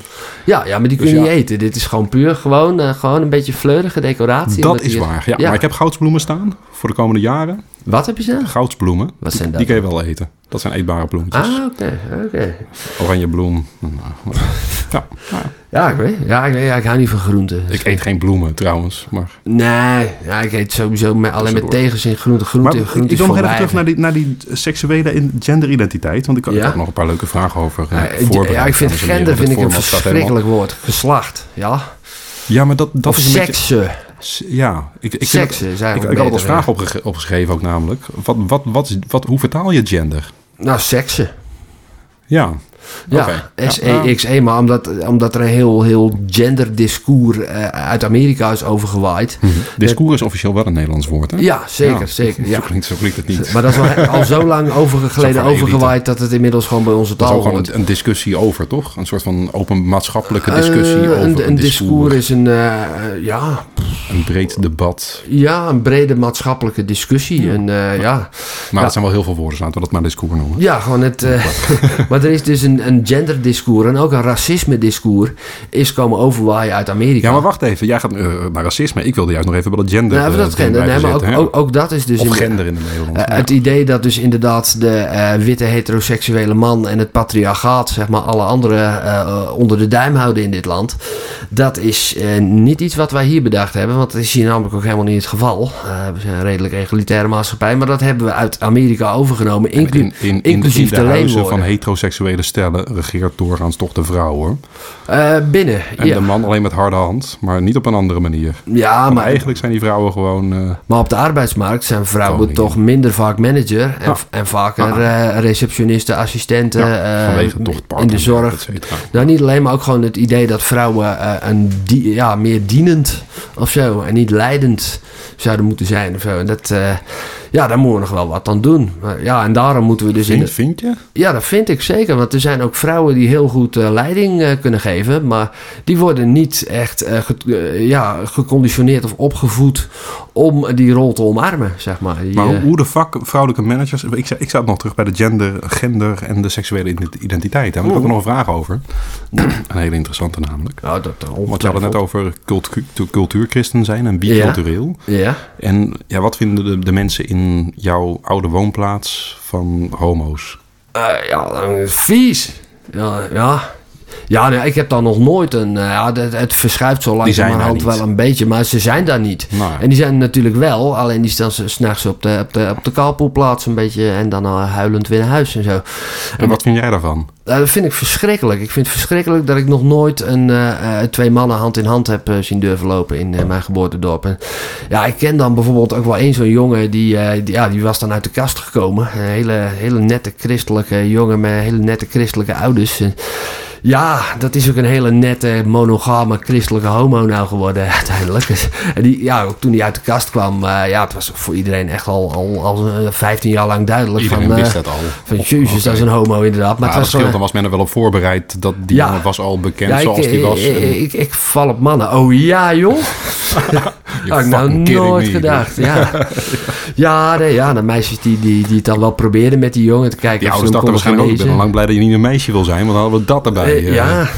Speaker 3: Ja, ja maar die kun
Speaker 2: Dus
Speaker 3: je
Speaker 2: ja.
Speaker 3: niet eten. Dit is gewoon puur gewoon, eh, gewoon een beetje fleurige decoratie.
Speaker 2: dat
Speaker 3: omdat
Speaker 2: is
Speaker 3: hier-
Speaker 2: waar. Ja, Maar ik heb goudsbloemen staan voor de komende jaren.
Speaker 3: Wat heb je ze?
Speaker 2: Goudsbloemen.
Speaker 3: Wat zijn
Speaker 2: die, die
Speaker 3: dat?
Speaker 2: kun je wel eten. Dat zijn eetbare bloemetjes.
Speaker 3: Ah, oké, oké.
Speaker 2: Oranje bloem. Nou, ja, ja.
Speaker 3: Ja, ik weet ja, ik weet ja, ik hou niet van groenten.
Speaker 2: Ik eet geen bloemen trouwens, maar...
Speaker 3: Nee, ja, ik eet sowieso met, alleen met
Speaker 2: door.
Speaker 3: tegenzin groente,
Speaker 4: Maar
Speaker 3: groente,
Speaker 4: ik
Speaker 3: groente
Speaker 4: ik wil nog even terug naar die, naar die seksuele in- genderidentiteit. Want ik,
Speaker 2: Ik
Speaker 3: Ja?
Speaker 2: had nog een paar leuke vragen over eh,
Speaker 3: ja,
Speaker 2: voorbereid,
Speaker 3: ja, ik vind
Speaker 2: dames en heren.
Speaker 3: gender
Speaker 2: Het
Speaker 3: vind ik een
Speaker 2: format staat helemaal-
Speaker 3: verschrikkelijk woord. Geslacht, ja.
Speaker 2: Ja, maar dat, dat
Speaker 3: Of
Speaker 2: is een
Speaker 3: seksen.
Speaker 2: beetje... Ja, ik, ik, vind
Speaker 3: Seksen is eigenlijk
Speaker 2: dat, ik, ik had het als
Speaker 3: beter,
Speaker 2: vraag
Speaker 3: ja.
Speaker 2: opgege- opgeschreven ook namelijk. Wat, wat, wat, is- wat, hoe vertaal je gender?
Speaker 3: Nou, seksen.
Speaker 2: Ja,
Speaker 3: Ja, E,
Speaker 2: Oké. Ja, nou,
Speaker 3: S-E-X-E, maar omdat, omdat er een heel, heel genderdiscours eh, uit Amerika is overgewaaid.
Speaker 2: discours is officieel wel een Nederlands woord, hè?
Speaker 3: Ja, zeker,
Speaker 2: Mhm. Ja.
Speaker 3: zeker.
Speaker 2: Zo,
Speaker 3: Ja.
Speaker 2: klinkt, zo klinkt het niet.
Speaker 3: Maar dat is wel al zo lang overgeleden
Speaker 2: Zo van
Speaker 3: overgewaaid dat het inmiddels gewoon bij onze
Speaker 2: dat is
Speaker 3: taal
Speaker 2: ook gewoon
Speaker 3: hoort.
Speaker 2: een, een discussie over, toch? Een soort van open maatschappelijke discussie
Speaker 3: Eh,
Speaker 2: over
Speaker 3: een, een discours
Speaker 2: discours.
Speaker 3: is een, eh, eh, ja,
Speaker 2: Een breed debat.
Speaker 3: ja, een brede maatschappelijke discussie. En, eh, ja.
Speaker 2: Maar het zijn wel heel veel woorden, laten we dat maar discours noemen.
Speaker 3: ja, gewoon het. eh, maar er is dus een, een genderdiscours en ook een racisme-discours is komen overwaaien uit Amerika.
Speaker 2: Ja, maar wacht even. Jij gaat eh, naar racisme. Ik wilde juist nog even wel het gender.
Speaker 3: Nou,
Speaker 2: eh,
Speaker 3: dat
Speaker 2: ding
Speaker 3: gender, nee, maar ook,
Speaker 2: bijzetten,
Speaker 3: ook,
Speaker 2: hè?
Speaker 3: ook dat is dus
Speaker 2: of
Speaker 3: in,
Speaker 2: gender in het Nederlands.
Speaker 3: Eh, het idee dat dus inderdaad de eh, witte heteroseksuele man en het patriarchaat, zeg maar, alle anderen eh, eh, onder de duim houden in dit land. Dat is eh, niet iets wat wij hier bedacht hebben, want dat is hier namelijk ook helemaal niet het geval. Eh, we zijn een redelijk egalitaire maatschappij, maar dat hebben we uit Amerika overgenomen, inclu-
Speaker 2: in, in, in,
Speaker 3: inclusief
Speaker 2: in de
Speaker 3: de
Speaker 2: huizen van
Speaker 3: leenwoorden.
Speaker 2: heteroseksuele stellen regeert doorgaans toch de vrouw, hoor.
Speaker 3: Eh, binnen,
Speaker 2: En
Speaker 3: ja.
Speaker 2: de man alleen met harde hand, maar niet op een andere manier.
Speaker 3: Ja,
Speaker 2: Maar
Speaker 3: maar,
Speaker 2: eigenlijk zijn die vrouwen gewoon... eh,
Speaker 3: maar op de arbeidsmarkt zijn vrouwen
Speaker 2: Gewoon
Speaker 3: toch minder vaak manager en,
Speaker 2: Ja. Ah.
Speaker 3: en vaker eh, receptionisten, assistenten. eh,
Speaker 2: vanwege toch het
Speaker 3: in de
Speaker 2: partnerschap,
Speaker 3: zorg,
Speaker 2: et cetera.
Speaker 3: Nou, niet alleen, maar ook gewoon het idee dat vrouwen eh, een die, ja, meer dienend of zo en niet leidend zouden moeten zijn of zo. En dat, eh, ja, daar moeten we nog wel wat aan doen. Maar ja, en daarom moeten we dus in.
Speaker 2: Vind,
Speaker 3: de-
Speaker 2: vind je?
Speaker 3: ja, dat vind ik zeker, want er zijn ook vrouwen die heel goed eh, leiding eh, kunnen geven, maar die worden niet echt eh, ge- eh, ja, geconditioneerd of opgevoed om die rol te omarmen, zeg maar. Die,
Speaker 2: Maar
Speaker 3: eh,
Speaker 2: hoe- hoe de vak vrouwelijke managers... Ik, zou- ik zat nog terug bij de gender, gender en de seksuele ident- identiteit. Daar heb ik ook nog een vraag over. Een hele interessante namelijk.
Speaker 3: nou, dat, dat
Speaker 2: Want je had het net over cultu cultuurchristen zijn en
Speaker 3: Ja.
Speaker 2: bicultureel.
Speaker 3: Ja.
Speaker 2: En ja, wat vinden de, de mensen in jouw oude woonplaats van homo's?
Speaker 3: Eh, ja, dan- vies. Ja, ja. Ja, nee, ik heb daar nog nooit een... eh, ja, het, het verschuift zo langzamerhand
Speaker 2: daar niet.
Speaker 3: wel een beetje, maar ze zijn daar niet.
Speaker 2: Nou,
Speaker 3: En die zijn er natuurlijk wel, alleen die staan ze s'nachts op de, op de, op de kaalpoelplaats een beetje en dan al huilend weer naar huis en zo.
Speaker 2: en wat vind jij daarvan?
Speaker 3: Nou, dat vind ik verschrikkelijk. Ik vind het verschrikkelijk dat ik nog nooit een, eh, eh, twee mannen hand in hand heb eh, zien durven lopen in
Speaker 2: Oh.
Speaker 3: eh, mijn geboortedorp. En, ja, ik ken dan bijvoorbeeld ook wel één zo'n jongen die, eh, die, ja, die was dan uit de kast gekomen. Een hele, hele nette christelijke jongen met hele nette christelijke ouders. En Ja, dat is ook een hele nette, monogame, christelijke homo nou geworden uiteindelijk. En die, ja, ook toen hij uit de kast kwam, eh, ja, het was voor iedereen echt al, al, al eh, 15 jaar lang duidelijk
Speaker 2: Iedereen
Speaker 3: van... eh,
Speaker 2: wist dat al.
Speaker 3: Van jezus,
Speaker 2: Oké.
Speaker 3: dat is een homo inderdaad.
Speaker 2: Maar
Speaker 3: Maar het
Speaker 2: dat
Speaker 3: was
Speaker 2: scheelt,
Speaker 3: gewoon-
Speaker 2: dan was men er wel op voorbereid dat die
Speaker 3: Ja.
Speaker 2: jongen was al bekend
Speaker 3: Ja,
Speaker 2: zoals
Speaker 3: ik,
Speaker 2: die was.
Speaker 3: Ik,
Speaker 2: En
Speaker 3: ik, ik val op mannen. Oh ja, joh.
Speaker 2: je
Speaker 3: Had ik nou
Speaker 2: fucking kidding
Speaker 3: nooit
Speaker 2: me.
Speaker 3: gedacht. Ja, ja, nee, ja de meisjes die, die, die het dan wel probeerden met die jongen te kijken.
Speaker 2: Die
Speaker 3: of ze
Speaker 2: ouders
Speaker 3: hem
Speaker 2: dachten
Speaker 3: konden
Speaker 2: waarschijnlijk ook, ik ben al
Speaker 3: genezen.
Speaker 2: lang blij dat je niet een meisje wil zijn, want dan hadden we dat erbij.
Speaker 3: Eh,
Speaker 2: eh.
Speaker 3: ja,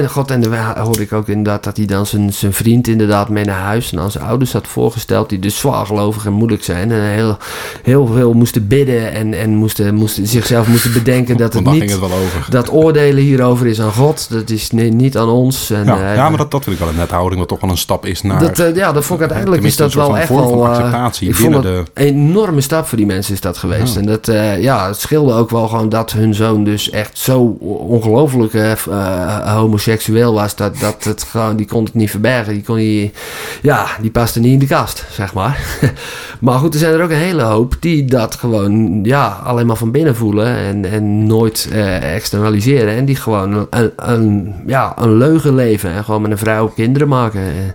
Speaker 3: ja, god, en dan hoorde ik ook inderdaad dat hij dan zijn, zijn vriend inderdaad mee naar huis en aan zijn ouders had voorgesteld, die dus zwaar gelovig en moeilijk zijn en heel, heel veel moesten bidden en, en moesten, moesten, zichzelf moesten bedenken
Speaker 2: Want
Speaker 3: dat het
Speaker 2: daar
Speaker 3: niet,
Speaker 2: ging het wel over.
Speaker 3: dat oordelen hierover is aan God, dat is ni- niet aan ons. En,
Speaker 2: Ja,
Speaker 3: eh,
Speaker 2: ja, maar dat, dat vind ik wel een nette houding, wat toch wel een stap is naar...
Speaker 3: dat, eh, ja, dat vond ik uiteindelijk is
Speaker 2: Tenminste,
Speaker 3: dat
Speaker 2: een soort
Speaker 3: wel
Speaker 2: van vorm
Speaker 3: echt
Speaker 2: van
Speaker 3: wel. eh,
Speaker 2: acceptatie
Speaker 3: ik vond
Speaker 2: binnen
Speaker 3: het een enorme stap voor die mensen is dat geweest.
Speaker 2: Ja.
Speaker 3: En dat, eh, ja, het scheelde ook wel gewoon dat hun zoon dus echt zo ongelooflijk eh, f- eh, homoseksueel was. Dat, dat het gewoon, die kon het niet verbergen. Die kon niet, ja, die paste niet in de kast, zeg maar. maar goed, er zijn er ook een hele hoop die dat gewoon, ja, alleen maar van binnen voelen. En, en nooit eh, externaliseren. En die gewoon een, een, ja, een leugen leven. En gewoon met een vrouw kinderen maken. En,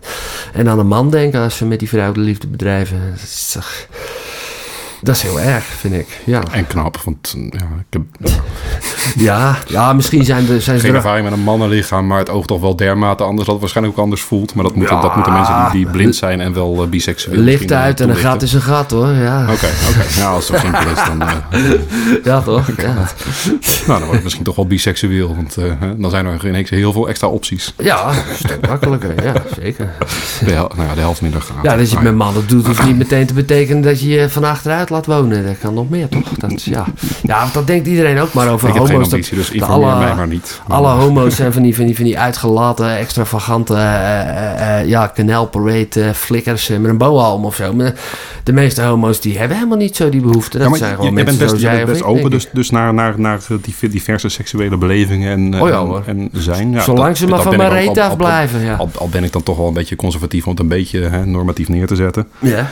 Speaker 3: en aan een man denken als ze met die vrouw de liefde bedrijven. Dat is, toch- dat is heel erg, vind ik. Ja,
Speaker 2: En knap, want eh, ja, ik heb
Speaker 3: ja, ja misschien zijn, er, zijn ze
Speaker 2: geen
Speaker 3: er ook-
Speaker 2: ervaring met een mannenlichaam, maar het oog toch wel dermate anders, dat het waarschijnlijk ook anders voelt. Maar dat moeten,
Speaker 3: Ja.
Speaker 2: dat moeten mensen die, die blind zijn en wel eh, biseksueel
Speaker 3: licht
Speaker 2: misschien, eh,
Speaker 3: uit en een gat
Speaker 2: toelichten.
Speaker 3: is een gat hoor. Ja,
Speaker 2: Oké, oké. Nou, als het zo simpel is, dan, eh,
Speaker 3: ja
Speaker 2: Oh,
Speaker 3: toch? Ja.
Speaker 2: nou, dan word ik misschien toch wel biseksueel. Want eh, hè, dan zijn er ineens heel veel extra opties.
Speaker 3: ja, een stuk makkelijker. Ja, zeker.
Speaker 2: De, hel- nou ja, de helft minder gaat.
Speaker 3: Ja, dat je
Speaker 2: Maar
Speaker 3: het met mannen doet, hoeft niet meteen te betekenen dat je je van achteruit laat wonen. Dat kan nog meer, toch? Dat, is- ja. ja, want dat denkt iedereen ook maar over
Speaker 2: Ik heb geen
Speaker 3: homo's. dat-
Speaker 2: ambitie, dus
Speaker 3: de
Speaker 2: informeer
Speaker 3: alle-
Speaker 2: mij maar niet.
Speaker 3: Alle homo's zijn van die, van die, van die uitgelaten, extravagante, eh, eh, eh, ja, kanaalparade eh, flikkers eh, met een boa om of zo. Maar de meeste homo's die hebben helemaal niet zo die behoefte. Dat
Speaker 2: Ja, maar
Speaker 3: zijn
Speaker 2: je-
Speaker 3: gewoon
Speaker 2: je,
Speaker 3: mensen
Speaker 2: bent best,
Speaker 3: zoals
Speaker 2: je
Speaker 3: jij
Speaker 2: bent
Speaker 3: of
Speaker 2: best
Speaker 3: ik,
Speaker 2: open
Speaker 3: denk ik.
Speaker 2: dus, dus naar, naar, naar die diverse seksuele belevingen en, eh,
Speaker 3: Oh ja,
Speaker 2: en-
Speaker 3: hoor.
Speaker 2: en zijn. Ja,
Speaker 3: Zolang
Speaker 2: dat-
Speaker 3: ze maar
Speaker 2: dat
Speaker 3: van
Speaker 2: ben ik ook-
Speaker 3: mijn reet
Speaker 2: al- al-
Speaker 3: afblijven, ja.
Speaker 2: Al, al ben ik dan toch wel een beetje conservatief om het een beetje hè, normatief neer te zetten.
Speaker 3: ja.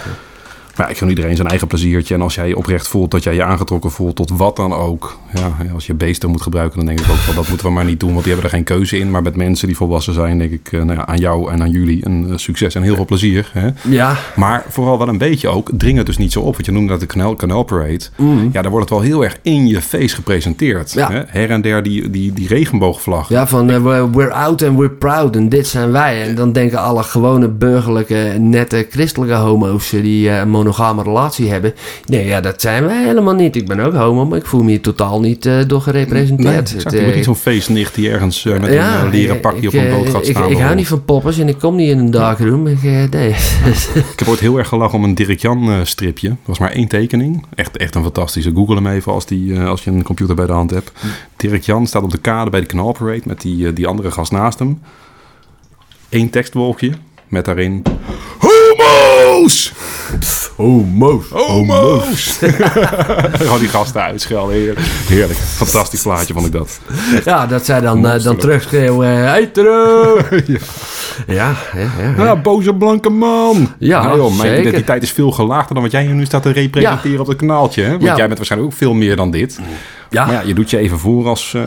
Speaker 2: Maar ja, ik gun iedereen zijn eigen pleziertje. En als jij je oprecht voelt dat jij je aangetrokken voelt tot wat dan ook. Ja, hè, als je beesten moet gebruiken, dan denk ik ook wel dat moeten we maar niet doen. Want die hebben er geen keuze in. Maar met mensen die volwassen zijn, denk ik eh, nou ja, aan jou en aan jullie een eh, succes en heel veel plezier. Hè.
Speaker 3: Ja,
Speaker 2: Maar vooral wel een beetje ook, dring het dus niet zo op. Want je noemde dat de Canal, Canal Parade. Ja, daar wordt het wel heel erg in je face gepresenteerd.
Speaker 3: Mhm. Ja.
Speaker 2: Hè? Her en der die, die, die regenboogvlag.
Speaker 3: ja, van eh, we're- we're out and we're proud en dit zijn wij. En dan denken alle gewone burgerlijke, nette, christelijke homo's eh, die eh, een monogame relatie hebben. Nee, ja, dat zijn wij helemaal niet. Ik ben ook homo, maar ik voel me hier totaal niet eh, door gerepresenteerd.
Speaker 2: Nee, exact.
Speaker 3: Het,
Speaker 2: Je wordt
Speaker 3: eh,
Speaker 2: niet zo'n feestnicht die ergens eh, met een eh, leren pakje
Speaker 3: ik,
Speaker 2: op een boot
Speaker 3: eh,
Speaker 2: gaat staan. Oh,
Speaker 3: ik, Ik, hou
Speaker 2: bijvoorbeeld.
Speaker 3: niet van poppers en ik kom niet in een darkroom. Ik, eh, nee.
Speaker 2: Ik heb ooit heel erg gelachen om een Dirk Jan eh, stripje. Dat was maar één tekening. Echt, echt een fantastische. Google hem even als, die, eh, als je een computer bij de hand hebt.
Speaker 3: Hm.
Speaker 2: Dirk Jan staat op de kade bij de knalparade met die, eh, die andere gast naast hem. Eén tekstwolkje met daarin... Homo's! Oh,
Speaker 3: Homo's.
Speaker 2: Homo's! Gewoon die gasten uitschelden. Heerlijk. Heerlijk. Fantastisch plaatje vond ik dat.
Speaker 3: Ja, dat zij dan, eh, dan terugschreeuwen. eh, Hey, terug! ja, ja, ja. ja.
Speaker 2: Ja, boze blanke man!
Speaker 3: Ja,
Speaker 2: Nou joh, mijn
Speaker 3: zeker.
Speaker 2: identiteit is veel gelaagder dan wat jij hier nu staat te representeren op het kanaaltje. Hè? Want
Speaker 3: Ja.
Speaker 2: jij bent waarschijnlijk ook veel meer dan dit.
Speaker 3: Ja.
Speaker 2: Maar ja, je doet je even voor als eh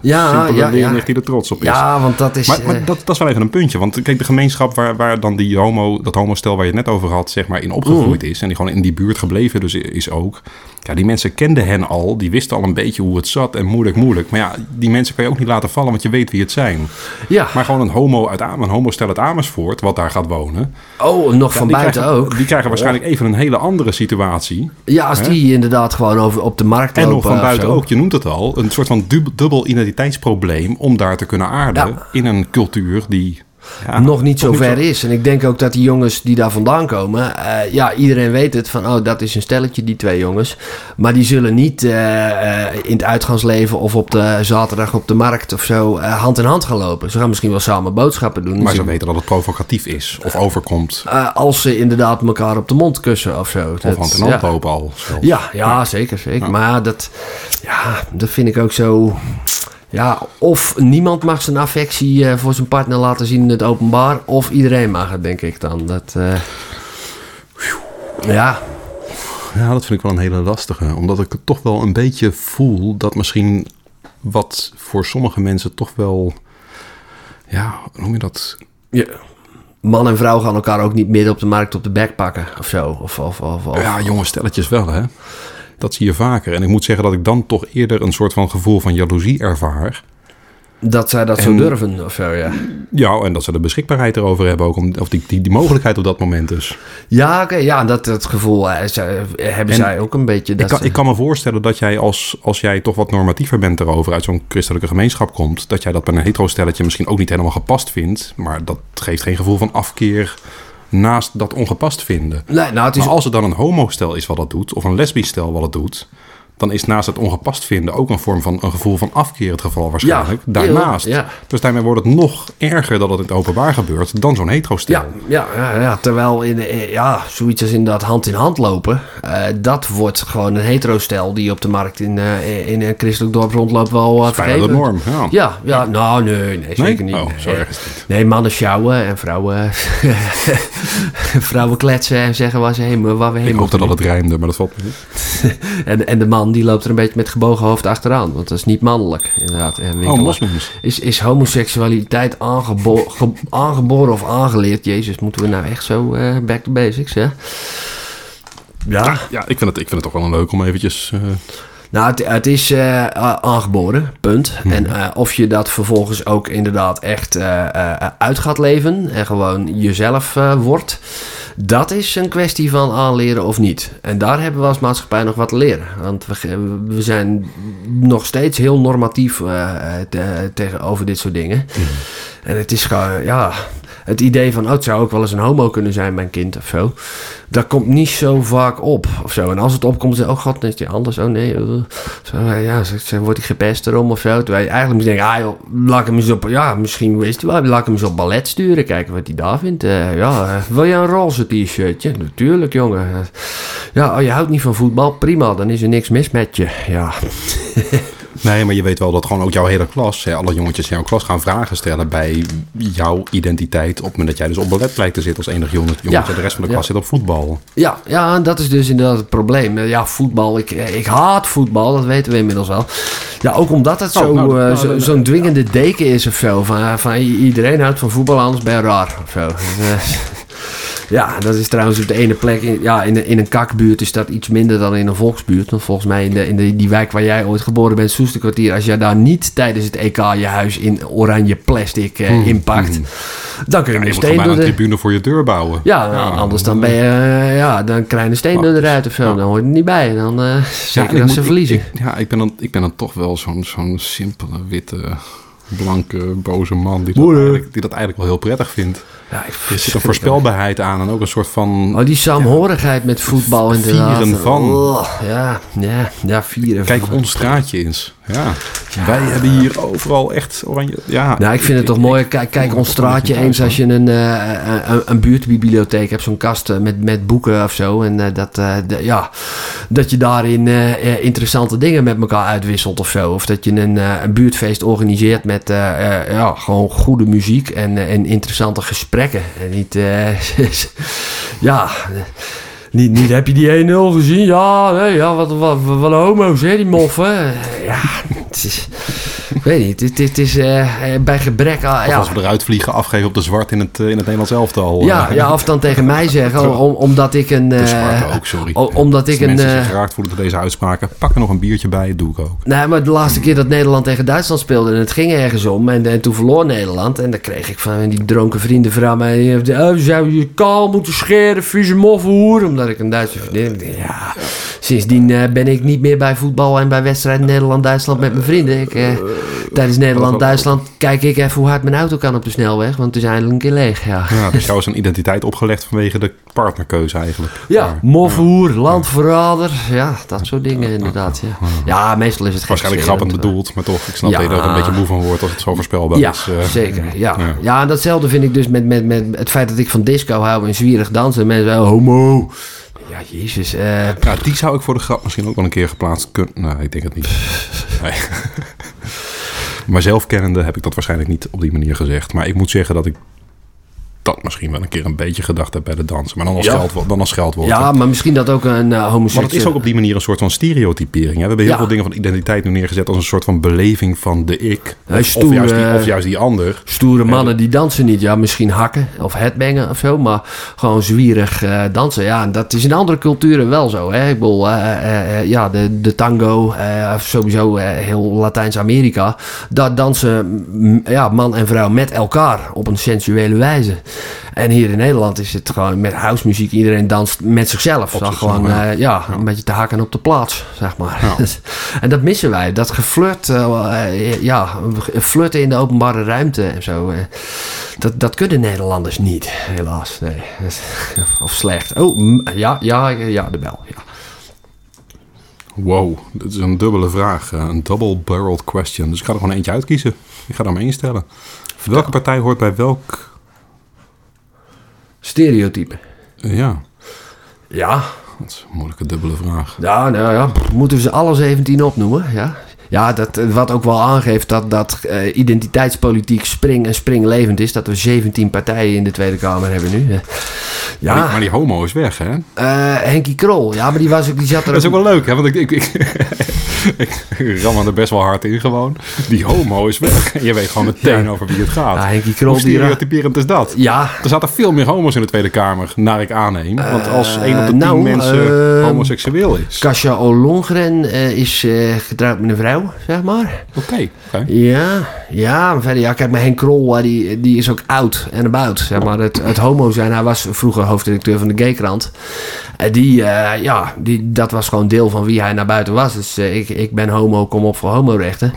Speaker 3: Ja,
Speaker 2: simpele
Speaker 3: ja, ja.
Speaker 2: leerlicht die er trots op is.
Speaker 3: Ja, want dat is...
Speaker 2: Maar, maar
Speaker 3: eh,
Speaker 2: dat, dat is wel even een puntje. Want kijk, de gemeenschap waar, waar dan die homo, dat homostel waar je het net over had, zeg maar, in opgegroeid
Speaker 3: Mm.
Speaker 2: is. En die gewoon in die buurt gebleven dus is ook. Ja, die mensen kenden hen al. Die wisten al een beetje hoe het zat en moeilijk, moeilijk. Maar ja, die mensen kan je ook niet laten vallen, want je weet wie het zijn.
Speaker 3: ja.
Speaker 2: Maar gewoon een homo uit Am- een homostel uit Amersfoort, wat daar gaat wonen.
Speaker 3: oh, nog
Speaker 2: ja,
Speaker 3: van
Speaker 2: die
Speaker 3: buiten
Speaker 2: krijgen,
Speaker 3: ook.
Speaker 2: Die krijgen waarschijnlijk even een hele andere situatie.
Speaker 3: Ja, als
Speaker 2: Hè?
Speaker 3: die inderdaad gewoon over, op de markt
Speaker 2: En
Speaker 3: lopen.
Speaker 2: nog van
Speaker 3: of
Speaker 2: buiten
Speaker 3: zo.
Speaker 2: ook, je noemt het al, een soort van dub- dubbel identiteitsprobleem om daar te kunnen aarden
Speaker 3: Ja.
Speaker 2: in een cultuur die ja,
Speaker 3: nog niet
Speaker 2: toch
Speaker 3: zo ver is. En ik denk ook dat die jongens die daar vandaan komen... eh, ja, iedereen weet het van... oh, dat is een stelletje, die twee jongens. Maar die zullen niet eh, eh, in het uitgaansleven... of op de eh, zaterdag op de markt of zo... eh, hand in hand gaan lopen. Ze gaan misschien wel samen boodschappen doen.
Speaker 2: Maar ze
Speaker 3: Ze-
Speaker 2: weten dat het provocatief is of overkomt.
Speaker 3: eh, als ze inderdaad elkaar op de mond kussen of zo.
Speaker 2: Of
Speaker 3: Dat-
Speaker 2: hand in hand
Speaker 3: ja.
Speaker 2: lopen al. zelfs.
Speaker 3: Ja, ja, zeker, zeker. Maar dat, ja, dat vind ik ook zo... Ja, of niemand mag zijn affectie eh, voor zijn partner laten zien in het openbaar... of iedereen mag het, denk ik dan. Dat, eh, ja,
Speaker 2: Ja, dat vind ik wel een hele lastige. Omdat ik het toch wel een beetje voel dat misschien wat voor sommige mensen toch wel, ja, hoe noem je dat?
Speaker 3: Ja. Man en vrouw gaan elkaar ook niet midden op de markt op de bek pakken of zo. Of, of, of, of.
Speaker 2: Ja, jonge stelletjes wel, hè? Dat zie je vaker. En ik moet zeggen dat ik dan toch eerder een soort van gevoel van jaloezie ervaar.
Speaker 3: Dat zij dat zo
Speaker 2: En-
Speaker 3: durven of zo, ja.
Speaker 2: Ja, en dat ze de beschikbaarheid erover hebben ook, om, of die, die, die mogelijkheid op dat moment dus.
Speaker 3: Ja, oké, ja dat, dat gevoel eh, zij-
Speaker 2: En
Speaker 3: hebben zij ook een beetje.
Speaker 2: Ik
Speaker 3: Dat eh,
Speaker 2: kan,
Speaker 3: ze-
Speaker 2: ik kan me voorstellen dat jij als, als jij toch wat normatiever bent erover, uit zo'n christelijke gemeenschap komt, dat jij dat bij een hetero stelletje misschien ook niet helemaal gepast vindt, maar dat geeft geen gevoel van afkeer naast dat ongepast vinden.
Speaker 3: Nee, nou, het is
Speaker 2: Maar als het dan een homostel is wat dat doet, of een lesbisch stel wat dat doet, dan is naast het ongepast vinden ook een vorm van een gevoel van afkeer het geval waarschijnlijk.
Speaker 3: Ja,
Speaker 2: Daarnaast.
Speaker 3: ja.
Speaker 2: Dus daarmee wordt het nog erger dat het in het openbaar gebeurt dan zo'n hetero stel.
Speaker 3: Ja, ja, ja, ja. terwijl in, eh, ja, zoiets als inderdaad hand in hand lopen, eh, dat wordt gewoon een hetero-stel die op de markt in, eh, in een christelijk dorp rondloopt wel eh,
Speaker 2: Bijna
Speaker 3: vergeven.
Speaker 2: de norm. Ja.
Speaker 3: Ja, ja, nou nee, nee zeker niet.
Speaker 2: Oh, zo
Speaker 3: Nee.
Speaker 2: erg is het niet.
Speaker 3: Nee, mannen sjouwen en vrouwen, vrouwen kletsen en zeggen waar, ze heen, waar we heen
Speaker 2: Ik hoopte
Speaker 3: moeten.
Speaker 2: dat het rijmde, maar dat valt me niet.
Speaker 3: En, en de man die loopt er een beetje met gebogen hoofd achteraan, want dat is niet mannelijk inderdaad. En
Speaker 2: Oh,
Speaker 3: winkelen.
Speaker 2: moslims.
Speaker 3: Is, is homoseksualiteit aangebo- ge- aangeboren of aangeleerd? Jezus, moeten we nou echt zo eh, back to basics, hè? Ja.
Speaker 2: Ja, ik vind, het, ik vind het toch wel een leuk om eventjes... eh,
Speaker 3: Nou, het, het is eh, a- aangeboren, punt. En eh, of je dat vervolgens ook inderdaad echt eh, eh, uit gaat leven en gewoon jezelf eh, wordt, dat is een kwestie van aanleren of niet. En daar hebben we als maatschappij nog wat te leren. Want we, ge- we zijn nog steeds heel normatief eh, eh, te- tegenover dit soort dingen. En het is gewoon, ja, het idee van, oh, het zou ook wel eens een homo kunnen zijn, mijn kind of zo. Dat komt niet zo vaak op of zo. En als het opkomt, dan, oh god, dan is die anders. Oh nee, eh, zo, eh, ja, ze, ze wordt hij gepest erom of zo. Terwijl je eigenlijk moet denken, ah joh, laat ik hem eens op, ja, misschien wist hij wel, laat ik hem eens op ballet sturen. Kijken wat hij daar vindt. Eh, ja, eh, wil je een roze t-shirtje? Natuurlijk, jongen. Eh, Ja, oh, je houdt niet van voetbal? Prima, dan is er niks mis met je. Ja,
Speaker 2: Nee, maar je weet wel dat gewoon ook jouw hele klas, hè, alle jongetjes in jouw klas gaan vragen stellen bij jouw identiteit. Op het moment dat jij dus op ballet blijkt te zitten als enig jongetje. jongetje en de rest van de
Speaker 3: ja.
Speaker 2: klas zit op voetbal.
Speaker 3: Ja, ja, en dat is dus inderdaad het probleem. Eh, Ja, voetbal, ik, eh, ik haat voetbal, dat weten we inmiddels wel. Ja, ook omdat het
Speaker 2: Oh,
Speaker 3: zo,
Speaker 2: nou,
Speaker 3: eh,
Speaker 2: nou,
Speaker 3: zo,
Speaker 2: nou,
Speaker 3: zo'n dwingende deken is of zo. Van, eh, van i- iedereen houdt van voetbal, anders ben je raar of zo. Dus, eh, ja, dat is trouwens op de ene plek. In, ja, in, een- in een kakbuurt is dat iets minder dan in een volksbuurt. Want volgens mij in, de, in de, die wijk waar jij ooit geboren bent, Soesterkwartier... als jij daar niet tijdens het EK je huis in oranje plastic eh, inpakt... dan
Speaker 2: Hmm. Ja,
Speaker 3: kun je
Speaker 2: je moet
Speaker 3: een
Speaker 2: gewoon
Speaker 3: steen
Speaker 2: bijna
Speaker 3: door
Speaker 2: een
Speaker 3: Dus de...
Speaker 2: tribune voor je deur bouwen.
Speaker 3: Ja, anders dan ben je, eh, ja, dan krijg je een steen door de ruit of zo. Dan hoort het niet bij. Dan eh
Speaker 2: Ja, en
Speaker 3: zeker
Speaker 2: ik
Speaker 3: dat
Speaker 2: moet-
Speaker 3: ze
Speaker 2: ik-
Speaker 3: verliezen.
Speaker 2: Ik, ja, ik ben, dan, ik ben dan toch wel zo'n zo'n simpele, witte, blanke, boze man die dat,
Speaker 3: Moeder.
Speaker 2: eigenlijk, die dat eigenlijk wel heel prettig vindt.
Speaker 3: ja, ik
Speaker 2: Er zit een voorspelbaarheid aan en ook een soort van...
Speaker 3: Oh, die saamhorigheid met voetbal inderdaad.
Speaker 2: Vieren van.
Speaker 3: Oh, ja, ja, ja, vieren van.
Speaker 2: Kijk ons straatje eens. Ja. Wij hebben hier overal echt oranje... Ja,
Speaker 3: Nou, ik vind het toch mooi. Kijk, kijk ons straatje eens als je een, eh, een, een buurtbibliotheek hebt. Zo'n kast eh, met, met boeken of zo. En eh, dat, eh, de- ja, dat je daarin eh, eh, interessante dingen met elkaar uitwisselt of zo. Of dat je een, eh, een buurtfeest organiseert met eh, eh, ja, gewoon goede muziek en, eh, en interessante gesprekken. En niet... eh, ja... Niet, niet, heb je die 1-0 gezien? Ja, nee, ja wat, wat, wat, wat homo's, hè, die moffen. Ja, het is... Ik weet niet, dit, dit is eh, eh, bij gebrek aan...
Speaker 2: Of
Speaker 3: Ja,
Speaker 2: als we eruit vliegen, afgeven op de zwart in het, eh, in het Nederlands elftal.
Speaker 3: ja,
Speaker 2: Eh,
Speaker 3: ja, of dan tegen mij zeggen, om- om- omdat ik een...
Speaker 2: De
Speaker 3: eh,
Speaker 2: zwarte ook, sorry.
Speaker 3: o- omdat
Speaker 2: Als
Speaker 3: ik een...
Speaker 2: mensen zich
Speaker 3: eh,
Speaker 2: geraakt voelen door deze uitspraken, pak er nog een biertje bij, doe ik ook.
Speaker 3: Nee, maar de laatste keer dat Nederland tegen Duitsland speelde en het ging ergens om en, en toen verloor Nederland en dan kreeg ik van die dronken vrienden van mij, eh, oh, zou je je kaal moeten scheren, vieze moffe hoer, omdat ik een Duitse vriendin heb. Ik denk, Ja, sindsdien eh, ben ik niet meer bij voetbal en bij wedstrijden Nederland-Duitsland met mijn vrienden. Ik, eh, tijdens Nederland-Duitsland kijk ik even hoe hard mijn auto kan op de snelweg, want het is eindelijk een keer leeg, ja.
Speaker 2: Ja, dus jou is een identiteit opgelegd vanwege de partnerkeuze eigenlijk.
Speaker 3: Ja, mofhoer, landverrader, ja, dat soort dingen inderdaad. Ja, ja meestal is het geen
Speaker 2: Waarschijnlijk grappend
Speaker 3: schreeuwend, hoor.
Speaker 2: bedoeld, maar toch, ik snap
Speaker 3: Ja.
Speaker 2: dat je er ook een beetje moe van wordt als het zo voorspelbaar
Speaker 3: Ja,
Speaker 2: is. eh.
Speaker 3: zeker. Ja.
Speaker 2: ja.
Speaker 3: Ja. en datzelfde vind ik dus met, met, met het feit dat ik van disco hou en zwierig dansen. Mensen zeggen, homo. Ja, jezus. eh,
Speaker 2: Ja, die zou ik voor de grap misschien ook wel een keer geplaatst kunnen. Nou, ik denk het niet. Nee. maar zelfkennende heb ik dat waarschijnlijk niet op die manier gezegd. Maar ik moet zeggen dat ik dat misschien wel een keer een beetje gedacht heb bij de dansen. Maar dan als,
Speaker 3: Ja.
Speaker 2: geld, dan als geldwoord.
Speaker 3: Ja, maar misschien dat ook een eh
Speaker 2: Maar het is ook op die manier een soort van stereotypering. Hè? We hebben heel
Speaker 3: Ja.
Speaker 2: veel dingen van identiteit nu neergezet als een soort van beleving van de ik.
Speaker 3: Hij
Speaker 2: Of,
Speaker 3: is
Speaker 2: of,
Speaker 3: stoer,
Speaker 2: juist die,
Speaker 3: eh,
Speaker 2: of juist die ander.
Speaker 3: Stoere mannen die dansen niet. Ja, misschien hakken of headbangen of zo. Maar gewoon zwierig eh, dansen. Ja, en dat is in andere culturen wel zo. Hè? Ik bedoel, eh, eh, eh, ja, de, de tango, eh, of sowieso eh, heel Latijns-Amerika. Daar dansen mm, ja, man en vrouw met elkaar op een sensuele wijze. En hier in Nederland is het gewoon met housemuziek. Iedereen danst met zichzelf.
Speaker 2: Op
Speaker 3: Dan
Speaker 2: zichzelf,
Speaker 3: gewoon,
Speaker 2: ja.
Speaker 3: eh, ja, een beetje te hakken op de plaats, zeg maar.
Speaker 2: Ja.
Speaker 3: En dat missen wij. Dat geflirt, eh, eh, ja, flirten in de openbare ruimte en zo. eh, dat, dat kunnen Nederlanders niet, helaas. Nee. Of slecht. Oh, mm, ja, ja, ja, de bel. Ja.
Speaker 2: Wow, dat is een dubbele vraag. eh, Een double-barreled question. Dus ik ga er gewoon eentje uitkiezen. Ik ga er maar één stellen. Welke partij hoort bij welk...
Speaker 3: Stereotypen.
Speaker 2: eh, ja,
Speaker 3: Ja,
Speaker 2: dat is een moeilijke dubbele vraag.
Speaker 3: Ja, nou ja, pff, moeten we ze alle 17 opnoemen, ja. Ja, dat, eh, wat ook wel aangeeft dat, dat eh, identiteitspolitiek spring en springlevend is. Dat we 17 partijen in de Tweede Kamer hebben nu. eh.
Speaker 2: Maar, die, maar
Speaker 3: Ja,
Speaker 2: die homo is weg, hè?
Speaker 3: eh, Henkie Krol. Ja, maar die, was ook, die zat er
Speaker 2: Dat is ook wel leuk, hè? Want ik, ik, ik, ik ram er best wel hard in gewoon. Die homo is weg. En je weet gewoon meteen
Speaker 3: Ja.
Speaker 2: over wie het gaat.
Speaker 3: Ja, Henkie
Speaker 2: Hoe
Speaker 3: Krol. Die ra-
Speaker 2: stereotyperend is dat?
Speaker 3: ja,
Speaker 2: Er zaten veel meer homo's in de Tweede Kamer, naar ik aanneem. Want als één op de tien
Speaker 3: nou,
Speaker 2: mensen
Speaker 3: eh,
Speaker 2: homoseksueel is.
Speaker 3: Kasia Olongren eh, is eh, getrouwd met een vrouw, zeg maar.
Speaker 2: Oké. oké.
Speaker 3: Ja, ja, maar verder, ja, kijk, maar Henk Krol, eh, die, die is ook oud en about. Zeg maar, het, het homo zijn, hij was vroeger hoofdredacteur van de Gaykrant. Eh, die, eh, ja, die, dat was gewoon deel van wie hij naar buiten was. Dus eh, ik, ik ben homo, kom op voor homorechten.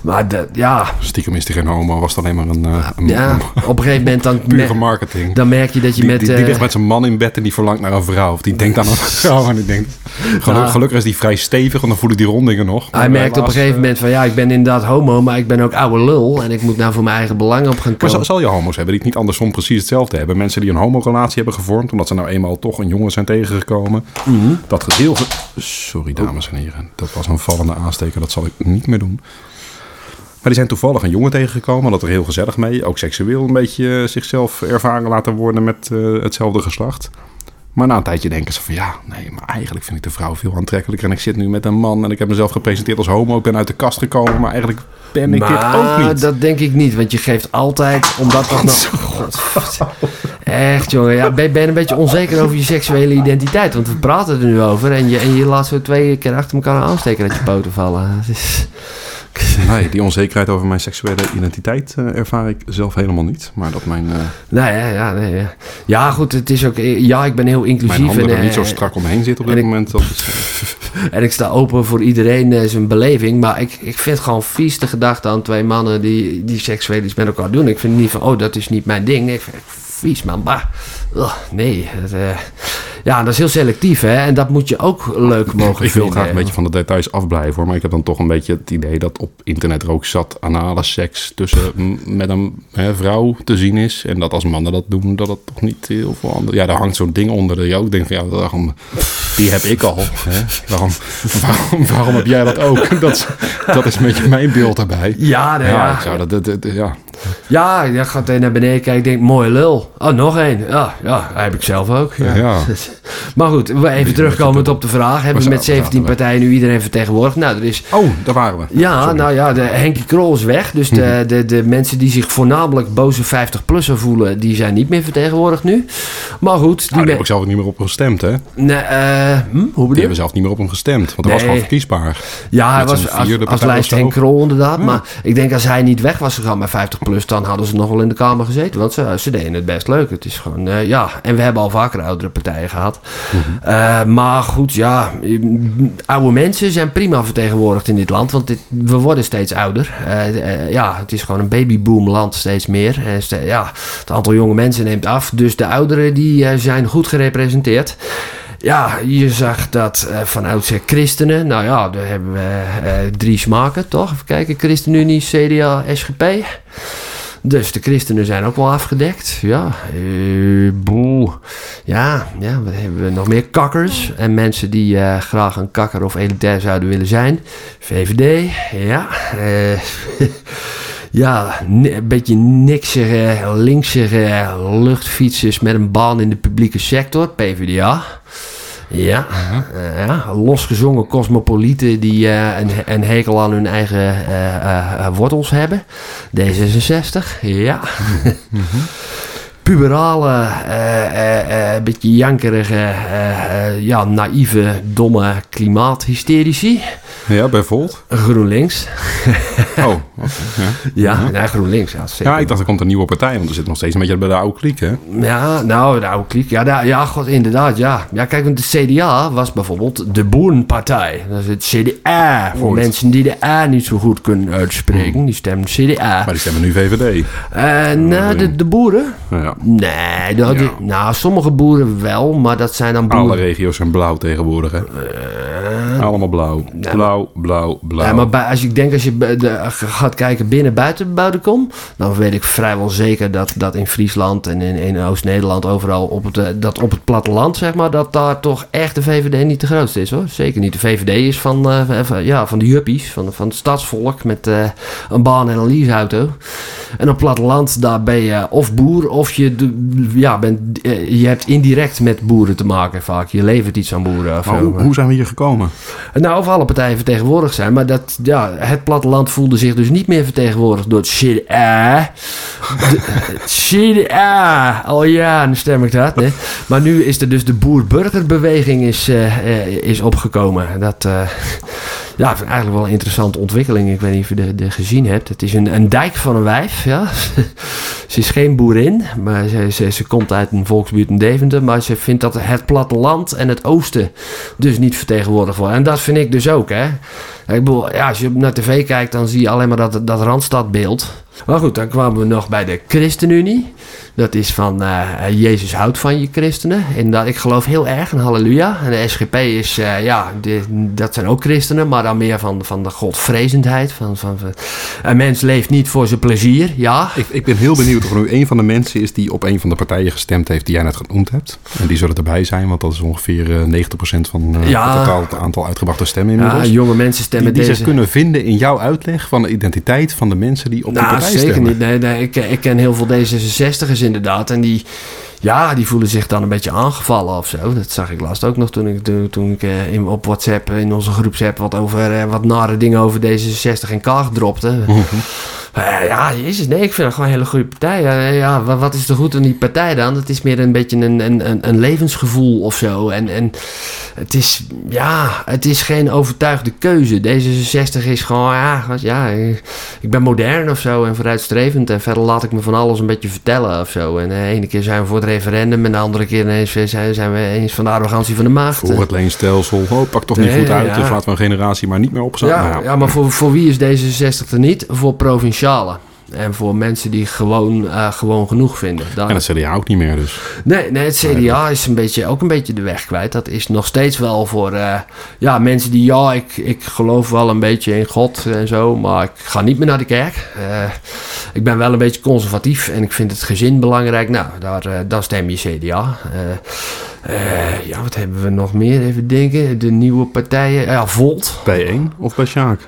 Speaker 3: Maar dat, ja,
Speaker 2: Stiekem is er geen homo, was het alleen maar een, eh, een-
Speaker 3: ja,
Speaker 2: een
Speaker 3: op een gegeven moment dan,
Speaker 2: pure
Speaker 3: me-
Speaker 2: marketing.
Speaker 3: dan merk je dat je
Speaker 2: die,
Speaker 3: met...
Speaker 2: die, die
Speaker 3: eh,
Speaker 2: ligt met zijn man in bed en die verlangt naar een vrouw. Of die denkt aan een vrouw en die denkt... Geluk-
Speaker 3: Ja.
Speaker 2: Gelukkig is die vrij stevig, want dan voelen die rondingen nog.
Speaker 3: Nou. hij merkt op een
Speaker 2: eh,
Speaker 3: gegeven moment van ja, ik ben inderdaad homo, maar ik ben ook oude lul. En ik moet nou voor mijn eigen belang op gaan
Speaker 2: Maar
Speaker 3: komen.
Speaker 2: zal, zal je homo's hebben die het niet andersom precies hetzelfde hebben? Mensen die een homorelatie hebben gevormd, omdat ze nou eenmaal toch een jongen zijn tegengekomen. Dat geheel... ge- Sorry, dames en heren. Dat was een vallende aansteker. Dat zal ik niet meer doen. Maar die zijn toevallig een jongen tegengekomen. Dat er heel gezellig mee. Ook seksueel een beetje eh, zichzelf ervaren laten worden met eh, hetzelfde geslacht. Maar na een tijdje denken ze van ja, nee, maar eigenlijk vind ik de vrouw veel aantrekkelijker. En ik zit nu met een man en ik heb mezelf gepresenteerd als homo. Ik ben uit de kast gekomen, maar eigenlijk ben ik dit ook niet. Nou.
Speaker 3: dat denk ik niet, want je geeft altijd, omdat dat nog... Echt jongen, ja, ben, ben een beetje onzeker over je seksuele identiteit, want we praten er nu over en je, en je laat zo twee keer achter elkaar aansteken dat je poten vallen. Het is-
Speaker 2: Nee, die onzekerheid over mijn seksuele identiteit eh, ervaar ik zelf helemaal niet. Maar dat mijn, eh,
Speaker 3: Nou ja, ja, nee, ja. ja goed, het is ook, ja ik ben heel inclusief.
Speaker 2: mijn handen
Speaker 3: en,
Speaker 2: er niet zo
Speaker 3: eh,
Speaker 2: strak omheen zitten op dit
Speaker 3: en ik-
Speaker 2: moment. Dat is, eh,
Speaker 3: En ik sta open voor iedereen eh, zijn beleving. Maar ik, ik vind gewoon vies de gedachte aan twee mannen die, die seksueel iets met elkaar doen. Ik vind niet van, oh, dat is niet mijn ding. Ik vind het vies, man. Maar, ugh, nee. Dat, eh, ja, dat is heel selectief, hè. En dat moet je ook leuk mogen
Speaker 2: ik wil
Speaker 3: vinden.
Speaker 2: graag een beetje van de details afblijven hoor. Maar ik heb dan toch een beetje het idee dat op internet er ook zat anale seks tussen m- met een hè, vrouw te zien is. En dat als mannen dat doen, dat dat toch niet heel veel anders. Ja, daar hangt zo'n ding onder dat je ook denkt van ja, waarom, die heb ik al. Hè? Waarom, waarom, waarom heb jij dat ook? Dat, is- dat is een beetje mijn beeld daarbij.
Speaker 3: Ja, nou
Speaker 2: Ja, ik
Speaker 3: ja.
Speaker 2: zou dat, dat- dat- ja.
Speaker 3: ja, je gaat even naar beneden kijken. Ik denk, mooie lul. Oh, nog één. Ja, ja heb ik zelf ook. Ja.
Speaker 2: ja.
Speaker 3: Maar goed, we even terugkomend op de vraag. Hebben we
Speaker 2: zijn-
Speaker 3: met 17
Speaker 2: we zaten
Speaker 3: partijen nu iedereen vertegenwoordigd? Nou, er is
Speaker 2: Oh, daar waren we.
Speaker 3: Ja, nou ja, de Henkie Krol is weg. Dus de,
Speaker 2: Mhm.
Speaker 3: de, de mensen die zich voornamelijk boze 50-plussen voelen, die zijn niet meer vertegenwoordigd nu. Maar goed,
Speaker 2: Nou,
Speaker 3: die
Speaker 2: daar
Speaker 3: men-
Speaker 2: heb ik zelf niet meer op gestemd, hè? Die
Speaker 3: Nee, eh, hm, hoe bedoel je?
Speaker 2: hebben zelf niet meer op hem gestemd, want hij
Speaker 3: Nee.
Speaker 2: was gewoon verkiesbaar.
Speaker 3: Ja, hij
Speaker 2: met
Speaker 3: was
Speaker 2: zo'n
Speaker 3: als,
Speaker 2: vierde
Speaker 3: als
Speaker 2: partij
Speaker 3: lijst
Speaker 2: of zo.
Speaker 3: Henk Krol inderdaad. Maar ik denk als hij niet weg was gegaan bij 50PLUS, dan hadden ze nog wel in de Kamer gezeten. Want ze, ze deden het best leuk. Het is gewoon, eh, ja. En we hebben al vaker oudere partijen gehad.
Speaker 2: Mhm.
Speaker 3: Eh, maar goed, ja. mm, Oude mensen zijn prima vertegenwoordigd in dit land. Want dit, we worden steeds ouder. Eh, eh, ja, het is gewoon een babyboomland steeds meer. En ste- ja, het aantal jonge mensen neemt af. Dus de ouderen die eh, zijn goed gerepresenteerd. Ja, je zag dat eh van oudsher christenen. Nou ja, daar hebben we eh, drie smaken, toch? Even kijken, ChristenUnie, CDA, SGP. Dus de christenen zijn ook wel afgedekt. Ja, eh, boe. Ja, ja, wat hebben we nog meer? Kakkers en mensen die eh, graag een kakker of elitair zouden willen zijn. VVD, ja. eh, ja, ni- een beetje niksige, linksige luchtfietsers met een baan in de publieke sector, PvdA. Ja, eh, ja. losgezongen cosmopolieten die eh, een, een hekel aan hun eigen eh, eh, eh, wortels hebben. D66, ja. Puberale, eh, eh, eh, beetje jankerige, eh, eh, ja, naïeve, domme klimaathysterische.
Speaker 2: Ja, bijvoorbeeld.
Speaker 3: GroenLinks.
Speaker 2: Oh, oké, ja.
Speaker 3: Ja, ja GroenLinks. Ja, zeker.
Speaker 2: ja, ik dacht er komt een nieuwe partij, want er zit nog steeds een beetje bij de oude kliek, hè?
Speaker 3: Ja, nou, de oude kliek. Ja, daar, ja, god, inderdaad, ja. Ja, kijk, want de CDA was bijvoorbeeld de Boerenpartij. Dat is het CDA. Voor
Speaker 2: Ooit. Hmm.
Speaker 3: mensen die de A niet zo goed kunnen uitspreken, die stemmen CDA.
Speaker 2: Maar die stemmen nu VVD.
Speaker 3: Eh, nou, de, de boeren?
Speaker 2: Ja.
Speaker 3: Nee, dat had
Speaker 2: Ja.
Speaker 3: ik- nou, sommige boeren wel, maar dat zijn dan
Speaker 2: Alle
Speaker 3: boeren.
Speaker 2: regio's zijn blauw tegenwoordig, hè? Allemaal blauw. Blauw, blauw, blauw.
Speaker 3: Ja, maar bij- als ik denk, als je bij de- gaat kijken binnen buiten Buidekom, dan weet ik vrijwel zeker dat, dat in Friesland en in, in Oost-Nederland overal, op het, eh, dat op het platteland, zeg maar, dat daar toch echt de VVD niet de grootste is hoor. Zeker niet. De VVD is van, eh, van- van- ja, van de juppies, van, van het stadsvolk met eh, een baan en een leaseauto. En op platteland, daar ben je of boer of je, d- ja, bent, eh, je hebt indirect met boeren te maken vaak. Je levert iets aan boeren. of
Speaker 2: Maar
Speaker 3: zo. eh.
Speaker 2: hoe, hoe zijn we hier gekomen?
Speaker 3: Nou, of alle partijen vertegenwoordigd zijn. Maar dat, ja, het platteland voelde zich dus niet meer vertegenwoordigd door het CDA. De- het CDA. Oh ja, nu stem ik dat. Nee. Maar nu is er dus de boer-burgerbeweging is, eh, eh, is opgekomen. Dat, eh, ja, ik vind het eigenlijk wel een interessante ontwikkeling. Ik weet niet of je de, de gezien hebt. Het is een, een dijk van een wijf, ja. ze is geen boerin, maar ze, ze, ze komt uit een volksbuurt in Deventer. Maar ze vindt dat het platteland en het oosten dus niet vertegenwoordigd worden. En dat vind ik dus ook, hè. Ik bedoel, ja, als je naar tv kijkt, dan zie je alleen maar dat, dat Randstadbeeld. Maar goed, dan kwamen we nog bij de ChristenUnie. Dat is van eh, Jezus houdt van je christenen. En dat, ik geloof heel erg in halleluja. En de SGP is, eh, ja, de- dat zijn ook christenen, maar dan meer van, van de godvrezendheid. Van, van, van- een mens leeft niet voor zijn plezier, ja.
Speaker 2: Ik, ik ben heel benieuwd of er nu een van de mensen is die op een van de partijen gestemd heeft die jij net genoemd hebt. En die zullen erbij zijn, want dat is ongeveer eh, 90% van eh,
Speaker 3: Ja.
Speaker 2: het totaal het aantal uitgebrachte stemmen
Speaker 3: ja
Speaker 2: inmiddels.
Speaker 3: jonge mensen
Speaker 2: die
Speaker 3: stemmen
Speaker 2: die zich
Speaker 3: deze...
Speaker 2: kunnen vinden in jouw uitleg van de identiteit van de mensen die op de
Speaker 3: Nou,
Speaker 2: partij
Speaker 3: zeker
Speaker 2: stemmen.
Speaker 3: niet. Nee, nee, ik, ik ken heel veel D66'ers inderdaad. En die, ja, die voelen zich dan een beetje aangevallen of zo. Dat zag ik laatst ook nog toen ik, toen, toen ik eh, in, op WhatsApp, eh, in onze groepsapp, wat, over, eh, wat nare dingen over D66 en Kaag dropte.
Speaker 2: Mhm.
Speaker 3: Eh, ja, jezus, nee, ik vind dat gewoon een hele goede partij. Eh, ja, wa- wat is er goed aan die partij dan? Het is meer een beetje een, een, een, een levensgevoel of zo. En, en het is, ja, het is geen overtuigde keuze. D66 is gewoon, ja, wat- ja eh, ik ben modern of zo en vooruitstrevend. En verder laat ik me van alles een beetje vertellen of zo. En de ene keer zijn we voor het referendum en de andere keer ineens weer zijn, zijn we eens van de arrogantie van de maagd.
Speaker 2: Voor het leenstelsel. Oh, pak toch niet
Speaker 3: Nee,
Speaker 2: goed uit.
Speaker 3: ja.
Speaker 2: Dus laten we een generatie maar niet meer opzetten.
Speaker 3: Ja,
Speaker 2: Nou,
Speaker 3: ja, maar voor, voor wie is D66 er niet? Voor provincialen. En voor mensen die gewoon, eh, gewoon genoeg vinden. Dan-
Speaker 2: En het CDA ook niet meer dus.
Speaker 3: nee, nee, het CDA is een beetje, ook een beetje de weg kwijt. Dat is nog steeds wel voor eh, ja, mensen die, ja, ik, ik geloof wel een beetje in God en zo. Maar ik ga niet meer naar de kerk. Eh, ik ben wel een beetje conservatief en ik vind het gezin belangrijk. Nou, daar, eh, dan stem je CDA. Eh, eh, ja, wat hebben we nog meer? Even denken. De nieuwe partijen. Ah Ja, Volt.
Speaker 2: Bij één of bij Sjaak?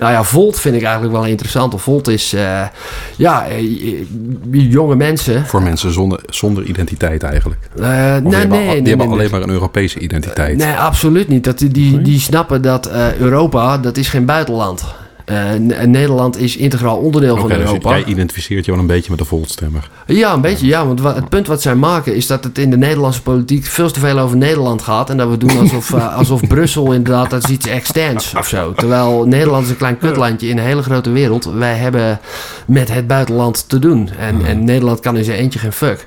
Speaker 3: nou ja, Volt vind ik eigenlijk wel interessant. Want Volt is, eh, ja, eh, eh, jonge mensen.
Speaker 2: Voor mensen zonder, zonder identiteit eigenlijk. Of
Speaker 3: Eh, nee,
Speaker 2: die
Speaker 3: nee,
Speaker 2: hebben, al-
Speaker 3: nee,
Speaker 2: die
Speaker 3: nee,
Speaker 2: hebben
Speaker 3: nee.
Speaker 2: alleen maar een Europese identiteit.
Speaker 3: Nee, absoluut niet. Dat, die- die, die snappen dat eh, Europa, dat is geen buitenland. Eh, N- en Nederland is integraal onderdeel
Speaker 2: Oké,
Speaker 3: van
Speaker 2: dus
Speaker 3: Europa.
Speaker 2: jij identificeert je wel een beetje met de voltstemmer.
Speaker 3: Ja, een beetje. Ja, want wa- het punt wat zij maken is dat het in de Nederlandse politiek veel te veel over Nederland gaat. En dat we doen alsof, eh, alsof Brussel inderdaad dat is iets externs of zo. Terwijl Nederland is een klein kutlandje in een hele grote wereld. Wij hebben met het buitenland te doen. En, en Nederland kan in zijn eentje geen fuck.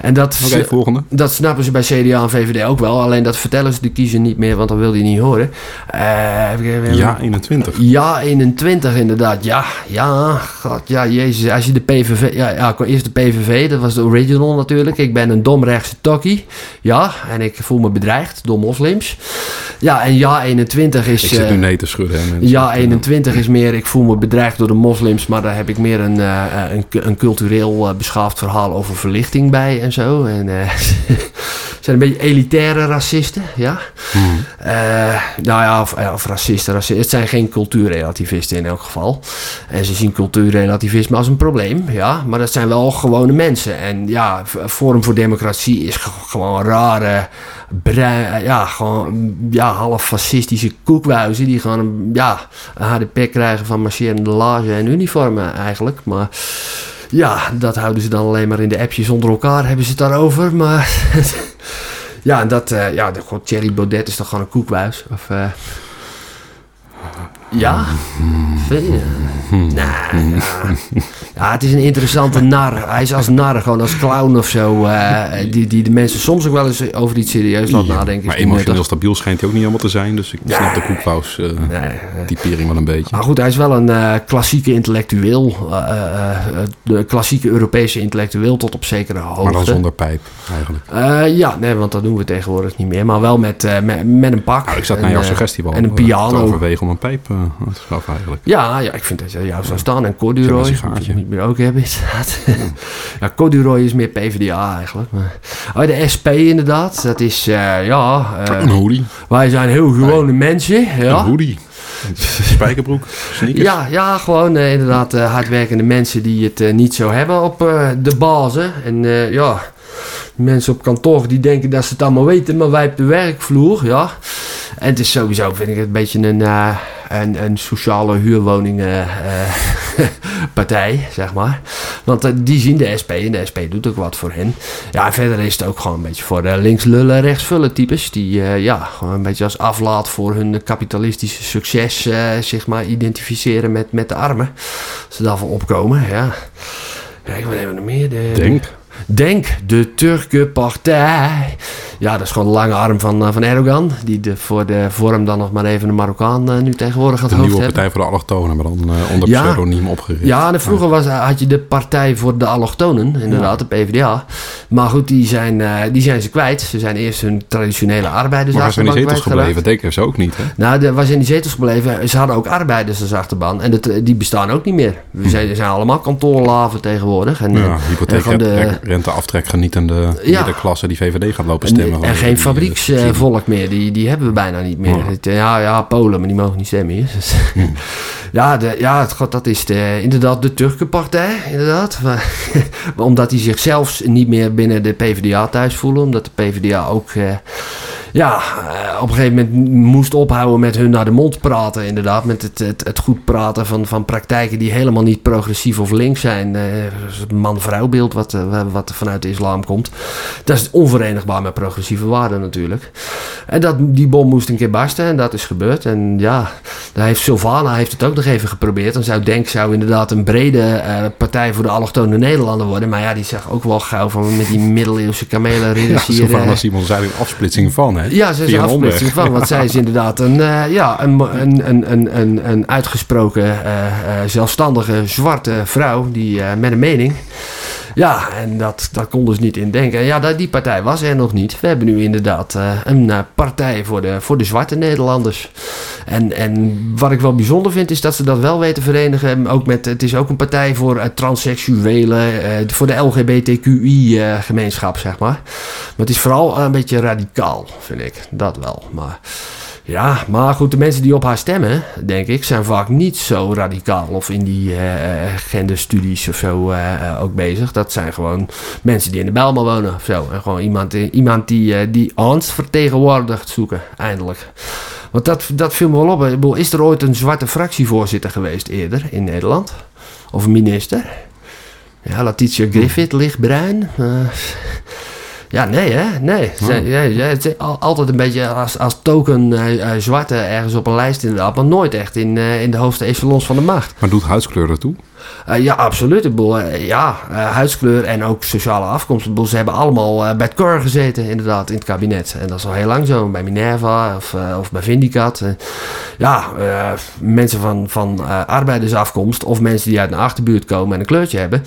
Speaker 3: En dat,
Speaker 2: Hmm. Oké, volgende.
Speaker 3: dat snappen ze bij CDA en VVD ook wel. Alleen dat vertellen ze de kiezer niet meer, want dan wil die niet horen. Eh, heb ik-
Speaker 2: Ja, 21.
Speaker 3: ja, 21 inderdaad. Ja, ja, god, ja, jezus. Als je de PVV... Ja, ja, eerst de PVV, dat was de original natuurlijk. Ik ben een domrechtse tokkie. Ja, en ik voel me bedreigd door moslims. Ja, en ja, 21 is...
Speaker 2: Ik zit nu
Speaker 3: eh,
Speaker 2: nee te schudden. Hè, mensen.
Speaker 3: ja, 21 is meer, ik voel me bedreigd door de moslims, maar daar heb ik meer een, eh, eh, een, cu- een cultureel eh, beschaafd verhaal over verlichting bij en zo. En, eh, zijn een beetje elitaire racisten, ja. Eh, nou ja, of, eh, of racisten, racisten. Het zijn geen activisten in elk geval. En ze zien cultuurrelativisme als een probleem, ja. Maar dat zijn wel gewone mensen. En ja, V- Forum voor Democratie is ge- gewoon rare, brei- eh, ja, gewoon ja, half fascistische koekwijzen die gewoon een, ja, een harde pek krijgen van marcherende lazen en uniformen eigenlijk. Maar ja, dat houden ze dan alleen maar in de appjes onder elkaar, hebben ze het daarover. Maar ja, en dat, eh, ja, de- god, Thierry Baudet is toch gewoon een koekwijs? Of, eh, ja, vind je? Nou, ja. ja, het is een interessante nar. Hij is als nar, gewoon als clown of zo. eh, die, die de mensen soms ook wel eens over iets serieus laat nadenken.
Speaker 2: maar
Speaker 3: Is die nuttig.
Speaker 2: emotioneel stabiel schijnt hij ook niet helemaal te zijn. Dus ik snap de koekpaus eh
Speaker 3: Nee, eh,
Speaker 2: typering wel een beetje.
Speaker 3: maar goed, hij is wel een eh, klassieke intellectueel. eh, eh, eh, de klassieke Europese intellectueel tot op zekere hoogte.
Speaker 2: Maar dan zonder pijp, eigenlijk.
Speaker 3: Eh, ja, nee, want dat doen we tegenwoordig niet meer. Maar wel met, eh, met, met een pak.
Speaker 2: Nou, ik zat
Speaker 3: En,
Speaker 2: naar jouw
Speaker 3: eh,
Speaker 2: suggestie wel.
Speaker 3: en een
Speaker 2: eh,
Speaker 3: piano.
Speaker 2: te overwegen om een pijp eh, aan te schaffen, eigenlijk.
Speaker 3: Ja, ja, ik vind dat je jou zou staan. En
Speaker 2: Zo'n
Speaker 3: Corduroy,
Speaker 2: sigaartje. Hmm.
Speaker 3: moet je niet meer ook hebben inderdaad. ja, Corduroy is meer PvdA eigenlijk. Maar... Oh, de SP inderdaad, dat is, eh, ja, eh,
Speaker 2: een hoodie.
Speaker 3: wij zijn heel gewone mensen.
Speaker 2: Een
Speaker 3: Ja.
Speaker 2: hoodie. Spijkerbroek. Sneakers.
Speaker 3: Ja, ja, gewoon eh, inderdaad eh, hardwerkende mensen die het eh, niet zo hebben op eh, de bazen. En eh, ja, mensen op kantoor die denken dat ze het allemaal weten, maar wij op de werkvloer, ja. En het is sowieso, vind ik het een beetje een, eh, een, een sociale huurwoningenpartij, zeg maar. Want eh, die zien de SP en de SP doet ook wat voor hen. Ja, en verder is het ook gewoon een beetje voor de links lullen, rechts vullen types. Die eh, ja, gewoon een beetje als aflaat voor hun kapitalistische succes eh, zich maar identificeren met, met de armen. Als ze daarvoor opkomen, ja. Kijk, wat hebben we nog meer? De,
Speaker 2: Denk.
Speaker 3: Denk, de Turkse partij. Ja, dat is gewoon de lange arm van, eh, van Erdogan. Die de, voor de vorm dan nog maar even een Marokkaan eh, nu tegenwoordig aan
Speaker 2: De
Speaker 3: het hoofd
Speaker 2: nieuwe
Speaker 3: heeft.
Speaker 2: Partij voor de Allochtonen, maar dan eh, onder
Speaker 3: Ja.
Speaker 2: pseudoniem opgericht.
Speaker 3: Ja, en vroeger was, had je de Partij voor de Allochtonen, inderdaad, de PvdA. Maar goed, die zijn, eh, die zijn ze kwijt. Ze zijn eerst hun traditionele arbeiders
Speaker 2: maar waar zijn die zetels
Speaker 3: kwijtgeraakt.
Speaker 2: gebleven? Denk heeft ze ook niet, hè?
Speaker 3: Nou, er was in die zetels gebleven. Ze hadden ook arbeiders als achterban. En dat, eh, die bestaan ook niet meer. We zijn, er zijn allemaal kantoorlaven tegenwoordig. En,
Speaker 2: Hm.
Speaker 3: eh,
Speaker 2: Ja,
Speaker 3: en van de-
Speaker 2: hypotheekrenteaftrek genietende
Speaker 3: Ja.
Speaker 2: middenklasse die VVD gaat lopen
Speaker 3: En-
Speaker 2: stemmen.
Speaker 3: En,
Speaker 2: Gewoon,
Speaker 3: geen
Speaker 2: die, eh, zien.
Speaker 3: fabrieksvolk meer, die, die hebben we bijna niet meer.
Speaker 2: Ja. Hmm.
Speaker 3: Het, eh, Ja, ja, Polen, maar die mogen niet stemmen hier. Dus- Ja, de, ja het, god, dat is de, inderdaad de Turkse partij, inderdaad. Maar- omdat die zichzelf niet meer binnen de PvdA thuis voelen. Omdat de PvdA ook... eh, ja, eh, op een gegeven moment moest ophouden met hun naar de mond praten, inderdaad. Met het, het, het goed praten van, van praktijken die helemaal niet progressief of links zijn. Eh, het man-vrouw beeld wat, eh, wa- wat vanuit de islam komt. Dat is onverenigbaar met progressieve waarden natuurlijk. En dat, die bom moest een keer barsten en dat is gebeurd. En ja, daar heeft Sylvana heeft het ook nog even geprobeerd. Dan zou Denk zou inderdaad een brede eh, partij voor de allochtone Nederlander worden. Maar ja, die zag ook wel gauw van met die middeleeuwse
Speaker 2: Ja,
Speaker 3: kamelenridders
Speaker 2: zo
Speaker 3: hier.
Speaker 2: van
Speaker 3: eh,
Speaker 2: als iemand zei, een afsplitsing van, hè?
Speaker 3: ja, ze is
Speaker 2: Via
Speaker 3: een
Speaker 2: een omweg.
Speaker 3: afsplitsing van, want zij is inderdaad een, eh, ja, een, mo- een, een, een, een, een uitgesproken, eh, eh, zelfstandige zwarte vrouw die, eh, met een mening. Ja, en dat, dat kon dus niet in denken. En ja, dat, die partij was er nog niet. We hebben nu inderdaad eh, een eh, partij voor de, voor de zwarte Nederlanders. En, en wat ik wel bijzonder vind, is dat ze dat wel weten verenigen. En Ook met, het is ook een partij voor eh, transseksuelen, eh, voor de LGBTQI-gemeenschap, eh, zeg maar. Maar het is vooral een beetje radicaal, vind ik. Dat wel. Maar ja, maar goed, de mensen die op haar stemmen, denk ik, zijn vaak niet zo radicaal of in die eh, genderstudies of zo eh, eh, ook bezig. Dat zijn gewoon mensen die in de Bijlmer wonen of zo. En gewoon iemand, iemand die, eh, die ons vertegenwoordigt zoeken, eindelijk. Want dat, dat viel me wel op. Ik bedoel, Is er ooit een zwarte fractievoorzitter geweest eerder in Nederland? Of een minister? Ja, Letitia Griffith, lichtbruin. Eh, ja, nee hè, nee. Ze- ja, ja, het is al- altijd een beetje als, als token eh, eh, zwarte ergens op een lijst inderdaad. Maar nooit echt in, eh, in de hoogste echelons van de macht.
Speaker 2: Maar doet huidskleur ertoe?
Speaker 3: Eh, ja, absoluut. Ik bedoel, eh, ja, eh, huidskleur en ook sociale afkomst. Ik bedoel, ze hebben allemaal eh, bij het Cor gezeten, inderdaad, in het kabinet. En dat is al heel lang zo. Bij Minerva of, eh, of bij Vindicat. Eh, ja, eh, mensen van, van eh, arbeidersafkomst of mensen die uit een achterbuurt komen en een kleurtje hebben.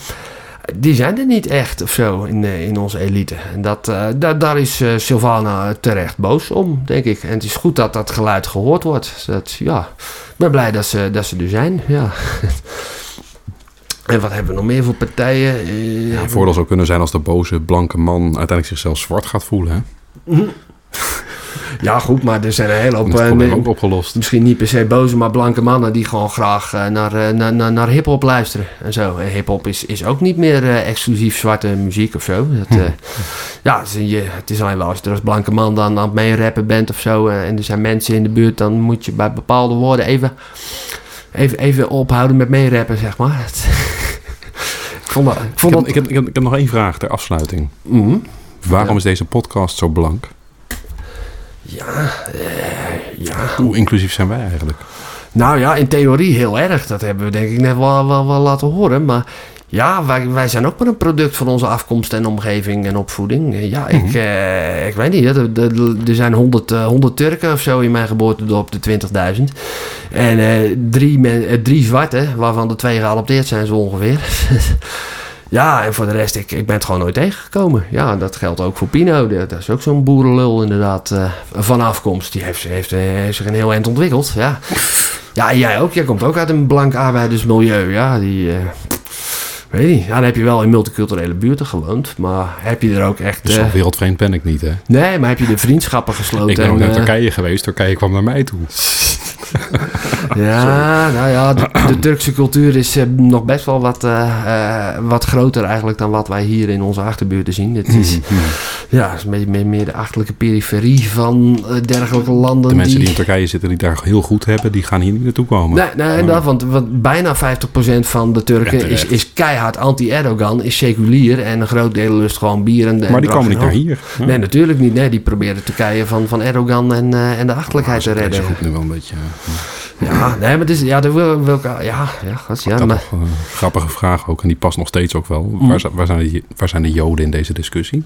Speaker 3: Die zijn er niet echt of zo in, eh, in onze elite. En dat, eh, da- daar is eh, Sylvana terecht boos om, denk ik. En het is goed dat dat geluid gehoord wordt. Dat, ja, ik ben blij dat ze, dat ze er zijn. Ja. En wat hebben we nog meer voor partijen? Eh,
Speaker 2: Ja, een voordeel zou kunnen zijn als de boze blanke man uiteindelijk zichzelf zwart gaat voelen, hè?
Speaker 3: Ja, goed, maar er zijn een hele hoop...
Speaker 2: Dat
Speaker 3: eh,
Speaker 2: probleem
Speaker 3: ne-
Speaker 2: ook opgelost.
Speaker 3: Misschien niet per se boze, maar blanke mannen die gewoon graag eh, naar, eh, naar, naar, naar hip-hop luisteren en zo. En hip-hop is, is ook niet meer eh, exclusief zwarte muziek of zo. Dat,
Speaker 2: Hm.
Speaker 3: eh, ja, het is, je, het is alleen wel als je er als blanke man dan aan het meerappen bent of zo. eh, en er zijn mensen in de buurt, dan moet je bij bepaalde woorden even, even, even ophouden met meerappen, zeg maar. Het- ik vond dat. Ik
Speaker 2: Ik
Speaker 3: vond
Speaker 2: heb,
Speaker 3: dat
Speaker 2: ik, heb, ik, heb, ik heb nog één vraag ter afsluiting.
Speaker 3: Mhm.
Speaker 2: Waarom
Speaker 3: Ja.
Speaker 2: is deze podcast zo blank?
Speaker 3: ja, eh, ja.
Speaker 2: Hoe inclusief zijn wij eigenlijk?
Speaker 3: Nou ja, in theorie heel erg. Dat hebben we denk ik net wel, wel, wel laten horen. Maar ja, wij, wij zijn ook maar een product van onze afkomst en omgeving en opvoeding. Eh, Ja, ik, eh, ik weet niet. hè. Er, er- er zijn 100, eh, 100 Turken of zo in mijn geboortedorp, de 20.000. En eh, drie, men, eh, drie zwarte, waarvan de twee geadopteerd zijn zo ongeveer. ja, en voor de rest, ik, ik ben het gewoon nooit tegengekomen. Ja, dat geldt ook voor Pino. Dat dat is ook zo'n boerenlul inderdaad eh, van afkomst. Die heeft, heeft, eh, heeft zich een heel eind ontwikkeld, ja. Ja, en jij ook. Jij komt ook uit een blank arbeidersmilieu. Ja, die... eh, weet niet. Ja, dan heb je wel in multiculturele buurten gewoond. Maar heb je er ook echt...
Speaker 2: Dus
Speaker 3: eh,
Speaker 2: zo wereldvreemd ben ik niet, hè?
Speaker 3: nee, maar heb je de vriendschappen gesloten?
Speaker 2: Ik ben ook
Speaker 3: en,
Speaker 2: naar
Speaker 3: eh,
Speaker 2: Turkije geweest. Turkije kwam naar mij toe.
Speaker 3: Ja, nou ja, de, de Turkse cultuur is eh, nog best wel wat, eh, eh, wat groter eigenlijk dan wat wij hier in onze achterbuurten zien. Het is,
Speaker 2: Mhm,
Speaker 3: ja, het is een beetje meer, meer de achterlijke periferie van eh, dergelijke landen.
Speaker 2: De mensen die in Turkije zitten die daar heel goed hebben, die gaan hier niet naartoe komen.
Speaker 3: Nee, nee inderdaad, want, want bijna 50% van de
Speaker 2: Ja,
Speaker 3: Turken
Speaker 2: terecht.
Speaker 3: is, is keihard anti-Erdogan, is seculier en een groot deel lust gewoon bier. En,
Speaker 2: maar die komen niet naar hier. Ja.
Speaker 3: Nee, natuurlijk niet. Nee, die proberen Turkije van, van Erdogan en, eh, en de achterlijkheid te
Speaker 2: Dus Dat Oh, is
Speaker 3: redden.
Speaker 2: goed nu wel een beetje. eh,
Speaker 3: Ja, nee, maar het is, ja, daar wil, wil ik, ja, ja, gast, ja, maar, Mm.
Speaker 2: grappig, eh, grappige vraag ook. En die past nog steeds ook wel. Waar, zijn- waar zijn de, waar zijn de Joden in deze discussie?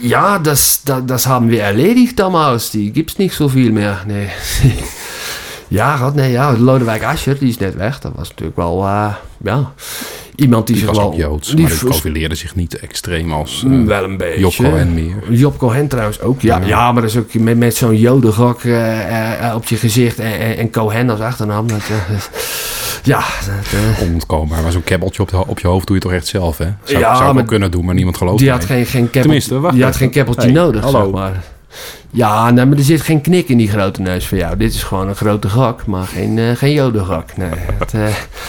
Speaker 3: Ja, das, da- das haben wir erledigt damals. Die gibt's nicht so viel mehr. Nee. ja, God, nee, ja. Lodewijk Asscher, die is net weg. Dat was natuurlijk wel, eh, ja, iemand die,
Speaker 2: Die
Speaker 3: zich
Speaker 2: was
Speaker 3: wel...
Speaker 2: ook Joods,
Speaker 3: die
Speaker 2: maar die
Speaker 3: vers- Mm,
Speaker 2: profileerde zich niet extreem als eh,
Speaker 3: wel een beetje.
Speaker 2: Job Cohen meer.
Speaker 3: Job Cohen trouwens ook, ja. Ja, maar dat is ook met, met zo'n jodengok eh, eh, eh, op je gezicht en, en, en Cohen als achternaam. Dat, eh, ja, dat, eh,
Speaker 2: Onontkoombaar. Maar zo'n kebbeltje op, de ho- op je hoofd doe je toch echt zelf, hè? Zou,
Speaker 3: Ja,
Speaker 2: zou ik wel
Speaker 3: maar
Speaker 2: kunnen doen, maar niemand gelooft
Speaker 3: die
Speaker 2: mij.
Speaker 3: had geen, geen keppel,
Speaker 2: Tenminste, wacht
Speaker 3: die had
Speaker 2: even.
Speaker 3: geen keppeltje
Speaker 2: Hey,
Speaker 3: nodig,
Speaker 2: hallo.
Speaker 3: zeg maar. Ja, nee, maar er zit geen knik in die grote neus van jou. Dit is gewoon een grote gak, maar geen, eh geen jodengak. Nee, het, eh,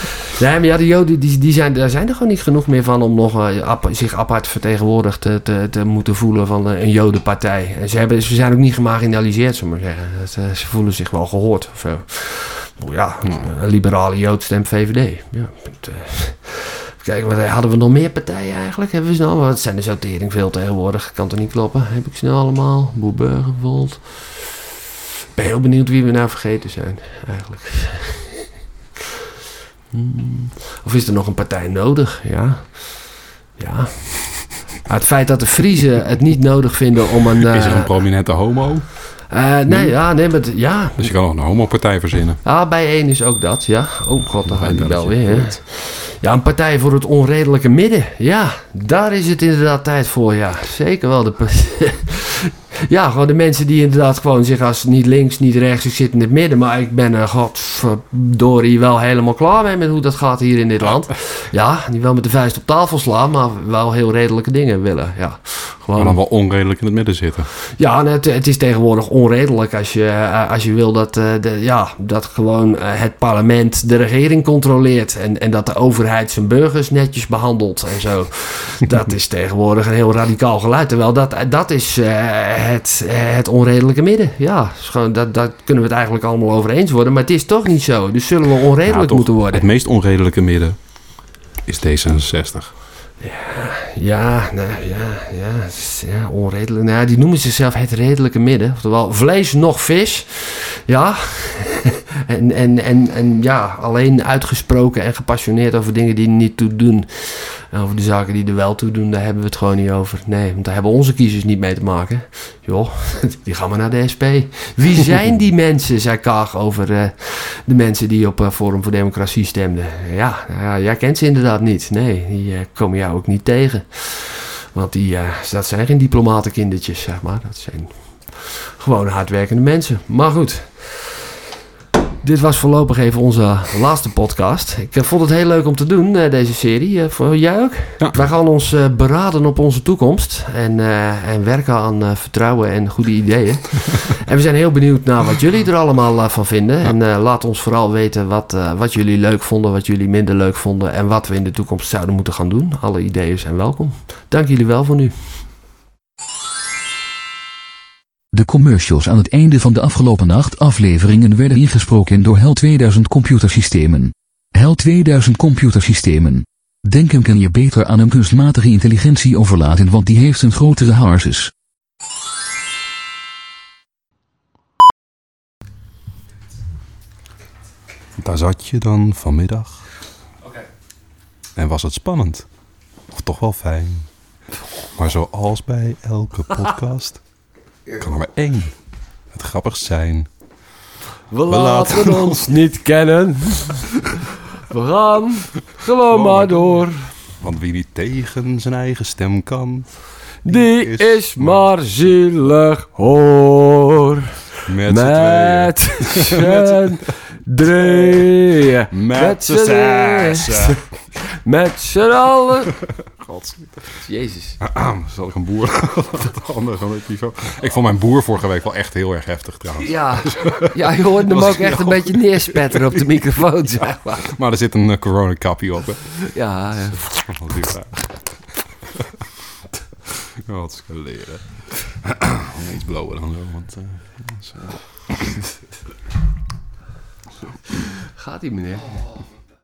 Speaker 3: nee, maar ja, de joden, die, die zijn, daar zijn er gewoon niet genoeg meer van... om nog, eh, ap- zich apart vertegenwoordigd te, te, te moeten voelen van eh, een jodenpartij. En ze, hebben, ze zijn ook niet gemarginaliseerd, zullen we maar zeggen. Dat, eh, ze voelen zich wel gehoord of zo. Nou Ja,
Speaker 2: Hmm.
Speaker 3: een liberale jood stemt VVD. Ja, het, eh, Kijk, wat eh, hadden we nog meer partijen eigenlijk? Hebben we snel, want het zijn er zo tering veel tegenwoordig. Kan toch niet kloppen? Heb ik snel allemaal. Boerburger bijvoorbeeld. Ik ben heel benieuwd wie we nou vergeten zijn, eigenlijk. Hmm. Of is er nog een partij nodig? Ja. Ja. Maar het feit dat de Friesen het niet nodig vinden om een... eh,
Speaker 2: Is er een prominente homo?
Speaker 3: eh, nee, ja, nee, maar... het- Ja,
Speaker 2: Dus je kan nog een homopartij verzinnen.
Speaker 3: Ah, bij één is ook dat, ja. Oh god, dan
Speaker 2: Nog
Speaker 3: gaat
Speaker 2: een
Speaker 3: die wel
Speaker 2: belletje.
Speaker 3: weer. hè. Ja, een partij voor het onredelijke midden. Ja, daar is het inderdaad tijd voor, ja. Zeker wel. De pa- ja, gewoon de mensen die inderdaad gewoon zich als niet links, niet rechts, ik zit in het midden. Maar ik ben er godverdorie wel helemaal klaar mee met hoe dat gaat hier in dit land. Ja, niet wel met de vuist op tafel slaan, maar wel heel redelijke dingen willen, ja.
Speaker 2: Maar
Speaker 3: Gewoon
Speaker 2: dan wel onredelijk in het midden zitten.
Speaker 3: ja, en het, het is tegenwoordig onredelijk als je, eh, als je wil dat, eh, de, ja, dat gewoon eh, het parlement de regering controleert. En, en dat de overheid zijn burgers netjes behandelt en zo. Dat is tegenwoordig een heel radicaal geluid. Terwijl dat, dat is eh, het, eh, het onredelijke midden. Ja, is gewoon, dat, dat kunnen we het eigenlijk allemaal over eens worden. Maar het is toch niet zo. Dus zullen we
Speaker 2: Ja,
Speaker 3: onredelijk
Speaker 2: toch,
Speaker 3: moeten worden.
Speaker 2: Het meest onredelijke midden is D66.
Speaker 3: Ja, nou ja, ja, het is, ja onredelijk. Nou, ja, die noemen zichzelf het redelijke midden. Oftewel, vlees nog vis. Ja. en, en, en, en ja, alleen uitgesproken en gepassioneerd over dingen die er niet toe doen. En over de zaken die er wel toe doen, daar hebben we het gewoon niet over. Nee, want daar hebben onze kiezers niet mee te maken. Joh, die gaan maar naar de SP. Wie zijn die mensen, zei Kaag over eh, de mensen die op eh, Forum voor Democratie stemden. Ja, nou ja, jij kent ze inderdaad niet. Nee, die eh, komen jou ook niet tegen. Want die, eh, dat zijn geen diplomatenkindertjes, zeg maar. Dat zijn gewoon hardwerkende mensen. Maar goed, Dit was voorlopig even onze laatste podcast. Ik eh, vond het heel leuk om te doen, eh, deze serie. Eh, voor jij ook?
Speaker 2: Ja.
Speaker 3: Wij gaan ons eh, beraden op onze toekomst. En, eh, en werken aan eh, vertrouwen en goede ideeën. en we zijn heel benieuwd naar wat jullie er allemaal eh, van vinden. En eh, laat ons vooral weten wat, eh, wat jullie leuk vonden, wat jullie minder leuk vonden. En wat we in de toekomst zouden moeten gaan doen. Alle ideeën zijn welkom. Dank jullie wel voor nu.
Speaker 5: De commercials aan het einde van de afgelopen acht afleveringen werden ingesproken door HEL 2000 computersystemen. HEL 2000 computersystemen. Denken kan je beter aan een kunstmatige intelligentie overlaten want die heeft een grotere harses.
Speaker 2: Daar zat je dan vanmiddag. En was het spannend? Of toch wel fijn? Maar zoals bij elke podcast kan er maar één het grappigst zijn.
Speaker 3: We
Speaker 2: laten
Speaker 3: laten ons niet kennen. We gaan gewoon maar door.
Speaker 2: Want wie niet tegen zijn eigen stem kan,
Speaker 3: Die
Speaker 2: is
Speaker 3: is maar zielig hoor.
Speaker 2: met, z'n tweeën.
Speaker 3: Met z'n drieën.
Speaker 2: Met z'n zessen.
Speaker 3: Met z'n allen. Jezus.
Speaker 2: Ah, zal ik een boer? Ander van het niveau. Ik vond mijn boer vorige week wel echt heel erg heftig trouwens.
Speaker 3: Ja, ja je hoort hem
Speaker 2: Was
Speaker 3: ook
Speaker 2: die
Speaker 3: echt een
Speaker 2: al?
Speaker 3: beetje neerspetteren op de microfoon, zeg maar.
Speaker 2: Maar er zit een eh, coronakappie op. Hè.
Speaker 3: Ja, ja.
Speaker 2: Wat is dat? Wat is leren. Iets blauwer dan zo, want... eh,
Speaker 3: gaat ie meneer.